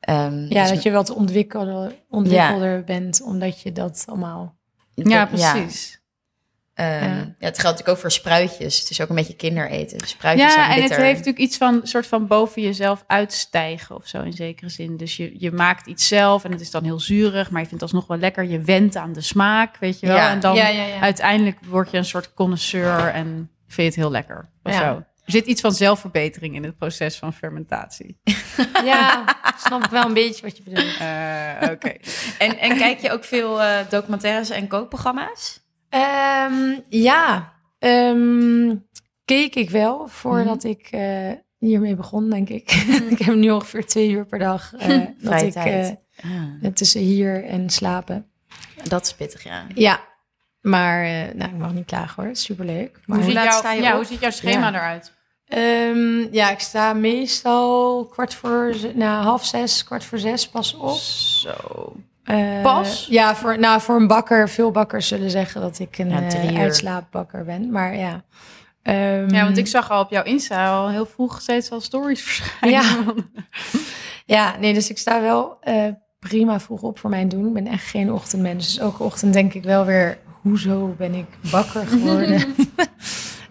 [SPEAKER 2] Ehm,
[SPEAKER 3] ja
[SPEAKER 2] dus
[SPEAKER 3] dat je wat ontwikkelder, ontwikkelder bent, omdat je dat allemaal...
[SPEAKER 2] dat-
[SPEAKER 1] Ja, precies.
[SPEAKER 2] Ehm,
[SPEAKER 3] Ja.
[SPEAKER 2] ja. het geldt natuurlijk ook voor spruitjes. Het is ook een beetje kindereten.
[SPEAKER 1] Ja,
[SPEAKER 2] Spruitjes zijn
[SPEAKER 1] en het
[SPEAKER 2] bitter.
[SPEAKER 1] heeft natuurlijk iets van soort van boven jezelf uitstijgen of zo in zekere zin. Dus je, je maakt iets zelf en het is dan heel zuurig, maar je vindt het alsnog wel lekker. Je wendt aan de smaak, weet je wel.
[SPEAKER 2] Ja.
[SPEAKER 1] En dan
[SPEAKER 3] ja, ja, ja.
[SPEAKER 1] uiteindelijk word je een soort connoisseur en vind je het heel lekker of
[SPEAKER 3] Ja.
[SPEAKER 1] zo. Er zit iets van zelfverbetering in het proces van fermentatie.
[SPEAKER 3] Ja, snap ik wel een beetje wat je bedoelt.
[SPEAKER 1] Eh, Oké.
[SPEAKER 2] En, en kijk je ook veel eh, documentaires en kookprogramma's?
[SPEAKER 3] Ehm, ja, ehm, keek ik wel voordat ik eh, hiermee begon, denk ik. ik heb nu ongeveer twee uur per dag eh dat
[SPEAKER 2] Vrije
[SPEAKER 3] ik,
[SPEAKER 2] tijd.
[SPEAKER 3] eh, tussen hier en slapen.
[SPEAKER 2] Ah, dat is pittig, ja.
[SPEAKER 3] Ja, maar eh, nou, ik mag niet klagen hoor, superleuk. Maar,
[SPEAKER 1] Hoe, ziet
[SPEAKER 2] laat
[SPEAKER 1] jouw-
[SPEAKER 2] sta je
[SPEAKER 1] ja,
[SPEAKER 2] op?
[SPEAKER 1] hoe ziet jouw schema eruit?
[SPEAKER 3] Ehm, ja, ik sta meestal kwart voor, ze- nou, half zes, kwart voor zes pas op.
[SPEAKER 2] Zo.
[SPEAKER 3] Eh,
[SPEAKER 1] Pas?
[SPEAKER 3] Ja, voor, nou, voor een bakker. Veel bakkers zullen zeggen dat ik een
[SPEAKER 2] Ja,
[SPEAKER 3] eh,
[SPEAKER 2] drie uur.
[SPEAKER 3] uitslaapbakker ben. Maar ja.
[SPEAKER 1] Ja,
[SPEAKER 3] Ehm,
[SPEAKER 1] want ik zag al op jouw Insta al heel vroeg steeds al stories verschijnen.
[SPEAKER 3] Ja. ja, nee, dus ik sta wel eh, prima vroeg op voor mijn doen. Ik ben echt geen ochtendmens. Dus elke ochtend denk ik wel weer, hoezo ben ik bakker geworden?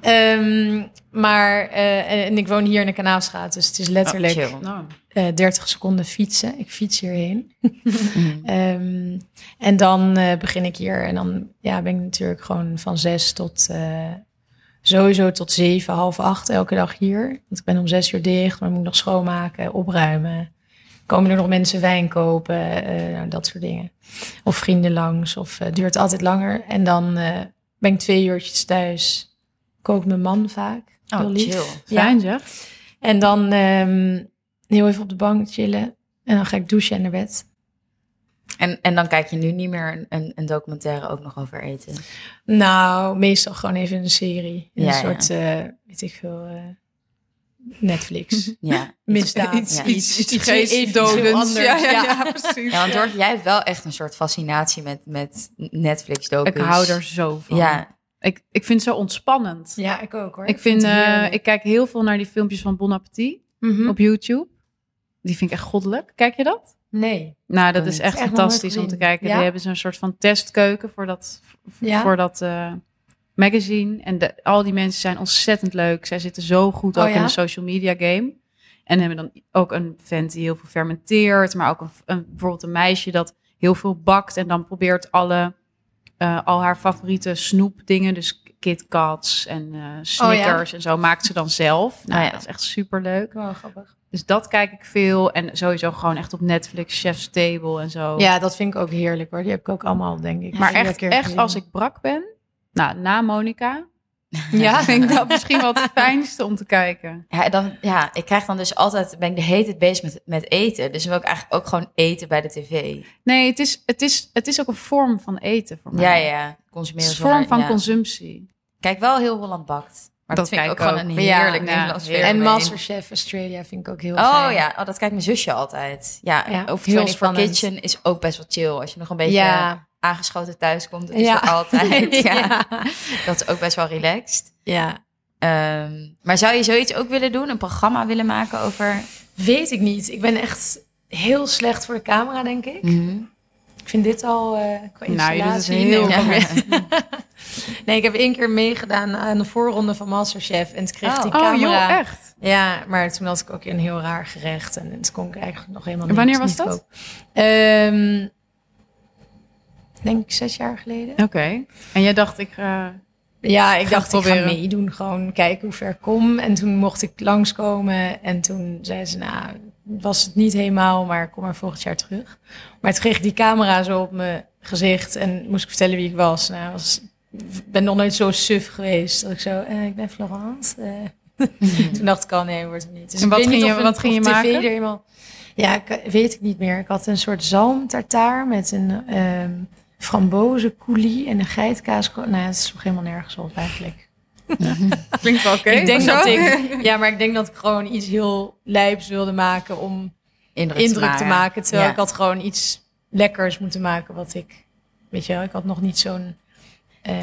[SPEAKER 3] Ehm, maar, eh, en, en ik woon hier in de Kanaalstraat, dus het is letterlijk
[SPEAKER 2] Oh, chill.
[SPEAKER 1] Nou,
[SPEAKER 3] eh, 30 seconden fietsen. Ik fiets hierheen.
[SPEAKER 2] Mm.
[SPEAKER 3] Ehm, en dan eh, begin ik hier. En dan ja, ben ik natuurlijk gewoon van zes tot eh, sowieso tot zeven, half acht elke dag hier. Want ik ben om zes uur dicht, maar ik moet nog schoonmaken, opruimen. Komen er nog mensen wijn kopen, eh, nou, dat soort dingen. Of vrienden langs, of eh, duurt altijd langer. En dan eh, ben ik twee uurtjes thuis. kookt mijn man vaak.
[SPEAKER 2] Oh,
[SPEAKER 3] Heel lief.
[SPEAKER 2] chill.
[SPEAKER 3] Ja.
[SPEAKER 1] Fijn zeg.
[SPEAKER 3] En dan ehm, heel even op de bank chillen. En dan ga ik douchen en naar bed.
[SPEAKER 2] En, en dan kijk je nu niet meer een- een, een documentaire ook nog over eten.
[SPEAKER 3] Nou, meestal gewoon even een serie. Een
[SPEAKER 2] Ja, ja.
[SPEAKER 3] soort, eh, weet ik veel, eh, Netflix.
[SPEAKER 2] Ja.
[SPEAKER 3] Misdaad.
[SPEAKER 1] Iets,
[SPEAKER 2] Ja.
[SPEAKER 1] iets, iets,
[SPEAKER 3] Iets
[SPEAKER 1] geestdodends.
[SPEAKER 3] heel anders,
[SPEAKER 1] Ja, ja,
[SPEAKER 3] ja.
[SPEAKER 1] ja, precies.
[SPEAKER 2] ja, want Dorotje, jij hebt wel echt een soort fascinatie met, met Netflix-docus.
[SPEAKER 1] Ik hou er zo van.
[SPEAKER 2] dus- Ja,
[SPEAKER 1] Ik, ik vind het zo ontspannend.
[SPEAKER 3] Ja, ik ook hoor.
[SPEAKER 1] Ik, vind,
[SPEAKER 3] het
[SPEAKER 1] eh,
[SPEAKER 3] heerlijk.
[SPEAKER 1] ik kijk heel veel naar die filmpjes van Bon Appetit
[SPEAKER 3] Mhm.
[SPEAKER 1] op YouTube. Die vind ik echt goddelijk. Kijk je dat?
[SPEAKER 3] Nee.
[SPEAKER 1] Nou, dat
[SPEAKER 2] Ken
[SPEAKER 1] is
[SPEAKER 2] ik.
[SPEAKER 1] echt
[SPEAKER 3] Echt nog nooit
[SPEAKER 1] fantastisch om te
[SPEAKER 3] gezien.
[SPEAKER 1] kijken.
[SPEAKER 3] Ja?
[SPEAKER 1] Die hebben zo'n soort van testkeuken voor dat, v-
[SPEAKER 3] Ja?
[SPEAKER 1] voor dat eh, magazine. En de- al die mensen zijn ontzettend leuk. Zij zitten zo goed
[SPEAKER 3] Oh,
[SPEAKER 1] ook in
[SPEAKER 3] ja?
[SPEAKER 1] de social media game. En hebben dan ook een vent die heel veel fermenteert. Maar ook een, een- bijvoorbeeld een meisje dat heel veel bakt. En dan probeert alle, eh, al haar favoriete snoepdingen. Dus Kit Kats en eh, Snickers en zo maakt ze dan zelf. Nou,
[SPEAKER 2] Oh, ja.
[SPEAKER 1] dat is echt superleuk.
[SPEAKER 3] Wel grappig.
[SPEAKER 1] Dus dat kijk ik veel. En sowieso gewoon echt op Netflix, Chef's Table en zo.
[SPEAKER 3] Ja, dat vind ik ook heerlijk hoor. Die heb ik ook allemaal, denk ik.
[SPEAKER 1] maar
[SPEAKER 3] vier
[SPEAKER 1] echt,
[SPEAKER 3] keer
[SPEAKER 1] echt
[SPEAKER 3] gezien.
[SPEAKER 1] als ik brak ben, nou, na Monica
[SPEAKER 3] Ja,
[SPEAKER 1] vind ik dat misschien wel het fijnste om te kijken.
[SPEAKER 2] ja, dan, ja, ik krijg dan dus altijd, ben ik de hele tijd bezig met, met eten. Dus dan wil ik eigenlijk ook gewoon eten bij de tv.
[SPEAKER 1] Nee, het is, het is, het is ook een vorm van eten voor mij.
[SPEAKER 2] Ja, ja,
[SPEAKER 1] Het is
[SPEAKER 2] consumeren
[SPEAKER 1] een vorm
[SPEAKER 2] zonder-
[SPEAKER 1] van
[SPEAKER 2] ja.
[SPEAKER 1] consumptie.
[SPEAKER 2] Kijk wel heel Holland bakt. Maar dat,
[SPEAKER 1] Dat
[SPEAKER 2] vind ik ook
[SPEAKER 1] kijk
[SPEAKER 2] gewoon
[SPEAKER 1] ook.
[SPEAKER 2] een
[SPEAKER 3] Ja,
[SPEAKER 2] heerlijk
[SPEAKER 1] ja,
[SPEAKER 2] Nederlands
[SPEAKER 1] heerlijk.
[SPEAKER 2] fenomeen.
[SPEAKER 3] En Masterchef Australia vind ik ook heel
[SPEAKER 2] Oh
[SPEAKER 3] fijn.
[SPEAKER 2] ja, oh, dat kijkt mijn zusje altijd. Ja,
[SPEAKER 3] Ja,
[SPEAKER 2] of
[SPEAKER 3] heel
[SPEAKER 2] 24
[SPEAKER 3] spannend.
[SPEAKER 2] Kitchen is ook best wel chill. Als je nog een beetje
[SPEAKER 3] Ja.
[SPEAKER 2] aangeschoten thuis komt, dat is
[SPEAKER 3] Ja.
[SPEAKER 2] er altijd. Ja.
[SPEAKER 3] ja.
[SPEAKER 2] Dat is ook best wel relaxed.
[SPEAKER 3] ja.
[SPEAKER 2] Ehm, maar zou je zoiets ook willen doen? Een programma willen maken over...
[SPEAKER 3] Weet ik niet. Ik ben echt heel slecht voor de camera, denk ik. Ik vind dit al eh qua
[SPEAKER 1] Nou, jullie, dat is
[SPEAKER 3] installatie
[SPEAKER 1] heel
[SPEAKER 3] nee,
[SPEAKER 2] Ja.
[SPEAKER 3] Nee, ik heb één keer meegedaan aan de voorronde van Masterchef. En toen kreeg
[SPEAKER 2] Oh.
[SPEAKER 3] die
[SPEAKER 1] Oh
[SPEAKER 3] camera...
[SPEAKER 1] joh, echt?
[SPEAKER 3] Ja, maar toen had ik ook een heel raar gerecht. En het kon ik eigenlijk nog helemaal
[SPEAKER 1] En
[SPEAKER 3] niet
[SPEAKER 1] wanneer was
[SPEAKER 3] niet
[SPEAKER 1] dat?
[SPEAKER 3] koken. Ehm, denk ik zes jaar geleden.
[SPEAKER 1] Oké. En jij dacht, ik... eh,
[SPEAKER 3] Ja, ik
[SPEAKER 1] Ga
[SPEAKER 3] dacht,
[SPEAKER 1] het
[SPEAKER 3] ik ga
[SPEAKER 1] proberen.
[SPEAKER 3] meedoen. Gewoon kijken hoe ver ik kom. En toen mocht ik langskomen. En toen zei ze, nou, was het niet helemaal, maar kom maar volgend jaar terug. Maar toen kreeg ik die camera zo op mijn gezicht. En moest ik vertellen wie ik was. Nou, was, ik ben nog nooit zo suf geweest. Dat ik zo, eh, ik ben Florence. eh. toen dacht ik al, nee, wordt het niet.
[SPEAKER 1] Mhm.
[SPEAKER 3] Dus
[SPEAKER 1] En
[SPEAKER 3] ik
[SPEAKER 1] wat
[SPEAKER 3] weet
[SPEAKER 1] ging
[SPEAKER 3] niet
[SPEAKER 1] je-
[SPEAKER 3] of een-
[SPEAKER 1] wat ging
[SPEAKER 3] of
[SPEAKER 1] je
[SPEAKER 3] tv
[SPEAKER 1] maken?
[SPEAKER 3] Er helemaal, ja, ik, eh, weet ik niet meer. Ik had een soort zalmtartaar met een... ehm frambozencoulis en een geitkaas. Nou, het sloeg helemaal nergens op eigenlijk.
[SPEAKER 1] Klinkt wel oké.
[SPEAKER 3] Ik denk
[SPEAKER 1] of
[SPEAKER 3] dat
[SPEAKER 1] zo?
[SPEAKER 3] ik, ja, maar ik denk dat ik gewoon iets heel lijps wilde maken om
[SPEAKER 2] Indruk,
[SPEAKER 3] indruk te maken. Terwijl
[SPEAKER 2] Ja.
[SPEAKER 3] ik had gewoon iets lekkers moeten maken wat ik, weet je wel, ik had nog niet zo'n... eh,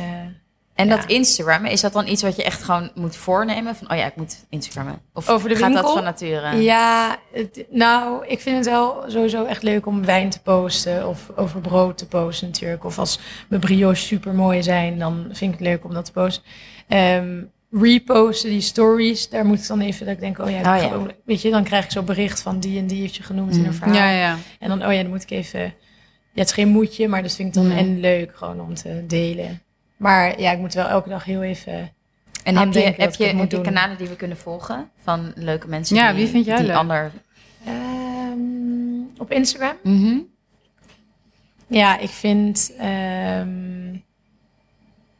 [SPEAKER 2] En
[SPEAKER 3] Ja.
[SPEAKER 2] dat Instagram, is dat dan iets wat je echt gewoon moet voornemen? Van, oh ja, ik moet Instagrammen. Of
[SPEAKER 3] Over de
[SPEAKER 2] gaat dat
[SPEAKER 3] winkel?
[SPEAKER 2] van nature?
[SPEAKER 3] ja, het- nou, ik vind het wel sowieso echt leuk om wijn te posten of over brood te posten natuurlijk. Of als mijn brioches super mooi zijn, dan vind ik het leuk om dat te posten. Ehm, reposten die stories, daar moet ik dan even dat ik denk, oh ja,
[SPEAKER 2] Oh
[SPEAKER 3] ik
[SPEAKER 2] ja.
[SPEAKER 3] ga ook- weet je, dan krijg ik zo'n bericht van die en die heeft je genoemd in
[SPEAKER 2] Mm.
[SPEAKER 3] een verhaal.
[SPEAKER 1] Ja, ja.
[SPEAKER 3] En dan, oh ja, dan moet ik even... Ja, het is geen moedje, maar dat vind ik dan
[SPEAKER 2] Mm.
[SPEAKER 3] en leuk gewoon om te delen. Maar ja, ik moet wel elke dag heel even...
[SPEAKER 2] En
[SPEAKER 1] Ah,
[SPEAKER 3] Aan
[SPEAKER 2] heb je,
[SPEAKER 3] denken dat
[SPEAKER 2] heb
[SPEAKER 3] ik
[SPEAKER 2] je,
[SPEAKER 3] het moet
[SPEAKER 2] heb je
[SPEAKER 3] doen.
[SPEAKER 2] kanalen die we kunnen volgen? Van leuke mensen
[SPEAKER 1] Ja,
[SPEAKER 2] die,
[SPEAKER 1] wie vind jij
[SPEAKER 2] die
[SPEAKER 1] leuk?
[SPEAKER 2] ander...
[SPEAKER 3] ehm, op Instagram?
[SPEAKER 2] Mhm.
[SPEAKER 3] Ja, ik vind... ehm,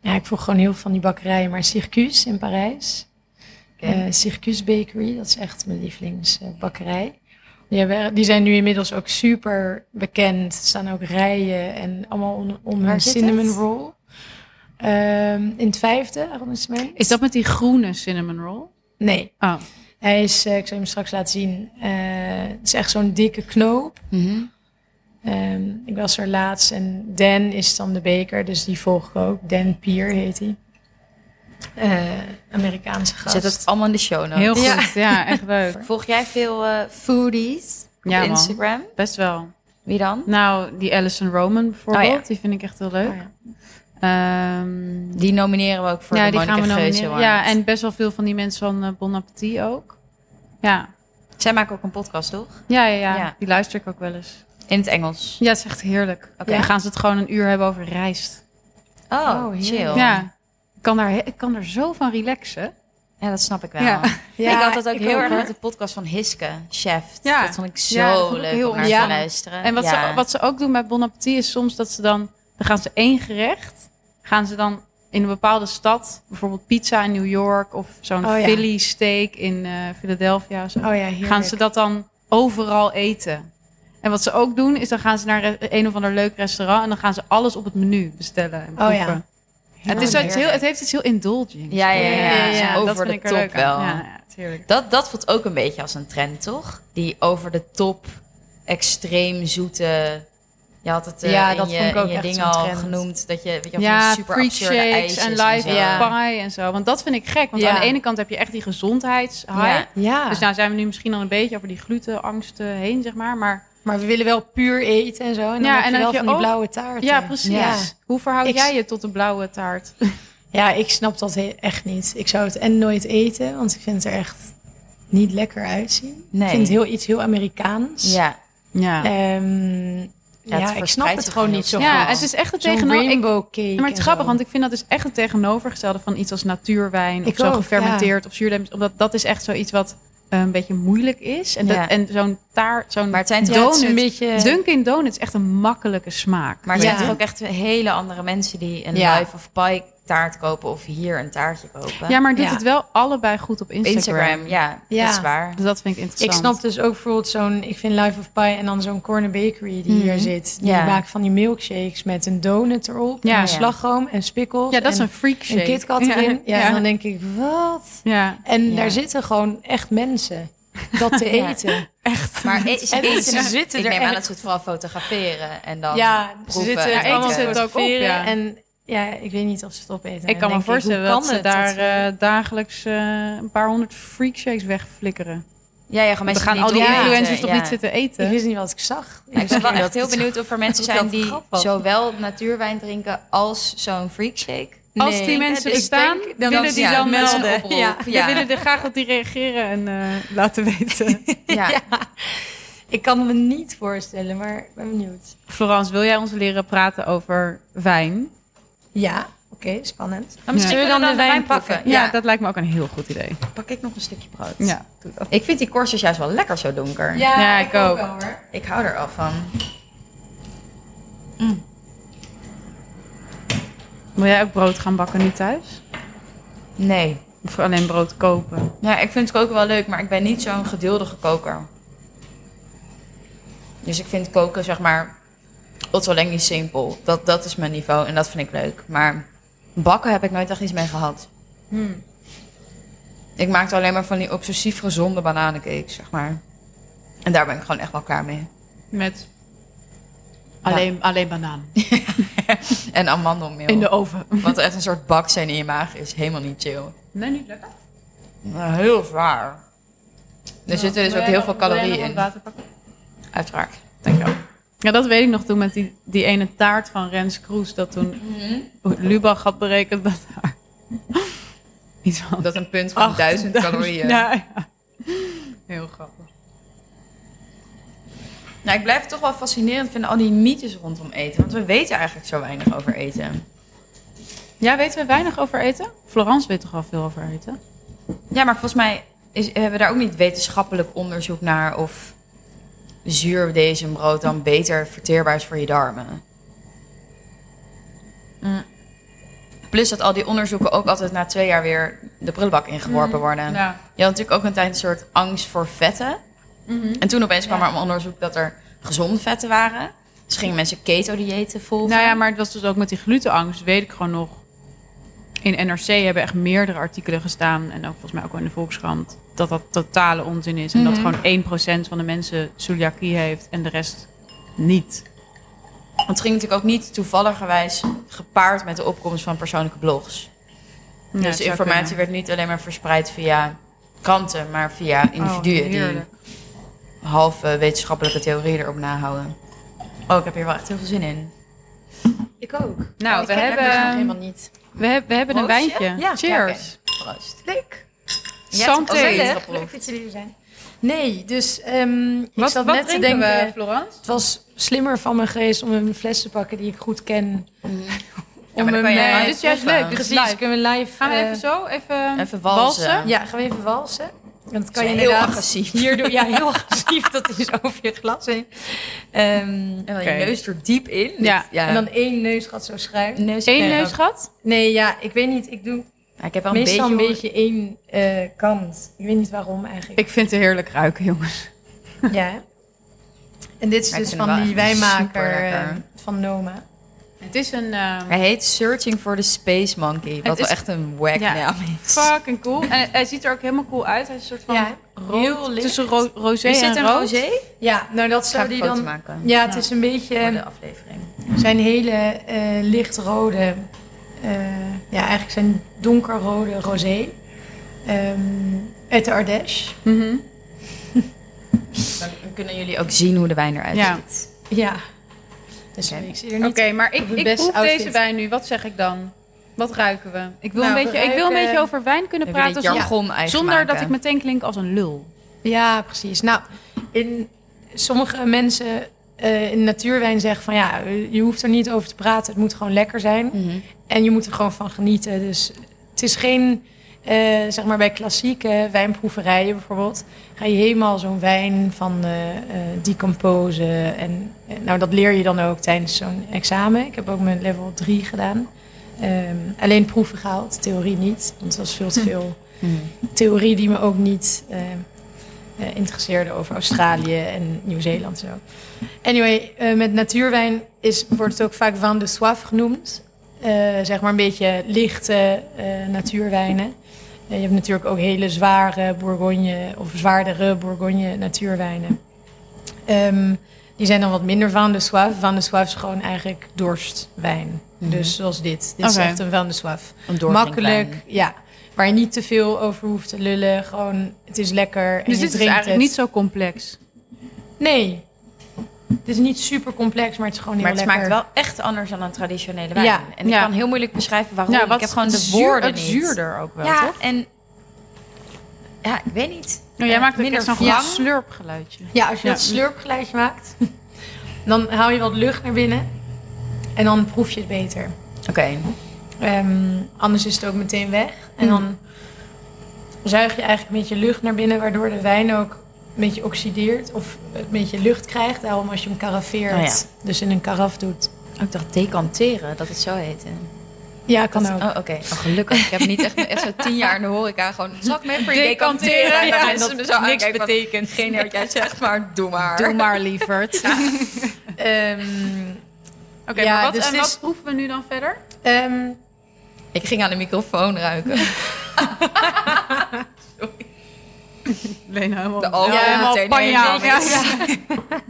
[SPEAKER 3] ja, ik volg gewoon heel veel van die bakkerijen. Maar Circus in Parijs.
[SPEAKER 2] Oké.
[SPEAKER 3] eh, Circus Bakery, dat is echt mijn lievelingsbakkerij. Die, hebben- die zijn nu inmiddels ook super bekend. Er staan ook rijen en allemaal om, om
[SPEAKER 2] Waar
[SPEAKER 3] hun
[SPEAKER 2] zit
[SPEAKER 3] cinnamon
[SPEAKER 2] het?
[SPEAKER 3] roll. Ehm, in het vijfde arrondissement.
[SPEAKER 1] Is dat met die groene cinnamon roll?
[SPEAKER 3] Nee,
[SPEAKER 1] Oh,
[SPEAKER 3] hij is, eh, ik zal hem straks laten zien. Eh, het is echt zo'n dikke knoop.
[SPEAKER 2] Mhm.
[SPEAKER 3] Ehm, ik was er laatst en Dan is dan de beker, dus die volg ik ook. Dan Pier heet hij. Eh, Amerikaanse gast.
[SPEAKER 2] Zet het allemaal in de show notes.
[SPEAKER 1] heel goed.
[SPEAKER 3] Ja.
[SPEAKER 1] Ja, echt leuk.
[SPEAKER 2] Volg jij veel eh, foodies op
[SPEAKER 1] Ja, man.
[SPEAKER 2] Instagram?
[SPEAKER 1] Best wel.
[SPEAKER 2] Wie dan?
[SPEAKER 1] Nou, die Alison Roman bijvoorbeeld,
[SPEAKER 2] Oh, ja.
[SPEAKER 1] die vind ik echt heel leuk.
[SPEAKER 3] Oh, ja.
[SPEAKER 1] Ehm,
[SPEAKER 2] Die nomineren we ook voor de Monica Geuze
[SPEAKER 1] nomineren.
[SPEAKER 2] Award.
[SPEAKER 1] Ja, en best wel veel van die mensen van eh, Bon Appetit ook. Ja.
[SPEAKER 2] Zij maken ook een podcast, toch?
[SPEAKER 1] Ja, ja, ja,
[SPEAKER 2] Ja.
[SPEAKER 1] Die luister ik ook wel eens.
[SPEAKER 2] In het Engels.
[SPEAKER 1] Ja, het is echt heerlijk.
[SPEAKER 2] Oké.
[SPEAKER 1] Dan gaan ze het gewoon een uur hebben over rijst.
[SPEAKER 2] Oh,
[SPEAKER 3] Oh, heerlijk.
[SPEAKER 2] chill. Ja.
[SPEAKER 1] Ja. Ik kan, daar, he- ik kan er zo van relaxen.
[SPEAKER 2] dat snap ik wel.
[SPEAKER 1] Ja.
[SPEAKER 2] ik had dat ook
[SPEAKER 3] ik
[SPEAKER 2] heel erg
[SPEAKER 3] hoor.
[SPEAKER 2] met de podcast van Hiske, Chef.
[SPEAKER 1] Ja.
[SPEAKER 2] Dat vond ik zo
[SPEAKER 1] Ja, dat vond ik
[SPEAKER 2] leuk
[SPEAKER 1] heel
[SPEAKER 2] om naar te
[SPEAKER 3] ontspannen.
[SPEAKER 2] luisteren.
[SPEAKER 1] En wat,
[SPEAKER 2] Eh, ja.
[SPEAKER 1] ze, wat ze ook doen bij Bon Appetit is soms dat ze dan... Dan gaan ze één gerecht... Gaan ze dan in een bepaalde stad, bijvoorbeeld pizza in New York of zo'n
[SPEAKER 3] Oh ja.
[SPEAKER 1] Philly steak in eh, Philadelphia, zo,
[SPEAKER 3] Oh ja, heerlijk.
[SPEAKER 1] gaan ze dat dan overal eten. En wat ze ook doen, is dan gaan ze naar een- een of ander leuk restaurant en dan gaan ze alles op het menu bestellen. En
[SPEAKER 3] Oh ja.
[SPEAKER 1] proeven. Het, is
[SPEAKER 2] Heerlijk.
[SPEAKER 1] iets heel, het heeft iets heel indulging.
[SPEAKER 2] Ja, ja, ja.
[SPEAKER 3] Ja, ja, ja.
[SPEAKER 2] Over
[SPEAKER 1] dat
[SPEAKER 2] de
[SPEAKER 1] vind ik er
[SPEAKER 2] top
[SPEAKER 1] leuk aan.
[SPEAKER 2] wel.
[SPEAKER 1] Ja, ja, het is heerlijk.
[SPEAKER 2] Dat, dat voelt ook een beetje als een trend, toch? Die over de top, extreem zoete... Je had het eh,
[SPEAKER 3] Ja,
[SPEAKER 2] in,
[SPEAKER 3] dat
[SPEAKER 2] je,
[SPEAKER 3] vond ik ook
[SPEAKER 2] in je
[SPEAKER 3] echt
[SPEAKER 2] ding
[SPEAKER 3] zo'n
[SPEAKER 2] al
[SPEAKER 3] trend.
[SPEAKER 2] genoemd. Dat je, weet je wel, van
[SPEAKER 1] Ja,
[SPEAKER 2] die super
[SPEAKER 1] free
[SPEAKER 2] absurde
[SPEAKER 1] shakes
[SPEAKER 2] ijsjes
[SPEAKER 1] en live
[SPEAKER 2] zo.
[SPEAKER 3] Ja.
[SPEAKER 1] pie en zo. Want dat vind ik gek. Want
[SPEAKER 3] Ja.
[SPEAKER 1] aan de ene kant heb je echt die gezondheidshype.
[SPEAKER 2] Ja.
[SPEAKER 3] Ja,
[SPEAKER 1] Dus nou zijn we nu misschien al een beetje over die glutenangsten heen, zeg maar. Maar
[SPEAKER 3] maar we willen wel puur eten en zo. En dan
[SPEAKER 1] Ja,
[SPEAKER 3] heb
[SPEAKER 1] en
[SPEAKER 3] je
[SPEAKER 1] dan
[SPEAKER 3] wel
[SPEAKER 1] heb je
[SPEAKER 3] van die
[SPEAKER 1] ook-
[SPEAKER 3] blauwe taarten.
[SPEAKER 1] ja, precies.
[SPEAKER 3] Ja.
[SPEAKER 1] Hoe verhoud
[SPEAKER 3] Ik-
[SPEAKER 1] jij je tot een blauwe taart?
[SPEAKER 3] Ja, ik snap dat he- echt niet. Ik zou het en nooit eten, want ik vind het er echt niet lekker uitzien.
[SPEAKER 2] Nee.
[SPEAKER 3] Ik vind het heel, iets heel Amerikaans.
[SPEAKER 2] Ja,
[SPEAKER 1] Ja,
[SPEAKER 3] Ehm, ja, ik
[SPEAKER 2] verspreidt
[SPEAKER 3] snap
[SPEAKER 2] zich
[SPEAKER 3] het gewoon
[SPEAKER 2] heel
[SPEAKER 3] niet zo
[SPEAKER 2] snel.
[SPEAKER 3] goed.
[SPEAKER 1] ja het is echt het
[SPEAKER 3] Zo'n
[SPEAKER 1] tegenover... ik-
[SPEAKER 3] rainbow cake.
[SPEAKER 1] Maar het
[SPEAKER 3] en
[SPEAKER 1] is grappig,
[SPEAKER 3] zo.
[SPEAKER 1] want ik vind dat is echt het tegenovergestelde van iets als natuurwijn. of
[SPEAKER 3] Ik
[SPEAKER 1] zo
[SPEAKER 3] ook,
[SPEAKER 1] gefermenteerd of zuurdeem. Omdat dat is echt zoiets wat eh, een beetje moeilijk is. En, dat-
[SPEAKER 2] Ja.
[SPEAKER 1] en zo'n taart, zo'n
[SPEAKER 2] maar het zijn toch,
[SPEAKER 3] ja, het is een
[SPEAKER 1] donut-
[SPEAKER 3] beetje...
[SPEAKER 1] Dunkin' Donuts is echt een makkelijke smaak.
[SPEAKER 2] maar het
[SPEAKER 3] Ja.
[SPEAKER 2] zijn toch ook echt hele andere mensen die een
[SPEAKER 3] Ja.
[SPEAKER 2] live of pie taart kopen of hier een taartje kopen.
[SPEAKER 1] ja, maar doet
[SPEAKER 3] Ja.
[SPEAKER 1] het wel allebei goed op
[SPEAKER 2] Op
[SPEAKER 1] Instagram.
[SPEAKER 2] Instagram, ja,
[SPEAKER 3] Ja.
[SPEAKER 2] dat is waar.
[SPEAKER 1] Dus dat vind ik interessant.
[SPEAKER 3] Ik snap dus ook bijvoorbeeld zo'n... Ik vind Life of Pie en dan zo'n Corner Bakery die hier
[SPEAKER 1] Mhm.
[SPEAKER 3] zit. Die
[SPEAKER 2] Ja.
[SPEAKER 3] maken van die milkshakes met een donut erop.
[SPEAKER 1] Ja,
[SPEAKER 3] en
[SPEAKER 1] ja.
[SPEAKER 3] een slagroom en spikkels.
[SPEAKER 1] Ja, dat is
[SPEAKER 3] en
[SPEAKER 1] een freak shake.
[SPEAKER 3] een KitKat
[SPEAKER 1] Ja,
[SPEAKER 3] erin. Ja,
[SPEAKER 1] ja.
[SPEAKER 3] en dan denk ik, wat?
[SPEAKER 1] Ja.
[SPEAKER 3] En
[SPEAKER 2] Ja.
[SPEAKER 3] daar zitten gewoon echt mensen dat te
[SPEAKER 2] Ja.
[SPEAKER 3] eten.
[SPEAKER 2] Maar e- ze
[SPEAKER 3] En
[SPEAKER 2] eten
[SPEAKER 3] ze
[SPEAKER 2] het-
[SPEAKER 3] zitten
[SPEAKER 2] ik
[SPEAKER 3] er
[SPEAKER 2] neem aan
[SPEAKER 3] echt-
[SPEAKER 2] dat ze het vooral fotograferen en dan...
[SPEAKER 3] ja, ze
[SPEAKER 2] proeven
[SPEAKER 3] zitten het
[SPEAKER 2] en
[SPEAKER 3] allemaal
[SPEAKER 2] eten.
[SPEAKER 3] te
[SPEAKER 1] Zit ook op,
[SPEAKER 3] fotograferen
[SPEAKER 1] ja.
[SPEAKER 3] En ja, ik weet niet of ze het opeten.
[SPEAKER 1] Ik
[SPEAKER 3] En
[SPEAKER 1] kan
[SPEAKER 3] dan
[SPEAKER 1] me
[SPEAKER 3] denk hoe
[SPEAKER 1] voorstellen
[SPEAKER 3] kan
[SPEAKER 1] dat ze
[SPEAKER 3] het
[SPEAKER 1] daar
[SPEAKER 3] we-
[SPEAKER 1] eh, dagelijks eh, een paar honderd freakshakes wegflikkeren.
[SPEAKER 2] Ja, ja, gaan
[SPEAKER 1] Dan
[SPEAKER 2] mensen
[SPEAKER 1] gaan
[SPEAKER 2] niet
[SPEAKER 1] al die
[SPEAKER 2] opeten,
[SPEAKER 1] influencers toch
[SPEAKER 2] ja.
[SPEAKER 1] niet zitten eten?
[SPEAKER 3] Ik wist niet wat ik zag.
[SPEAKER 2] Ik ben wel
[SPEAKER 3] dacht,
[SPEAKER 2] echt heel benieuwd of er mensen
[SPEAKER 3] dat
[SPEAKER 2] zijn die
[SPEAKER 3] grappig.
[SPEAKER 2] zowel natuurwijn drinken als zo'n freakshake. Dus
[SPEAKER 1] Als
[SPEAKER 3] nee.
[SPEAKER 1] die mensen
[SPEAKER 3] Ik
[SPEAKER 1] bestaan,
[SPEAKER 3] denk- dan-
[SPEAKER 1] willen
[SPEAKER 3] dan-
[SPEAKER 1] die
[SPEAKER 2] ja,
[SPEAKER 1] dan
[SPEAKER 2] melden.
[SPEAKER 1] melden. Een oproep.
[SPEAKER 3] Ja.
[SPEAKER 2] Ja.
[SPEAKER 1] We willen er graag dat die reageren en eh, laten weten.
[SPEAKER 2] Ja.
[SPEAKER 3] Ja. Ik kan me niet voorstellen, maar ik ben benieuwd.
[SPEAKER 1] Florence, wil jij ons leren praten over wijn?
[SPEAKER 3] Ja, oké, spannend.
[SPEAKER 2] Maar misschien
[SPEAKER 3] Zullen we
[SPEAKER 2] kunnen
[SPEAKER 3] dan de wijn
[SPEAKER 2] proeven?
[SPEAKER 3] pakken?
[SPEAKER 1] Ja.
[SPEAKER 2] Ja,
[SPEAKER 1] dat lijkt me ook een heel goed idee.
[SPEAKER 2] pak ik nog een stukje brood.
[SPEAKER 1] Ja, doe dat.
[SPEAKER 2] Ik vind die korstjes juist wel lekker zo donker.
[SPEAKER 1] Ja, ik ik ook ook. wel,
[SPEAKER 3] hoor.
[SPEAKER 2] Ik hou er al van.
[SPEAKER 1] Wil jij ook brood gaan bakken nu thuis?
[SPEAKER 2] Nee.
[SPEAKER 1] Of alleen brood kopen?
[SPEAKER 2] Ja, ik vind koken wel leuk, maar ik ben niet zo'n geduldige koker. Dus ik vind koken, zeg maar, otolenghi simpel. Dat, dat is mijn niveau en dat vind ik leuk. Maar bakken heb ik nooit echt iets mee gehad. Ik maakte alleen maar van die obsessief gezonde bananencakes, zeg maar. En daar ben ik gewoon echt wel klaar mee.
[SPEAKER 1] Met
[SPEAKER 2] alleen-
[SPEAKER 1] alleen banaan.
[SPEAKER 2] En amandelmeel.
[SPEAKER 1] In de oven.
[SPEAKER 2] Wat echt een soort bak zijn in je maag is helemaal niet chill.
[SPEAKER 1] Nee, niet lekker.
[SPEAKER 2] Maar Heel zwaar. Er zitten dus ook heel veel calorieën in. Uiteraard. Dankjewel.
[SPEAKER 1] Ja, dat weet ik nog toen met die, die ene taart van Rens Kroes. Dat toen Lubach had berekend dat haar... Iets van
[SPEAKER 2] Dat een punt van 1000 calorieën.
[SPEAKER 1] Ja, ja. Heel grappig.
[SPEAKER 2] Nou, ik blijf het toch wel fascinerend vinden, al die mythes rondom eten. Want we weten eigenlijk zo weinig over eten.
[SPEAKER 1] Ja, weten we weinig over eten? Florence weet toch wel veel over eten?
[SPEAKER 2] Ja, maar volgens mij is, hebben we daar ook niet wetenschappelijk onderzoek naar of zuur brood dan beter verteerbaar is voor je darmen. Mm. Plus dat al die onderzoeken ook altijd na twee jaar weer de prullenbak ingeworpen worden.
[SPEAKER 1] Mm. Ja.
[SPEAKER 2] Je had natuurlijk ook een tijd een soort angst voor vetten.
[SPEAKER 1] Mhm.
[SPEAKER 2] En toen opeens kwam er een onderzoek dat er gezonde vetten waren. Dus gingen mensen keto-diëten volgen.
[SPEAKER 1] Nou ja, maar het was dus ook met die glutenangst, weet ik gewoon nog. In NRC hebben echt meerdere artikelen gestaan. En ook volgens mij ook wel in de Volkskrant. Dat dat totale onzin is. En
[SPEAKER 2] Mhm.
[SPEAKER 1] dat gewoon 1% van de mensen celiakie heeft en de rest niet.
[SPEAKER 2] Want het ging natuurlijk ook niet toevalligerwijs gepaard met de opkomst van persoonlijke blogs.
[SPEAKER 1] Ja, het
[SPEAKER 2] dus
[SPEAKER 1] zou
[SPEAKER 2] informatie
[SPEAKER 1] kunnen.
[SPEAKER 2] werd niet alleen maar verspreid via kranten, maar via individuen
[SPEAKER 1] Oh,
[SPEAKER 2] die
[SPEAKER 1] heerlijk.
[SPEAKER 2] half eh, wetenschappelijke theorieën erop nahouden. Oh, ik heb hier wel echt heel veel zin in. dus
[SPEAKER 3] Ik ook.
[SPEAKER 1] Nou,
[SPEAKER 3] Oh, ik
[SPEAKER 1] we
[SPEAKER 3] ken
[SPEAKER 1] hebben,
[SPEAKER 3] lekkers nog helemaal niet.
[SPEAKER 1] we, hebben, we hebben een
[SPEAKER 2] Broodje?
[SPEAKER 1] wijntje.
[SPEAKER 2] Ja,
[SPEAKER 1] Cheers.
[SPEAKER 2] Proost.
[SPEAKER 3] Leuk.
[SPEAKER 1] Santé.
[SPEAKER 2] Jij hebt het ook
[SPEAKER 3] Leuk.
[SPEAKER 2] geproefd.
[SPEAKER 3] Leuk dat jullie er zijn. Nee, dus ehm, ik
[SPEAKER 1] Wat,
[SPEAKER 3] zat
[SPEAKER 1] wat
[SPEAKER 3] net te
[SPEAKER 1] drinken
[SPEAKER 3] denken...
[SPEAKER 1] we, Florence?
[SPEAKER 3] Het was slimmer van me geweest om een fles te pakken die ik goed ken.
[SPEAKER 2] Mm. Ja, maar dan kan je
[SPEAKER 3] hem,
[SPEAKER 2] live
[SPEAKER 3] eh,
[SPEAKER 1] dit is juist
[SPEAKER 2] proeven.
[SPEAKER 1] leuk. Dus
[SPEAKER 3] Precies,
[SPEAKER 1] live.
[SPEAKER 3] kunnen we live...
[SPEAKER 1] Gaan we
[SPEAKER 3] eh,
[SPEAKER 1] even zo, even,
[SPEAKER 2] Even walsen.
[SPEAKER 3] Ja, gaan we even walsen. En dat
[SPEAKER 2] Zo
[SPEAKER 3] kan je
[SPEAKER 2] heel
[SPEAKER 3] inderdaad
[SPEAKER 2] agressief.
[SPEAKER 3] Hier doe ja, heel agressief. Dat is over je glas heen. Ehm,
[SPEAKER 2] En dan
[SPEAKER 1] Oké.
[SPEAKER 2] je neus er diep in.
[SPEAKER 1] Ja.
[SPEAKER 3] En dan één neusgat zo schuin.
[SPEAKER 2] neus
[SPEAKER 1] Eén
[SPEAKER 2] Ja,
[SPEAKER 3] Oh.
[SPEAKER 1] neusgat?
[SPEAKER 3] Nee, ja, ik weet niet. Ik doe
[SPEAKER 2] Ja, ik heb wel een beetje...
[SPEAKER 3] meestal een beetje één eh, kant. Ik weet niet waarom eigenlijk.
[SPEAKER 1] Ik vind het heerlijk ruiken, jongens.
[SPEAKER 3] Ja. hè? En dit is
[SPEAKER 2] Maar ik
[SPEAKER 3] dus
[SPEAKER 2] vind hem
[SPEAKER 3] van
[SPEAKER 2] wel
[SPEAKER 3] die
[SPEAKER 2] echt
[SPEAKER 3] wijnmaker
[SPEAKER 2] superlekker.
[SPEAKER 3] eh, van Noma.
[SPEAKER 1] Het is een ehm,
[SPEAKER 2] Hij heet Searching for the Space Monkey. Wat
[SPEAKER 1] is-
[SPEAKER 2] wel echt een wack
[SPEAKER 1] Ja.
[SPEAKER 2] naam is.
[SPEAKER 1] fucking cool. En hij ziet er ook helemaal cool uit. Hij is een soort van
[SPEAKER 3] Ja,
[SPEAKER 1] rood,
[SPEAKER 3] heel licht.
[SPEAKER 1] tussen ro roze
[SPEAKER 2] Is
[SPEAKER 1] en
[SPEAKER 2] dit een
[SPEAKER 1] rood.
[SPEAKER 2] rosé? Ik
[SPEAKER 3] Ja, nou dat
[SPEAKER 2] Ga
[SPEAKER 3] zou
[SPEAKER 2] die
[SPEAKER 3] die
[SPEAKER 2] foto
[SPEAKER 3] dan...
[SPEAKER 2] maken
[SPEAKER 3] Ja, het
[SPEAKER 1] Ja.
[SPEAKER 3] is een beetje...
[SPEAKER 2] voor de aflevering.
[SPEAKER 3] zijn hele eh, lichtrode, eh, ja eigenlijk zijn donkerrode rosé ehm, uit de Ardèche.
[SPEAKER 1] Mhm.
[SPEAKER 2] Dan kunnen jullie ook zien hoe de wijn eruit
[SPEAKER 1] Ja.
[SPEAKER 2] ziet.
[SPEAKER 3] Ja, dus
[SPEAKER 2] Oké.
[SPEAKER 3] ik zie er
[SPEAKER 1] Oké,
[SPEAKER 3] niet.
[SPEAKER 1] maar ik,
[SPEAKER 3] op het
[SPEAKER 1] ik
[SPEAKER 3] beste
[SPEAKER 1] proef
[SPEAKER 3] outfit.
[SPEAKER 1] deze wijn nu. Wat zeg ik dan? Wat ruiken we? Ik wil,
[SPEAKER 3] Nou,
[SPEAKER 1] een,
[SPEAKER 3] we
[SPEAKER 1] beetje, ik wil een
[SPEAKER 3] ruiken-
[SPEAKER 1] beetje over wijn kunnen
[SPEAKER 2] We praten
[SPEAKER 1] praten zon-
[SPEAKER 2] jargon eigen
[SPEAKER 1] zonder
[SPEAKER 2] maken.
[SPEAKER 1] dat ik meteen klink als een lul.
[SPEAKER 3] Ja, precies. Nou, in sommige mensen eh, in natuurwijn zeggen van ja, je hoeft er niet over te praten, het moet gewoon lekker zijn.
[SPEAKER 2] Mhm.
[SPEAKER 3] En je moet er gewoon van genieten. Dus het is geen, eh, zeg maar bij klassieke wijnproeverijen bijvoorbeeld, ga je helemaal zo'n wijn van eh eh, decomposen. En eh, nou, dat leer je dan ook tijdens zo'n examen. Ik heb ook mijn level 3 gedaan. Ehm, alleen proeven gehaald, theorie niet. Want het was veel te veel
[SPEAKER 2] Mhm.
[SPEAKER 3] theorie die me ook niet eh, eh, interesseerde over Australië en Nieuw-Zeeland. en Zo. Anyway, eh, met natuurwijn is, wordt het ook vaak van de soif genoemd. Eh, zeg maar een beetje lichte eh, natuurwijnen. Eh, je hebt natuurlijk ook hele zware Bourgogne of zwaardere Bourgogne natuurwijnen. Ehm, die zijn dan wat minder van de soif. Van de soif is gewoon eigenlijk dorstwijn.
[SPEAKER 2] Mhm.
[SPEAKER 3] Dus zoals dit. Dit
[SPEAKER 1] Oké.
[SPEAKER 3] is echt een van de soif
[SPEAKER 2] Een doorgrinkwijn.
[SPEAKER 3] makkelijk, ja. Waar je niet te veel over hoeft te lullen. Gewoon, het is lekker en
[SPEAKER 1] Dus
[SPEAKER 3] je
[SPEAKER 1] dit is
[SPEAKER 3] drinkt
[SPEAKER 1] eigenlijk
[SPEAKER 3] het.
[SPEAKER 1] niet zo complex.
[SPEAKER 3] Nee. Het is niet super complex, maar het is gewoon heel
[SPEAKER 2] Maar het
[SPEAKER 3] lekker.
[SPEAKER 2] smaakt wel echt anders dan een traditionele wijn.
[SPEAKER 3] Ja.
[SPEAKER 2] En ik
[SPEAKER 1] Ja.
[SPEAKER 2] kan heel moeilijk beschrijven waarom.
[SPEAKER 1] Ja, wat-
[SPEAKER 2] ik heb gewoon
[SPEAKER 1] het
[SPEAKER 2] de
[SPEAKER 1] zuur-
[SPEAKER 2] woorden
[SPEAKER 1] het
[SPEAKER 2] niet.
[SPEAKER 1] zuurder ook wel,
[SPEAKER 2] ja,
[SPEAKER 1] toch?
[SPEAKER 2] en... Ja, ik weet niet.
[SPEAKER 1] Nou, jij
[SPEAKER 2] Eh,
[SPEAKER 1] maakt
[SPEAKER 2] minder
[SPEAKER 1] minder zo'n
[SPEAKER 2] wrang.
[SPEAKER 1] glas slurpgeluidje.
[SPEAKER 3] Ja, als je
[SPEAKER 1] Ja.
[SPEAKER 3] dat slurpgeluidje maakt, dan haal je wat lucht naar binnen. En dan proef je het beter.
[SPEAKER 2] Oké.
[SPEAKER 3] Ehm, anders is het ook meteen weg. En dan zuig je eigenlijk een beetje lucht naar binnen, waardoor de wijn ook een beetje oxideert. Of een beetje lucht krijgt. Daarom als je hem karafeert,
[SPEAKER 1] Nou
[SPEAKER 2] Oh ja.
[SPEAKER 3] dus in een karaf doet.
[SPEAKER 2] Oh, ik dacht decanteren, dat het zo heette.
[SPEAKER 3] Ja, kan
[SPEAKER 2] Dat-
[SPEAKER 3] ook.
[SPEAKER 2] Oh, oké. Oh, gelukkig. Ik heb niet echt, echt zo tien jaar in de horeca gewoon... Zal ik me even voor je
[SPEAKER 1] Decanteren,
[SPEAKER 2] decanteren?
[SPEAKER 1] ja,
[SPEAKER 2] mensen
[SPEAKER 1] en
[SPEAKER 2] me zo aankijken van, Geen idee wat jij zegt, maar doe maar.
[SPEAKER 1] Doe maar, lieverd.
[SPEAKER 3] Ehm,
[SPEAKER 1] Oké,
[SPEAKER 3] Ja,
[SPEAKER 1] maar wat,
[SPEAKER 3] dus
[SPEAKER 1] en
[SPEAKER 3] dit
[SPEAKER 1] wat
[SPEAKER 3] is-
[SPEAKER 1] proeven we nu dan verder?
[SPEAKER 3] ehm,
[SPEAKER 2] Ik ging aan de microfoon ruiken.
[SPEAKER 1] Lena helemaal,
[SPEAKER 2] De alcohol
[SPEAKER 1] helemaal
[SPEAKER 2] meteen
[SPEAKER 1] panja.
[SPEAKER 2] nemen.
[SPEAKER 1] Ja, ja.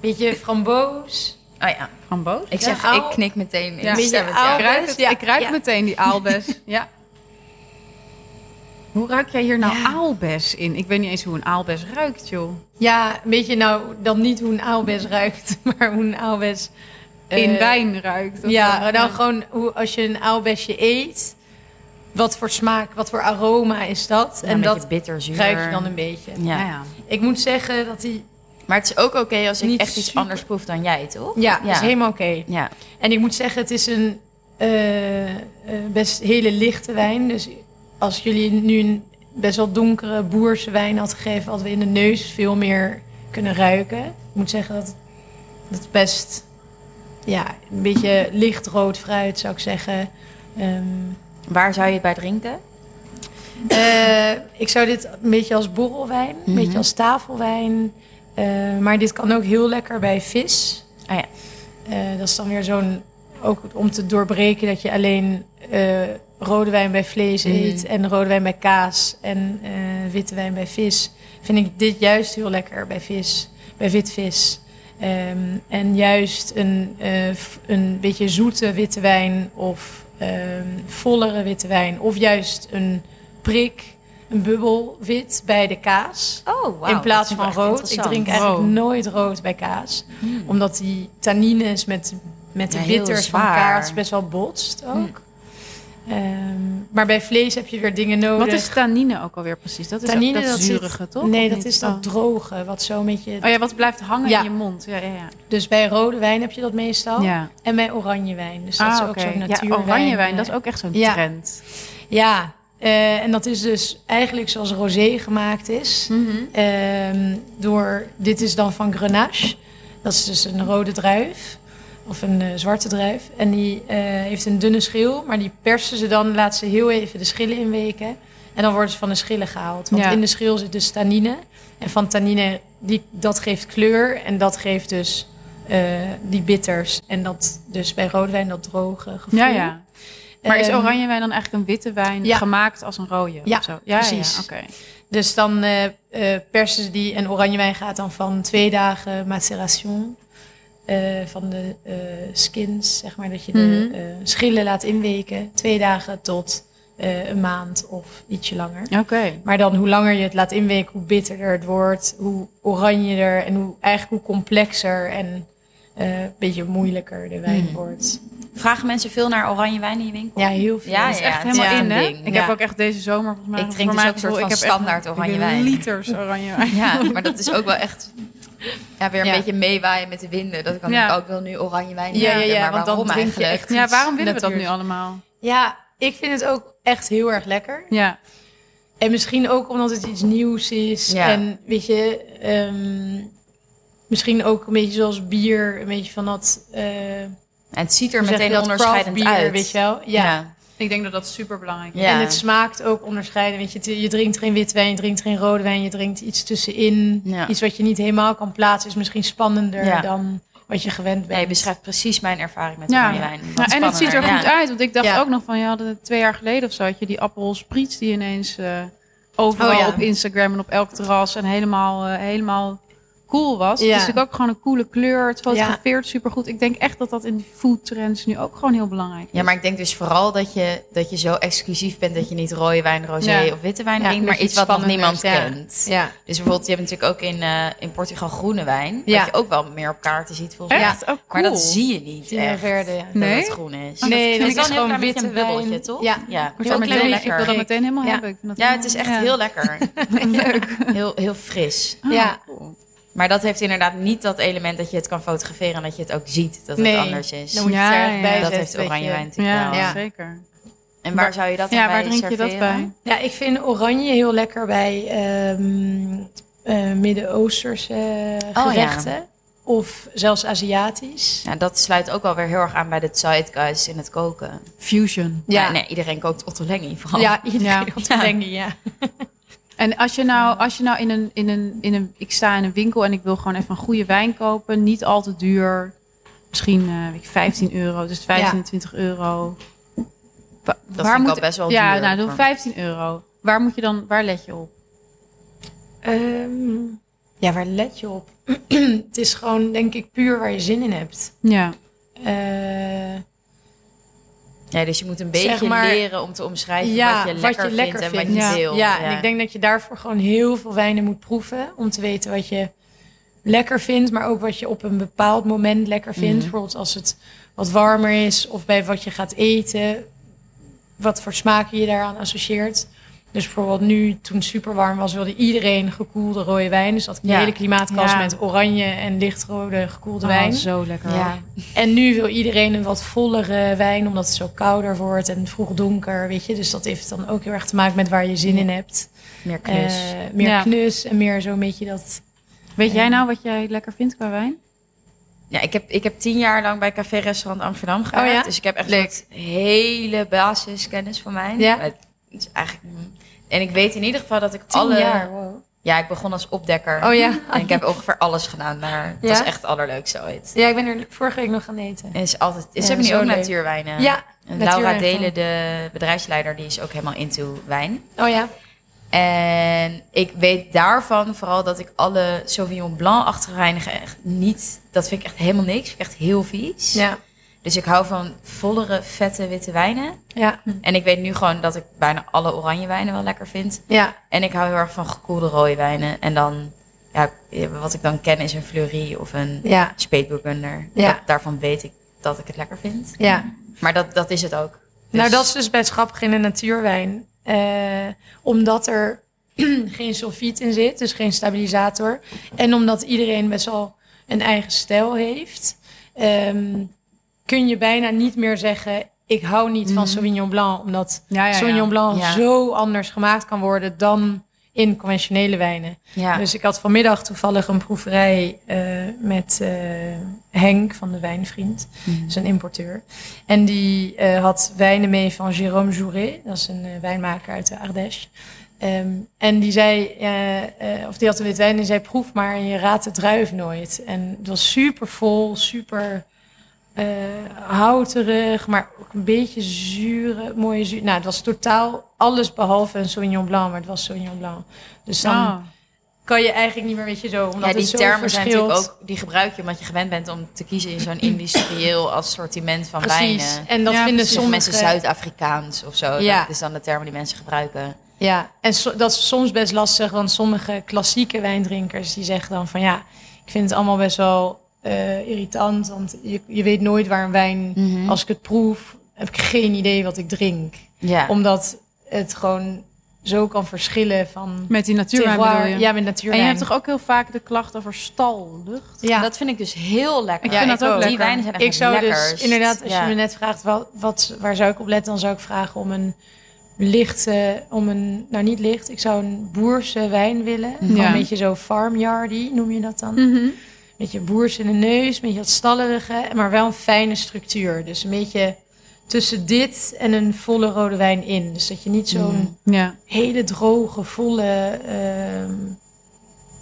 [SPEAKER 3] beetje framboos.
[SPEAKER 2] Oh ja. oh.
[SPEAKER 1] Framboos?
[SPEAKER 2] Ik
[SPEAKER 3] Ja,
[SPEAKER 2] zeg,
[SPEAKER 3] au.
[SPEAKER 2] ik knik meteen in
[SPEAKER 1] Ja.
[SPEAKER 2] stem
[SPEAKER 3] Beetje
[SPEAKER 2] met jou.
[SPEAKER 3] au.
[SPEAKER 1] Ik ruik,
[SPEAKER 3] Aalbes,
[SPEAKER 1] het,
[SPEAKER 3] ja,
[SPEAKER 1] ik ruik
[SPEAKER 3] ja.
[SPEAKER 1] meteen die aalbes. ja. Hoe ruik jij hier nou aalbes in? Ik weet niet eens hoe een aalbes ruikt, joh.
[SPEAKER 3] Ja, een beetje nou dan niet hoe een aalbes ruikt, maar hoe een aalbes... eh,
[SPEAKER 1] In wijn ruikt. of
[SPEAKER 3] Ja,
[SPEAKER 1] zo.
[SPEAKER 3] maar dan gewoon hoe, als je een aalbesje eet, wat voor smaak, wat voor aroma is dat?
[SPEAKER 2] Ja,
[SPEAKER 3] en
[SPEAKER 2] een beetje
[SPEAKER 3] dat
[SPEAKER 2] bitterzuur.
[SPEAKER 3] ruik je dan een beetje.
[SPEAKER 2] Ja.
[SPEAKER 1] Ja, ja.
[SPEAKER 3] Ik moet zeggen dat die...
[SPEAKER 2] Maar het is ook oké als ik
[SPEAKER 3] Niet
[SPEAKER 2] echt iets
[SPEAKER 3] super.
[SPEAKER 2] anders proef dan jij, toch?
[SPEAKER 3] Ja, dat
[SPEAKER 2] Ja.
[SPEAKER 3] is helemaal oké.
[SPEAKER 2] Ja.
[SPEAKER 3] En ik moet zeggen, het is een eh, eh, best hele lichte wijn. Dus als jullie nu een best wel donkere boerse wijn had gegeven, hadden we in de neus veel meer kunnen ruiken. Ik moet zeggen dat dat het best ja, een beetje lichtrood fruit zou ik zeggen. Ehm,
[SPEAKER 2] Waar zou je het bij drinken?
[SPEAKER 3] eh, ik zou dit een beetje als borrelwijn, een
[SPEAKER 2] Mhm.
[SPEAKER 3] beetje als tafelwijn. eh, maar dit kan ook heel lekker bij vis.
[SPEAKER 2] Ah ja.
[SPEAKER 3] Eh, dat is dan weer zo'n. Ook om te doorbreken dat je alleen eh, rode wijn bij vlees
[SPEAKER 2] Mhm.
[SPEAKER 3] eet. En rode wijn bij kaas. En eh, witte wijn bij vis. Vind ik dit juist heel lekker bij vis. Bij wit vis. Ehm, en juist een, eh, f- een beetje zoete witte wijn. Of ehm, vollere witte wijn. Of juist een prik. Een bubbelwit bij de kaas.
[SPEAKER 2] Oh, wauw.
[SPEAKER 3] in plaats
[SPEAKER 2] dat
[SPEAKER 3] van
[SPEAKER 2] is wel echt
[SPEAKER 3] rood. Ik drink
[SPEAKER 2] interessant.
[SPEAKER 3] eigenlijk
[SPEAKER 1] Wow.
[SPEAKER 3] nooit rood bij kaas
[SPEAKER 2] Hmm.
[SPEAKER 3] omdat die tannines met, met de
[SPEAKER 2] Ja, heel
[SPEAKER 3] bitters van
[SPEAKER 2] zwaar.
[SPEAKER 3] kaars best wel botst
[SPEAKER 1] Hmm.
[SPEAKER 3] ook. Ehm, maar bij vlees heb je weer dingen nodig.
[SPEAKER 1] Wat is tannine ook alweer precies? Dat is
[SPEAKER 3] Tannine,
[SPEAKER 1] ook dat,
[SPEAKER 3] dat zit-
[SPEAKER 1] zurige, toch?
[SPEAKER 3] Nee,
[SPEAKER 1] Of
[SPEAKER 3] dat
[SPEAKER 1] niet?
[SPEAKER 3] is
[SPEAKER 1] Oh.
[SPEAKER 3] dat droge, wat zo met je...
[SPEAKER 1] Oh ja, wat blijft hangen
[SPEAKER 3] Ja.
[SPEAKER 1] in je mond. Ja, ja, ja.
[SPEAKER 3] Dus bij rode wijn heb je dat meestal.
[SPEAKER 1] ja. Ah,
[SPEAKER 3] En bij oranje wijn. Dus dat is ook
[SPEAKER 1] oké.
[SPEAKER 3] zo'n
[SPEAKER 1] ja,
[SPEAKER 3] natuurwijn.
[SPEAKER 1] oranje wijn,
[SPEAKER 3] eh,
[SPEAKER 1] dat is ook echt zo'n
[SPEAKER 3] ja.
[SPEAKER 1] trend.
[SPEAKER 3] Ja, Eh, en dat is dus eigenlijk zoals rosé gemaakt is.
[SPEAKER 2] Mhm.
[SPEAKER 3] Ehm, door, dit is dan van Grenache. Dat is dus een rode druif. Of een eh, zwarte druif. En die eh, heeft een dunne schil. Maar die persen ze dan, laten ze heel even de schillen inweken. En dan worden ze van de schillen gehaald. Want
[SPEAKER 1] Ja.
[SPEAKER 3] in de schil zit dus tannine. En van tannine, die, dat geeft kleur. En dat geeft dus eh, die bitters. En dat dus bij roodwijn dat droge gevoel.
[SPEAKER 1] Ja, ja. Maar is
[SPEAKER 3] Ehm,
[SPEAKER 1] oranjewijn dan eigenlijk een witte wijn
[SPEAKER 3] ja.
[SPEAKER 1] gemaakt als een rode?
[SPEAKER 3] Ja,
[SPEAKER 1] of zo? ja
[SPEAKER 3] precies.
[SPEAKER 1] Ja, oké.
[SPEAKER 3] Dus dan eh eh, persen ze die en oranjewijn gaat dan van twee dagen maceration eh, van de eh, skins, zeg maar, dat je de
[SPEAKER 1] Mhm.
[SPEAKER 3] eh, schillen laat inweken. Twee dagen tot eh, een maand of ietsje langer.
[SPEAKER 1] Oké.
[SPEAKER 3] Maar dan hoe langer je het laat inweken, hoe bitterder het wordt, hoe oranjeder en hoe, eigenlijk hoe complexer en eh, een beetje moeilijker de wijn
[SPEAKER 2] Mhm.
[SPEAKER 3] wordt.
[SPEAKER 2] Vragen mensen veel naar oranje wijn in je winkel?
[SPEAKER 3] Ja, heel veel.
[SPEAKER 2] Ja,
[SPEAKER 1] Dat is
[SPEAKER 2] ja,
[SPEAKER 1] echt
[SPEAKER 2] het is
[SPEAKER 1] helemaal
[SPEAKER 2] echt
[SPEAKER 1] in,
[SPEAKER 2] een
[SPEAKER 1] hè?
[SPEAKER 2] ding,
[SPEAKER 1] Ik
[SPEAKER 2] ja.
[SPEAKER 1] heb ook echt deze zomer volgens mij...
[SPEAKER 2] Ik drink
[SPEAKER 1] voor
[SPEAKER 2] dus
[SPEAKER 1] mij
[SPEAKER 2] ook een soort
[SPEAKER 1] gevoel,
[SPEAKER 2] van
[SPEAKER 1] ik heb echt
[SPEAKER 2] standaard oranjewijn.
[SPEAKER 1] liters oranjewijn.
[SPEAKER 2] Ja, maar dat is ook wel echt ja, weer een
[SPEAKER 3] Ja.
[SPEAKER 2] beetje meewaaien met de winden. Dat ik dan
[SPEAKER 1] Ja.
[SPEAKER 2] denk, oh, ik wil nu oranje wijn
[SPEAKER 3] Ja, ja,
[SPEAKER 2] drinken,
[SPEAKER 3] ja,
[SPEAKER 2] maar
[SPEAKER 3] want dan
[SPEAKER 2] waarom
[SPEAKER 3] drink je
[SPEAKER 2] eigenlijk?
[SPEAKER 3] echt-
[SPEAKER 1] Ja, waarom willen we dat nu
[SPEAKER 3] Natuurlijk.
[SPEAKER 1] allemaal?
[SPEAKER 3] Ja, ik vind het ook echt heel erg lekker.
[SPEAKER 1] Ja.
[SPEAKER 3] En misschien ook omdat het iets nieuws is.
[SPEAKER 2] Ja.
[SPEAKER 3] En weet je, ehm, misschien ook een beetje zoals bier, een beetje van dat. eh,
[SPEAKER 2] En het ziet er
[SPEAKER 3] hoe zeg je
[SPEAKER 2] meteen
[SPEAKER 3] dat,
[SPEAKER 2] onderscheidend
[SPEAKER 3] craft beer,
[SPEAKER 2] uit.
[SPEAKER 3] Weet je wel? Ja.
[SPEAKER 1] Ik denk dat dat super belangrijk is.
[SPEAKER 2] Ja.
[SPEAKER 3] En het smaakt ook onderscheiden. Weet je, Het- je drinkt geen wit wijn, je drinkt geen rode wijn, je drinkt iets tussenin.
[SPEAKER 2] Ja.
[SPEAKER 3] Iets wat je niet helemaal kan plaatsen is misschien spannender
[SPEAKER 2] Ja.
[SPEAKER 3] dan wat je gewend
[SPEAKER 2] Nee,
[SPEAKER 3] bent.
[SPEAKER 2] je beschrijft precies mijn ervaring met
[SPEAKER 1] Ja.
[SPEAKER 2] oranje wijn. Wat
[SPEAKER 1] Ja, Nou, en het ziet er
[SPEAKER 2] spannender.
[SPEAKER 1] goed uit, want ik dacht
[SPEAKER 3] Ja.
[SPEAKER 1] ook nog van, je had het twee jaar geleden of zo, had je die Aperol Spritz die ineens eh, overal
[SPEAKER 3] Oh ja.
[SPEAKER 1] op Instagram en op elk terras en helemaal, eh, helemaal cool was.
[SPEAKER 3] Ja.
[SPEAKER 1] Het is natuurlijk ook gewoon een coole kleur, het fotografeert supergoed. Ik denk echt dat dat in die food trends nu ook gewoon heel belangrijk is.
[SPEAKER 2] Ja, maar ik denk dus vooral dat je, dat je zo exclusief bent dat je niet rode wijn, rosé
[SPEAKER 1] Ja.
[SPEAKER 2] of witte wijn
[SPEAKER 3] Ja,
[SPEAKER 2] drinkt,
[SPEAKER 3] dat
[SPEAKER 2] maar
[SPEAKER 3] je
[SPEAKER 2] iets wat nog niemand
[SPEAKER 3] spannenders, ja.
[SPEAKER 2] kent.
[SPEAKER 3] Ja.
[SPEAKER 2] Dus bijvoorbeeld, je hebt natuurlijk ook in, eh, in Portugal groene wijn,
[SPEAKER 3] Ja.
[SPEAKER 2] wat je ook wel meer op kaarten ziet volgens mij.
[SPEAKER 1] echt, oh, cool.
[SPEAKER 2] Maar dat zie je niet
[SPEAKER 3] Zie je
[SPEAKER 2] echt,
[SPEAKER 3] verder, ja.
[SPEAKER 1] Nee?
[SPEAKER 2] dat het groen is. Dus
[SPEAKER 1] Oh,
[SPEAKER 3] Nee,
[SPEAKER 1] vind ik
[SPEAKER 3] dat
[SPEAKER 2] wel een
[SPEAKER 3] is
[SPEAKER 2] heel
[SPEAKER 3] gewoon
[SPEAKER 2] klein beetje
[SPEAKER 3] witte
[SPEAKER 2] een bubbeltje,
[SPEAKER 3] wijn.
[SPEAKER 2] toch?
[SPEAKER 3] Ja.
[SPEAKER 2] Ja,
[SPEAKER 1] Wordt
[SPEAKER 2] heel
[SPEAKER 1] ook
[SPEAKER 2] klein,
[SPEAKER 1] meteen-
[SPEAKER 2] lekker.
[SPEAKER 1] Ik wil dat meteen helemaal
[SPEAKER 3] Ja.
[SPEAKER 1] hebben. Ik vind dat
[SPEAKER 2] ja, het is echt
[SPEAKER 1] helemaal-
[SPEAKER 2] heel lekker.
[SPEAKER 1] leuk.
[SPEAKER 2] Heel, heel fris.
[SPEAKER 3] Ja.
[SPEAKER 2] Maar dat heeft inderdaad niet dat element dat je het kan fotograferen en dat je het ook ziet dat het
[SPEAKER 3] Nee,
[SPEAKER 2] anders is.
[SPEAKER 3] Dan moet je
[SPEAKER 1] Ja,
[SPEAKER 3] het er erg
[SPEAKER 1] ja.
[SPEAKER 3] bij
[SPEAKER 2] dat
[SPEAKER 3] zetten,
[SPEAKER 2] heeft
[SPEAKER 3] weet je.
[SPEAKER 2] oranje wijn natuurlijk
[SPEAKER 1] Ja,
[SPEAKER 2] wel.
[SPEAKER 3] Ja.
[SPEAKER 1] zeker.
[SPEAKER 2] En waar zou je dat dan
[SPEAKER 1] ja,
[SPEAKER 2] bij
[SPEAKER 1] waar drink je dat
[SPEAKER 2] serveren?
[SPEAKER 1] bij?
[SPEAKER 3] Ja, ik vind oranje heel lekker bij ehm, eh, Midden-Oosterse eh,
[SPEAKER 2] ja.
[SPEAKER 3] gerechten. Of zelfs Aziatisch.
[SPEAKER 2] Ja, Nou, dat sluit ook wel weer heel erg aan bij de zeitgeist in het koken.
[SPEAKER 1] Fusion.
[SPEAKER 2] Ja, nee, iedereen kookt ottolenghi vooral.
[SPEAKER 3] ja iedereen
[SPEAKER 1] Ja.
[SPEAKER 3] had ja. denken, ja.
[SPEAKER 1] En als je nou, als je nou in, een, in, een, in een. Ik sta in een winkel en ik wil gewoon even een goede wijn kopen. Niet al te duur. Misschien eh, weet ik, 15 euro. Dus 15, 20 euro. Wa-
[SPEAKER 2] Dat vind ik al best wel
[SPEAKER 1] Ja,
[SPEAKER 2] duur.
[SPEAKER 1] nou, dan
[SPEAKER 2] maar-
[SPEAKER 1] 15 euro. Waar moet je dan, waar let je op?
[SPEAKER 3] Ehm, ja, waar let je op? het is gewoon, denk ik, puur waar je zin in hebt.
[SPEAKER 1] Ja,
[SPEAKER 3] Eh,
[SPEAKER 2] Ja, dus je moet een beetje
[SPEAKER 3] Zeg maar-
[SPEAKER 2] leren om te omschrijven
[SPEAKER 3] Ja,
[SPEAKER 2] wat je
[SPEAKER 3] wat
[SPEAKER 2] lekker
[SPEAKER 3] je lekker
[SPEAKER 2] vindt en wat
[SPEAKER 3] vindt.
[SPEAKER 2] je
[SPEAKER 1] Ja.
[SPEAKER 2] wil.
[SPEAKER 3] ja, en ik denk dat je daarvoor gewoon heel veel wijnen moet proeven. Om te weten wat je lekker vindt, maar ook wat je op een bepaald moment lekker vindt.
[SPEAKER 2] Mhm.
[SPEAKER 3] Bijvoorbeeld als het wat warmer is of bij wat je gaat eten. Wat voor smaken je daaraan associeert. Dus bijvoorbeeld nu, toen het super warm was, wilde iedereen gekoelde rode wijn. Dus dat ik een
[SPEAKER 2] Ja.
[SPEAKER 3] hele klimaatkast
[SPEAKER 1] Ja.
[SPEAKER 3] met oranje en lichtrode gekoelde
[SPEAKER 1] Oh,
[SPEAKER 3] wijn.
[SPEAKER 1] zo lekker.
[SPEAKER 2] Ja.
[SPEAKER 3] En nu wil iedereen een wat vollere wijn, omdat het zo kouder wordt en vroeg donker, weet je. Dus dat heeft dan ook heel erg te maken met waar je zin in hebt.
[SPEAKER 2] meer knus.
[SPEAKER 3] Eh, meer
[SPEAKER 1] Ja.
[SPEAKER 3] knus en meer zo'n beetje dat...
[SPEAKER 1] Weet jij nou wat jij lekker vindt qua wijn?
[SPEAKER 2] Ja, ik heb, ik heb tien jaar lang bij Café Restaurant Amsterdam gewerkt.
[SPEAKER 3] Oh, ja?
[SPEAKER 2] Dus ik heb echt
[SPEAKER 3] Leuk.
[SPEAKER 2] een soort hele basiskennis van mij.
[SPEAKER 3] Ja.
[SPEAKER 2] Maar Het is eigenlijk... mm. En ik weet in ieder geval dat ik
[SPEAKER 3] Tien
[SPEAKER 2] alle...
[SPEAKER 3] jaar, wow.
[SPEAKER 2] Ja, ik begon als opdekker.
[SPEAKER 3] Oh ja.
[SPEAKER 2] En ik heb ongever alles gedaan, maar het
[SPEAKER 3] Ja?
[SPEAKER 2] was echt het allerleukste ooit.
[SPEAKER 3] Ja, ik ben er vorige week nog gaan eten.
[SPEAKER 2] En is altijd, ze
[SPEAKER 3] Ja,
[SPEAKER 2] hebben nu
[SPEAKER 3] zo
[SPEAKER 2] ook
[SPEAKER 3] leuk.
[SPEAKER 2] natuurwijnen.
[SPEAKER 3] Ja,
[SPEAKER 2] En Laura
[SPEAKER 3] natuurwijn.
[SPEAKER 2] Delen, de bedrijfsleider, die is ook helemaal into wijn.
[SPEAKER 3] Oh ja.
[SPEAKER 2] En ik weet daarvan vooral dat ik alle Sauvignon Blanc-achtige wijnen echt niet... Dat vind ik echt helemaal niks. Vind ik echt heel vies.
[SPEAKER 3] Ja.
[SPEAKER 2] Dus ik hou van vollere, vette witte wijnen.
[SPEAKER 3] Ja.
[SPEAKER 2] En ik weet nu gewoon dat ik bijna alle oranje wijnen wel lekker vind.
[SPEAKER 3] Ja.
[SPEAKER 2] En ik hou heel erg van gekoelde rode wijnen. En dan, ja, wat ik dan ken is een fleurie of een
[SPEAKER 3] Ja.
[SPEAKER 2] speetburgunder.
[SPEAKER 3] Ja.
[SPEAKER 2] Dat- daarvan weet ik dat ik het lekker vind.
[SPEAKER 3] Ja.
[SPEAKER 2] Maar dat, dat is het ook. Dus-
[SPEAKER 3] Nou, dat is dus best grappig in een natuurwijn. Eh, omdat er geen sulfiet in zit, dus geen stabilisator. En omdat iedereen best wel een eigen stijl heeft, ehm, kun je bijna niet meer zeggen: ik hou niet van Sauvignon Blanc, omdat
[SPEAKER 1] Ja, ja, ja.
[SPEAKER 3] Sauvignon Blanc
[SPEAKER 2] Mhm. Ah Ja.
[SPEAKER 3] zo anders gemaakt kan worden dan in conventionele wijnen.
[SPEAKER 2] Ja.
[SPEAKER 3] Dus ik had vanmiddag toevallig een proeverij eh, met eh, Henk van de Wijnvriend,
[SPEAKER 2] Mhm.
[SPEAKER 3] zijn importeur. En die eh, had wijnen mee van Jérôme Jouret, dat is een eh, wijnmaker uit de Ardèche. Ehm, en die zei, eh, eh, of die had een wit wijn en zei proef maar en je raadt de druif nooit. En het was super vol, super eh, houterig, maar ook een beetje zure, mooie zuur. Nou, het was totaal alles behalve een Sauvignon Blanc, maar het was Sauvignon Blanc. Dus dan
[SPEAKER 1] Ah.
[SPEAKER 3] kan je eigenlijk niet meer, weet je, zo. Omdat
[SPEAKER 2] Ja, die
[SPEAKER 3] het zo
[SPEAKER 2] termen
[SPEAKER 3] verschilt.
[SPEAKER 2] zijn natuurlijk ook, die gebruik je omdat je gewend bent om te kiezen in zo'n industrieel assortiment van
[SPEAKER 3] Precies.
[SPEAKER 2] wijnen.
[SPEAKER 3] En dat
[SPEAKER 1] Ja,
[SPEAKER 3] vinden
[SPEAKER 1] precies.
[SPEAKER 2] Sommige
[SPEAKER 3] sommige
[SPEAKER 2] mensen Zuid-Afrikaans of zo.
[SPEAKER 3] Ja.
[SPEAKER 2] Dat is dan de termen die mensen gebruiken.
[SPEAKER 3] Ja, en so- dat is soms best lastig, want sommige klassieke wijndrinkers die zeggen dan van ja, ik vind het allemaal best wel eh, irritant, want je, je weet nooit waar een wijn,
[SPEAKER 2] Mhm.
[SPEAKER 3] als ik het proef, heb ik geen idee wat ik drink.
[SPEAKER 2] Ja.
[SPEAKER 3] Omdat het gewoon zo kan verschillen van
[SPEAKER 1] Met die natuurwijn
[SPEAKER 3] terroir.
[SPEAKER 1] bedoel je?
[SPEAKER 3] Ja, met
[SPEAKER 1] en
[SPEAKER 3] natuurwijn.
[SPEAKER 1] je hebt toch ook heel vaak de klacht over stallucht?
[SPEAKER 3] ja.
[SPEAKER 2] Dat vind ik dus heel lekker.
[SPEAKER 1] Ik vind dat ook
[SPEAKER 2] Die
[SPEAKER 1] lekker.
[SPEAKER 2] wijnen zijn echt
[SPEAKER 3] ik zou
[SPEAKER 2] lekkers.
[SPEAKER 3] dus inderdaad, als
[SPEAKER 2] Ja.
[SPEAKER 3] je me net vraagt wat, wat, waar zou ik op letten, dan zou ik vragen om een lichte, om een, nou niet licht, ik zou een boerse wijn willen. Gewoon
[SPEAKER 1] Ja.
[SPEAKER 3] Een beetje zo farmyardy noem je dat dan. Beetje boers in de neus, een beetje dat stallerige, maar wel een fijne structuur. Dus een beetje tussen dit en een volle rode wijn in. Dus dat je niet zo'n
[SPEAKER 2] Mm.
[SPEAKER 1] Ja.
[SPEAKER 3] hele droge, volle ehm,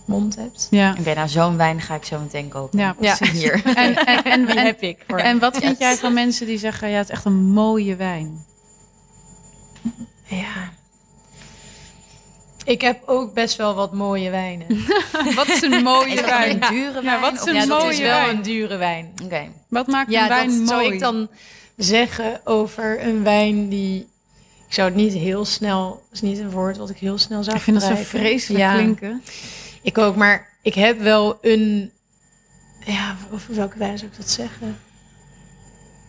[SPEAKER 3] mond hebt.
[SPEAKER 1] ja.
[SPEAKER 2] Oké, nou zo'n wijn ga ik zo meteen kopen.
[SPEAKER 1] Ja,
[SPEAKER 3] Ja.
[SPEAKER 1] precies.
[SPEAKER 2] Hier.
[SPEAKER 1] En, en, en,
[SPEAKER 3] Die
[SPEAKER 1] en,
[SPEAKER 3] heb ik. hoor.
[SPEAKER 1] en wat vind jij van mensen die zeggen, ja, het is echt een mooie wijn?
[SPEAKER 3] Ja. Ik heb ook best wel wat mooie wijnen.
[SPEAKER 1] Wat is een
[SPEAKER 2] Is
[SPEAKER 1] mooie
[SPEAKER 2] dat dan een
[SPEAKER 1] wijn?
[SPEAKER 2] dure wijn?
[SPEAKER 1] wat is
[SPEAKER 2] Of-
[SPEAKER 1] een
[SPEAKER 3] ja, dat
[SPEAKER 1] mooie
[SPEAKER 3] is wel
[SPEAKER 1] wijn.
[SPEAKER 3] een dure wijn.
[SPEAKER 2] Oké.
[SPEAKER 1] Wat maakt
[SPEAKER 3] Ja,
[SPEAKER 1] een wijn
[SPEAKER 3] dat
[SPEAKER 1] mooi?
[SPEAKER 3] zou ik dan zeggen over een wijn die... Ik zou het niet heel snel... is niet een woord wat ik heel snel zou
[SPEAKER 1] Ik vind dat zo
[SPEAKER 3] gebruiken.
[SPEAKER 1] vreselijk
[SPEAKER 3] Ja,
[SPEAKER 1] klinken.
[SPEAKER 3] Ik ook, maar ik heb wel een... Ja, over welke wijn zou ik dat zeggen?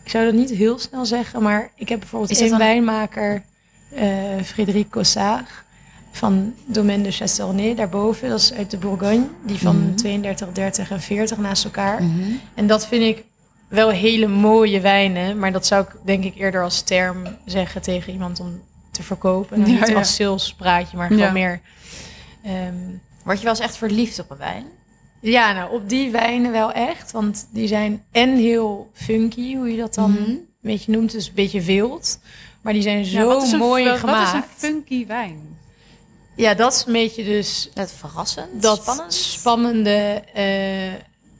[SPEAKER 3] Ik zou dat niet heel snel zeggen, maar ik heb
[SPEAKER 2] Is
[SPEAKER 3] bijvoorbeeld
[SPEAKER 2] dat
[SPEAKER 3] een
[SPEAKER 2] dan-
[SPEAKER 3] wijnmaker, eh Frédéric Cossard, van Domaine de Chastelnay daarboven. Dat is uit de Bourgogne, die van
[SPEAKER 2] Mhm.
[SPEAKER 3] 32, 30 en 40 naast elkaar.
[SPEAKER 2] Mhm.
[SPEAKER 3] En dat vind ik wel hele mooie wijnen, maar dat zou ik denk ik eerder als term zeggen tegen iemand om te verkopen. En
[SPEAKER 1] Ja,
[SPEAKER 3] niet
[SPEAKER 1] ja.
[SPEAKER 3] als salespraatje, maar gewoon
[SPEAKER 1] Ja.
[SPEAKER 3] meer... ehm,
[SPEAKER 2] Word je wel eens echt verliefd op een wijn?
[SPEAKER 3] ja, nou, op die wijnen wel echt. Want die zijn en heel funky, hoe je dat dan
[SPEAKER 2] Mhm.
[SPEAKER 3] een beetje noemt. Dus een beetje wild. Maar die zijn
[SPEAKER 1] Ja,
[SPEAKER 3] zo
[SPEAKER 1] wat is een-
[SPEAKER 3] mooi
[SPEAKER 1] wat-
[SPEAKER 3] gemaakt.
[SPEAKER 1] Wat is een funky wijn?
[SPEAKER 3] ja, dat is een beetje dus
[SPEAKER 2] Dat verrassend?
[SPEAKER 3] dat
[SPEAKER 2] spannend?
[SPEAKER 3] spannende... eh,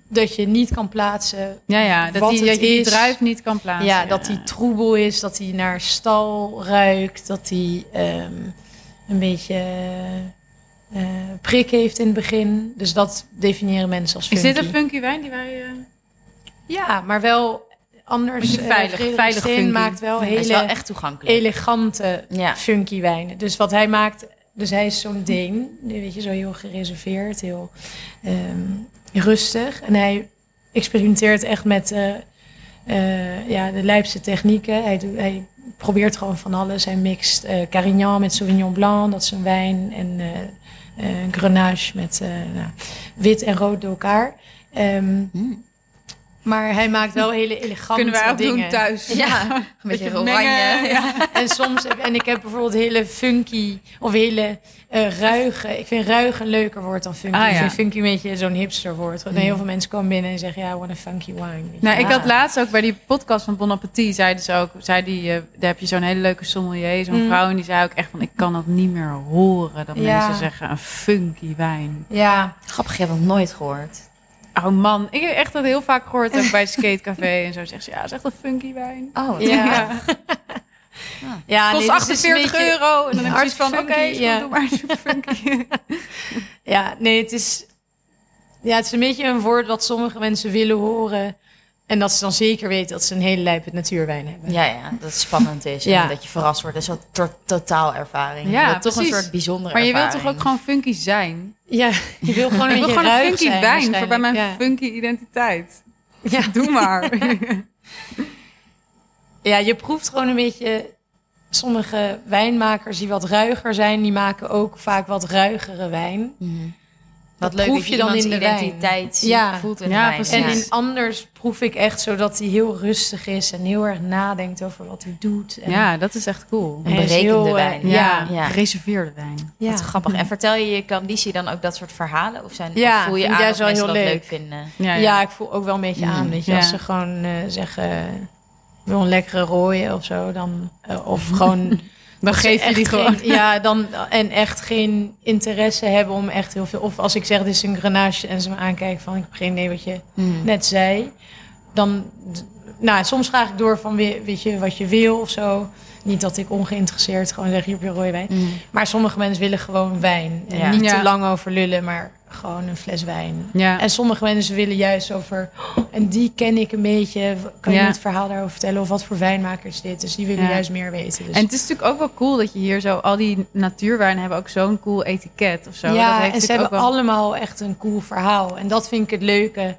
[SPEAKER 3] dat je niet kan plaatsen.
[SPEAKER 1] Ja, ja dat,
[SPEAKER 3] Wat
[SPEAKER 1] die,
[SPEAKER 3] het
[SPEAKER 1] dat je die
[SPEAKER 3] is.
[SPEAKER 1] druif niet kan plaatsen.
[SPEAKER 3] ja, dat die troebel is. Dat die naar stal ruikt. Dat die ehm, een beetje... eh, prik heeft in het begin. Dus dat definiëren mensen als
[SPEAKER 1] Is
[SPEAKER 3] funky.
[SPEAKER 1] dit een funky wijn die wij... eh,
[SPEAKER 3] Ja, maar wel
[SPEAKER 1] Een
[SPEAKER 3] anders.
[SPEAKER 1] beetje veilig-
[SPEAKER 3] eh, Frederik
[SPEAKER 1] veilig
[SPEAKER 3] Steen
[SPEAKER 1] funky.
[SPEAKER 3] maakt wel
[SPEAKER 2] Hij
[SPEAKER 3] hele
[SPEAKER 2] is wel echt toegankelijk.
[SPEAKER 3] elegante
[SPEAKER 2] Ja.
[SPEAKER 3] funky wijnen. Dus wat hij maakt, dus hij is zo'n Deen, die weet je, zo heel gereserveerd, heel ehm, rustig. En hij experimenteert echt met eh, eh, ja, de lijpste technieken. Hij, doet- hij probeert gewoon van alles. Hij mixt eh, Carignan met Sauvignon Blanc, dat is een wijn, en eh, eh, Grenache met eh, nou, wit en rood door elkaar. Ehm,
[SPEAKER 2] Mm.
[SPEAKER 3] Maar hij maakt wel hele elegante
[SPEAKER 1] kunnen wij ook
[SPEAKER 3] dingen.
[SPEAKER 1] doen thuis.
[SPEAKER 2] Ja, een beetje
[SPEAKER 1] Beetje
[SPEAKER 2] oranje.
[SPEAKER 1] mengen, ja.
[SPEAKER 3] En soms heb, en ik heb bijvoorbeeld hele funky of hele eh, ruige. Ik vind ruig een leuker woord dan funky.
[SPEAKER 1] Ah, ja. Mm.
[SPEAKER 3] Ik vind funky een beetje zo'n hipsterwoord. Want heel veel mensen komen binnen en zeggen, ja, I want a funky wine. Weet je.
[SPEAKER 1] Nou, ik
[SPEAKER 2] Ja.
[SPEAKER 1] had laatst ook bij die podcast van Bon Appetit, zeiden ze ook, zei die, eh, daar heb je zo'n hele leuke sommelier, zo'n
[SPEAKER 3] Mm.
[SPEAKER 1] vrouw, en die zei ook echt van, ik kan dat niet meer horen, dat
[SPEAKER 3] Ja.
[SPEAKER 1] mensen zeggen, een funky wijn.
[SPEAKER 3] ja,
[SPEAKER 2] Grappig, je hebt nog nooit gehoord.
[SPEAKER 1] Oh man, ik heb echt dat heel vaak gehoord, ook bij Skatecafé en zo, zegt ze, ja, het is echt een funky wijn.
[SPEAKER 2] Oh,
[SPEAKER 3] Ja. ja
[SPEAKER 1] Kost
[SPEAKER 3] nee, dit is een
[SPEAKER 1] 48
[SPEAKER 3] beetje-
[SPEAKER 1] euro. En dan heb je zoiets van, oké,
[SPEAKER 3] hartstikke funky,
[SPEAKER 1] is
[SPEAKER 3] ja.
[SPEAKER 1] goed, doe maar super funky.
[SPEAKER 3] Ja, nee, het is, ja, het is een beetje een woord wat sommige mensen willen horen. En dat ze dan zeker weten dat ze een hele lijpe natuurwijn hebben.
[SPEAKER 2] Ja, ja, dat het spannend is.
[SPEAKER 3] Ja.
[SPEAKER 2] En dat je verrast wordt. Dat is wel to- totaal ervaring.
[SPEAKER 1] Ja,
[SPEAKER 2] je wilt toch een
[SPEAKER 1] precies.
[SPEAKER 2] soort bijzondere
[SPEAKER 1] maar je wilt
[SPEAKER 2] ervaring.
[SPEAKER 1] toch ook gewoon funky zijn?
[SPEAKER 3] Ja, je wil gewoon een
[SPEAKER 1] Ik wil
[SPEAKER 3] beetje
[SPEAKER 1] gewoon een
[SPEAKER 3] ruig
[SPEAKER 1] funky
[SPEAKER 3] zijn
[SPEAKER 1] wijn voor bij mijn
[SPEAKER 3] waarschijnlijk, ja.
[SPEAKER 1] funky identiteit.
[SPEAKER 3] Ja.
[SPEAKER 1] Doe maar.
[SPEAKER 3] Ja, je proeft gewoon een beetje. Sommige wijnmakers die wat ruiger zijn, die maken ook vaak wat ruigere wijn.
[SPEAKER 2] Mhm. Wat
[SPEAKER 3] Dat
[SPEAKER 2] leuk
[SPEAKER 3] proef
[SPEAKER 2] dat
[SPEAKER 3] je dan
[SPEAKER 2] iemands
[SPEAKER 3] in de wijn.
[SPEAKER 2] identiteit
[SPEAKER 3] Ja.
[SPEAKER 2] voelt in
[SPEAKER 1] Ja,
[SPEAKER 2] de wijn.
[SPEAKER 1] precies.
[SPEAKER 3] En
[SPEAKER 2] Ja.
[SPEAKER 3] in anders proef ik echt zodat hij heel rustig is en heel erg nadenkt over wat hij doet. En
[SPEAKER 1] Ja, dat is echt cool.
[SPEAKER 3] hij is
[SPEAKER 2] berekende
[SPEAKER 3] eh,
[SPEAKER 2] wijn.
[SPEAKER 3] Ja.
[SPEAKER 2] Ja.
[SPEAKER 1] gereserveerde wijn.
[SPEAKER 3] ja.
[SPEAKER 2] Wat grappig. En vertel je je Candice dan ook dat soort verhalen? Of, zijn,
[SPEAKER 3] Ja,
[SPEAKER 2] of voel je
[SPEAKER 3] vind ik
[SPEAKER 2] aan
[SPEAKER 3] juist
[SPEAKER 2] dat
[SPEAKER 3] wel
[SPEAKER 2] mensen
[SPEAKER 3] heel
[SPEAKER 2] dat leuk,
[SPEAKER 3] leuk.
[SPEAKER 2] vinden?
[SPEAKER 3] Ja, ik voel ook wel een beetje aan. Weet je,
[SPEAKER 1] Ja.
[SPEAKER 3] als ze gewoon eh, zeggen, "Ik wil een lekkere rooien of zo, dan. eh, of gewoon.
[SPEAKER 1] Dan
[SPEAKER 3] ze
[SPEAKER 1] geef je
[SPEAKER 3] echt
[SPEAKER 1] die gewoon.
[SPEAKER 3] geen- ja, dan. En echt geen interesse hebben om echt heel veel. Of als ik zeg, dit is een grenage en ze me aankijken van, ik heb geen idee wat je
[SPEAKER 1] Hmm.
[SPEAKER 3] net zei. Dan. d- Nou, soms vraag ik door van, "We- weet je wat je wil of zo. Niet dat ik ongeïnteresseerd gewoon zeg, hier heb je rode wijn. Maar sommige mensen willen gewoon wijn. En
[SPEAKER 2] Ja.
[SPEAKER 3] niet
[SPEAKER 1] Hmm. Ja.
[SPEAKER 3] te lang over lullen, maar gewoon een fles wijn.
[SPEAKER 1] Ja.
[SPEAKER 3] En sommige mensen willen juist over. "Oh, En die ken ik een beetje. Kan je
[SPEAKER 1] Ja.
[SPEAKER 3] me het verhaal daarover vertellen? Of wat voor wijnmaker is dit? Dus die willen
[SPEAKER 1] Ja.
[SPEAKER 3] juist meer weten. Dus.
[SPEAKER 1] En het is natuurlijk ook wel cool dat je hier zo... Al die natuurwijnen hebben ook zo'n cool etiket of zo. dat
[SPEAKER 3] ja,
[SPEAKER 1] heeft
[SPEAKER 3] en ze
[SPEAKER 1] natuurlijk
[SPEAKER 3] hebben
[SPEAKER 1] ook wel-
[SPEAKER 3] allemaal echt een cool verhaal. En dat vind ik het leuke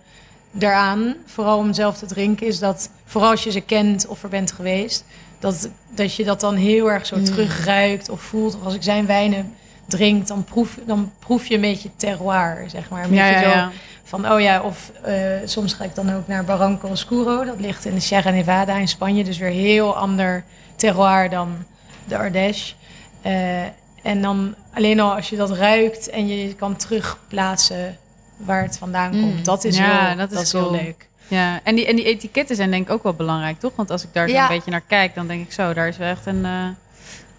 [SPEAKER 3] daaraan. Vooral om zelf te drinken. Is dat vooral als je ze kent of er bent geweest. Dat, dat je dat dan heel erg
[SPEAKER 1] Hmm.
[SPEAKER 3] zo terugruikt of voelt. Of als ik zijn wijnen drink, dan proef, dan proef je een beetje terroir, zeg maar. Een
[SPEAKER 1] Ja,
[SPEAKER 3] beetje
[SPEAKER 1] ja,
[SPEAKER 3] zo
[SPEAKER 1] ja.
[SPEAKER 3] Van, oh ja, of eh, soms ga ik dan ook naar Barranco Oscuro. Dat ligt in de Sierra Nevada in Spanje. Dus weer heel ander terroir dan de Ardèche. Eh, en dan alleen al als je dat ruikt en je kan terugplaatsen waar het vandaan
[SPEAKER 2] Mm.
[SPEAKER 3] komt. Dat is,
[SPEAKER 1] Ja,
[SPEAKER 3] heel,
[SPEAKER 1] dat is
[SPEAKER 3] heel
[SPEAKER 1] cool.
[SPEAKER 3] leuk.
[SPEAKER 1] Ja, en die, en die etiketten zijn denk ik ook wel belangrijk, toch? Want als ik daar zo
[SPEAKER 2] Ja.
[SPEAKER 1] een beetje naar kijk, dan denk ik zo, daar is wel echt een eh,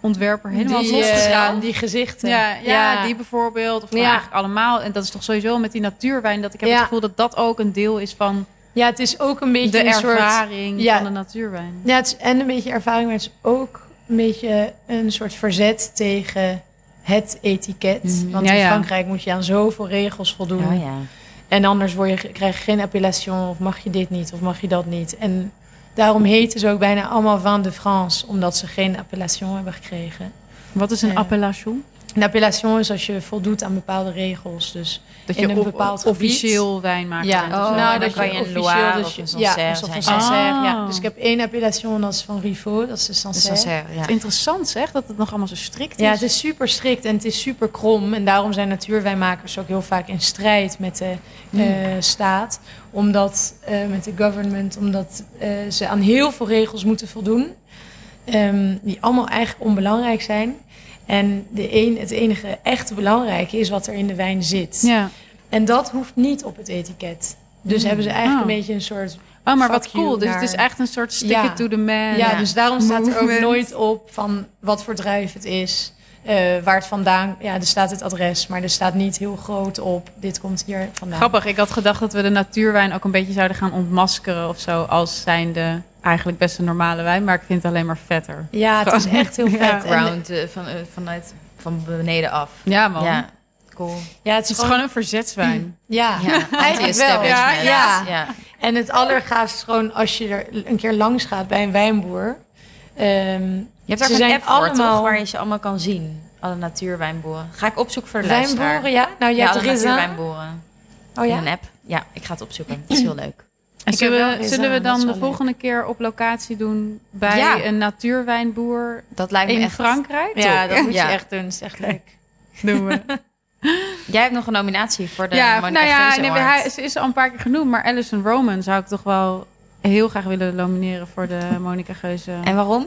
[SPEAKER 1] ontwerper helemaal
[SPEAKER 3] die,
[SPEAKER 1] losgegaan.
[SPEAKER 3] eh, die gezichten.
[SPEAKER 1] Ja, ja, die bijvoorbeeld. Of nou
[SPEAKER 3] Ja.
[SPEAKER 1] eigenlijk allemaal. En dat is toch sowieso met die natuurwijn. Dat ik heb
[SPEAKER 3] Ja.
[SPEAKER 1] het gevoel dat dat ook een deel is van
[SPEAKER 3] ja, het is ook een beetje
[SPEAKER 1] de
[SPEAKER 3] een soort...
[SPEAKER 1] ervaring
[SPEAKER 3] ja.
[SPEAKER 1] van de natuurwijn.
[SPEAKER 3] Ja, het is en een beetje ervaring, maar het is ook een beetje een soort verzet tegen het etiket.
[SPEAKER 1] Mhm.
[SPEAKER 3] Want
[SPEAKER 1] Ja,
[SPEAKER 3] in
[SPEAKER 1] ja.
[SPEAKER 3] Frankrijk moet je aan zoveel regels voldoen.
[SPEAKER 2] Oh ja.
[SPEAKER 3] En anders word je, krijg je geen appellation of mag je dit niet of mag je dat niet. En daarom heten ze ook bijna allemaal vin de France, omdat ze geen appellation hebben gekregen.
[SPEAKER 1] Wat is een
[SPEAKER 3] Ja.
[SPEAKER 1] appellation?
[SPEAKER 3] Een appellation is als je voldoet aan bepaalde regels. Dus
[SPEAKER 1] Dat
[SPEAKER 3] In
[SPEAKER 1] je
[SPEAKER 3] een
[SPEAKER 1] op-
[SPEAKER 3] bepaald gebied.
[SPEAKER 1] officieel wijn maakt.
[SPEAKER 3] Ja,
[SPEAKER 1] bent
[SPEAKER 2] Oh,
[SPEAKER 1] of zo.
[SPEAKER 2] nou,
[SPEAKER 1] En
[SPEAKER 2] dan
[SPEAKER 1] dat
[SPEAKER 2] kan je een Loire of een Sancerre
[SPEAKER 3] dus Ja, of
[SPEAKER 2] zijn.
[SPEAKER 3] een Sancerre, ja.
[SPEAKER 1] Oh.
[SPEAKER 3] Dus ik heb één appellation, dat is van Rivaux, dat is de
[SPEAKER 2] Dus
[SPEAKER 3] Sancerre.
[SPEAKER 2] dan zeggen we, ja.
[SPEAKER 1] Interessant zeg, dat het nog allemaal zo strikt is.
[SPEAKER 3] Ja, dus het is super strikt en het is super krom. En daarom zijn natuurwijnmakers ook heel vaak in strijd met de
[SPEAKER 1] Mm.
[SPEAKER 3] eh, staat. Omdat, eh, met de government, omdat eh, ze aan heel veel regels moeten voldoen. ehm, die allemaal eigenlijk onbelangrijk zijn. En de een, het enige echt belangrijke is wat er in de wijn zit.
[SPEAKER 1] Ja.
[SPEAKER 3] En dat hoeft niet op het etiket. Dus hebben ze eigenlijk
[SPEAKER 1] Oh.
[SPEAKER 3] een beetje een soort...
[SPEAKER 1] Oh, maar wat
[SPEAKER 3] Fuck you
[SPEAKER 1] cool. Dus het
[SPEAKER 3] naar-
[SPEAKER 1] is echt een soort stick
[SPEAKER 3] Ja.
[SPEAKER 1] it to the man.
[SPEAKER 3] ja, dus daarom staat er ook
[SPEAKER 1] Movement.
[SPEAKER 3] nooit op van wat voor druif het is. eh, waar het vandaan... Ja, er staat het adres, maar er staat niet heel groot op. Dit komt hier vandaan.
[SPEAKER 1] Grappig, ik had gedacht dat we de natuurwijn ook een beetje zouden gaan ontmaskeren of zo. Als zijnde eigenlijk best een normale wijn, maar ik vind het alleen maar vetter.
[SPEAKER 3] Ja, het is echt heel vet.
[SPEAKER 1] Ja.
[SPEAKER 3] En-
[SPEAKER 2] Background eh, van, eh, vanuit van beneden af.
[SPEAKER 1] Ja man,
[SPEAKER 2] Ja, cool.
[SPEAKER 3] ja, het
[SPEAKER 1] het
[SPEAKER 3] is
[SPEAKER 1] is
[SPEAKER 3] gewoon...
[SPEAKER 1] gewoon een verzetswijn.
[SPEAKER 3] Ja,
[SPEAKER 2] Ja,
[SPEAKER 3] eigenlijk wel.
[SPEAKER 2] anti-establishment.
[SPEAKER 3] Ja, ja.
[SPEAKER 2] ja.
[SPEAKER 3] En het allergaafste is gewoon als je er een keer langs gaat bij een wijnboer. Ehm
[SPEAKER 2] Je hebt daar
[SPEAKER 3] Ze
[SPEAKER 2] ook een
[SPEAKER 3] zijn
[SPEAKER 2] app voor, toch?
[SPEAKER 3] allemaal-
[SPEAKER 2] Waar je ze allemaal kan zien. Alle natuurwijnboeren. Ga ik opzoeken voor de luisteraar.
[SPEAKER 3] wijnboeren, ja?
[SPEAKER 1] Oh,
[SPEAKER 3] Nou, je
[SPEAKER 2] Ja,
[SPEAKER 3] hebt
[SPEAKER 2] alle
[SPEAKER 3] er
[SPEAKER 2] natuurwijnboeren.
[SPEAKER 3] Oh ja?
[SPEAKER 2] In een app. Ja, ik ga het opzoeken. Het is heel leuk.
[SPEAKER 1] En
[SPEAKER 3] Ik heb wel
[SPEAKER 1] zullen, we,
[SPEAKER 3] gezien,
[SPEAKER 1] zullen we
[SPEAKER 3] dat is
[SPEAKER 1] dan de
[SPEAKER 3] wel leuk.
[SPEAKER 1] volgende keer op locatie doen bij
[SPEAKER 2] Ja.
[SPEAKER 1] een natuurwijnboer
[SPEAKER 2] Dat lijkt me
[SPEAKER 1] in
[SPEAKER 2] echt...
[SPEAKER 1] Frankrijk?
[SPEAKER 3] Ja, dat moet
[SPEAKER 2] Ja.
[SPEAKER 3] je echt doen. Dat is echt leuk.
[SPEAKER 1] Doen we.
[SPEAKER 2] Jij hebt nog een nominatie voor de
[SPEAKER 1] ja,
[SPEAKER 2] Monica
[SPEAKER 1] nou ja,
[SPEAKER 2] Geuze
[SPEAKER 1] nee,
[SPEAKER 2] Award.
[SPEAKER 1] hij, ze is al een paar keer genoemd, maar Alison Roman zou ik toch wel heel graag willen nomineren voor de Monica Geuze.
[SPEAKER 2] En waarom?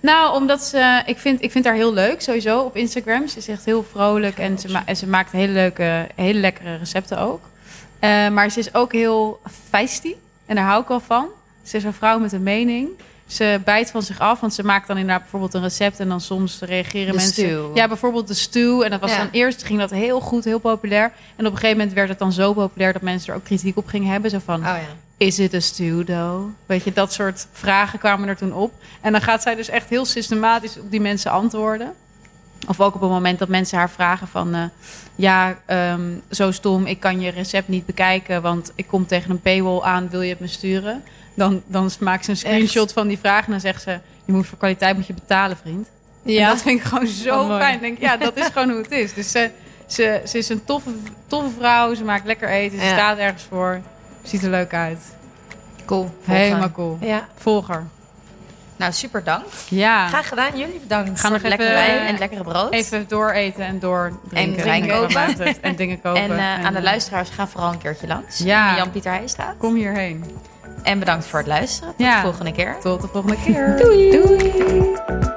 [SPEAKER 1] Nou, omdat ze, ik vind, ik vind haar heel leuk sowieso op Instagram. Ze is echt heel vrolijk en ze, ma- en ze maakt hele leuke, hele lekkere recepten ook. Eh, maar ze is ook heel feisty en daar hou ik wel van. Ze is een vrouw met een mening. Ze bijt van zich af, want ze maakt dan inderdaad bijvoorbeeld een recept en dan soms reageren
[SPEAKER 2] De
[SPEAKER 1] mensen.
[SPEAKER 2] stew.
[SPEAKER 1] Ja, bijvoorbeeld de stew. En dat was
[SPEAKER 2] Ja.
[SPEAKER 1] dan eerst ging dat heel goed, heel populair. En op een gegeven moment werd het dan zo populair dat mensen er ook kritiek op gingen hebben. Zo van,
[SPEAKER 3] ja.
[SPEAKER 1] is het een studo? Weet je, dat soort vragen kwamen er toen op. En dan gaat zij dus echt heel systematisch op die mensen antwoorden. Of ook op het moment dat mensen haar vragen van... eh, ja, ehm, zo stom, ik kan je recept niet bekijken... want ik kom tegen een paywall aan, wil je het me sturen? Dan, dan maakt ze een screenshot van die vraag en dan zegt ze... je moet voor kwaliteit moet je betalen, vriend. En dat vind ik gewoon
[SPEAKER 3] Wat
[SPEAKER 1] zo
[SPEAKER 3] mooi.
[SPEAKER 1] fijn. Ik Denk, ja, dat is gewoon hoe het is. Dus ze, ze, ze is een toffe, toffe vrouw, ze maakt lekker eten, ze
[SPEAKER 2] Ja.
[SPEAKER 1] staat ergens voor... Ziet er leuk uit.
[SPEAKER 2] Cool.
[SPEAKER 1] Helemaal cool.
[SPEAKER 3] Ja.
[SPEAKER 1] Volger.
[SPEAKER 2] Nou, super dank.
[SPEAKER 1] Ja.
[SPEAKER 2] Graag gedaan. Jullie bedankt
[SPEAKER 1] Gaan
[SPEAKER 2] voor
[SPEAKER 1] nog
[SPEAKER 2] het lekkere
[SPEAKER 1] even-
[SPEAKER 2] wijn en het lekkere brood.
[SPEAKER 1] Even doordeten en doordrinken.
[SPEAKER 2] wijn
[SPEAKER 1] wat dat
[SPEAKER 2] kopen.
[SPEAKER 1] betreft. En dingen kopen.
[SPEAKER 2] en eh, aan de
[SPEAKER 1] eh,
[SPEAKER 2] luisteraars, ga vooral een keertje langs.
[SPEAKER 1] Ja.
[SPEAKER 2] In de Jan-Pieter Heijstraat.
[SPEAKER 1] Kom hierheen.
[SPEAKER 2] En bedankt voor het luisteren. Tot
[SPEAKER 1] Ja.
[SPEAKER 2] de volgende keer.
[SPEAKER 1] Tot de volgende keer.
[SPEAKER 2] Doei.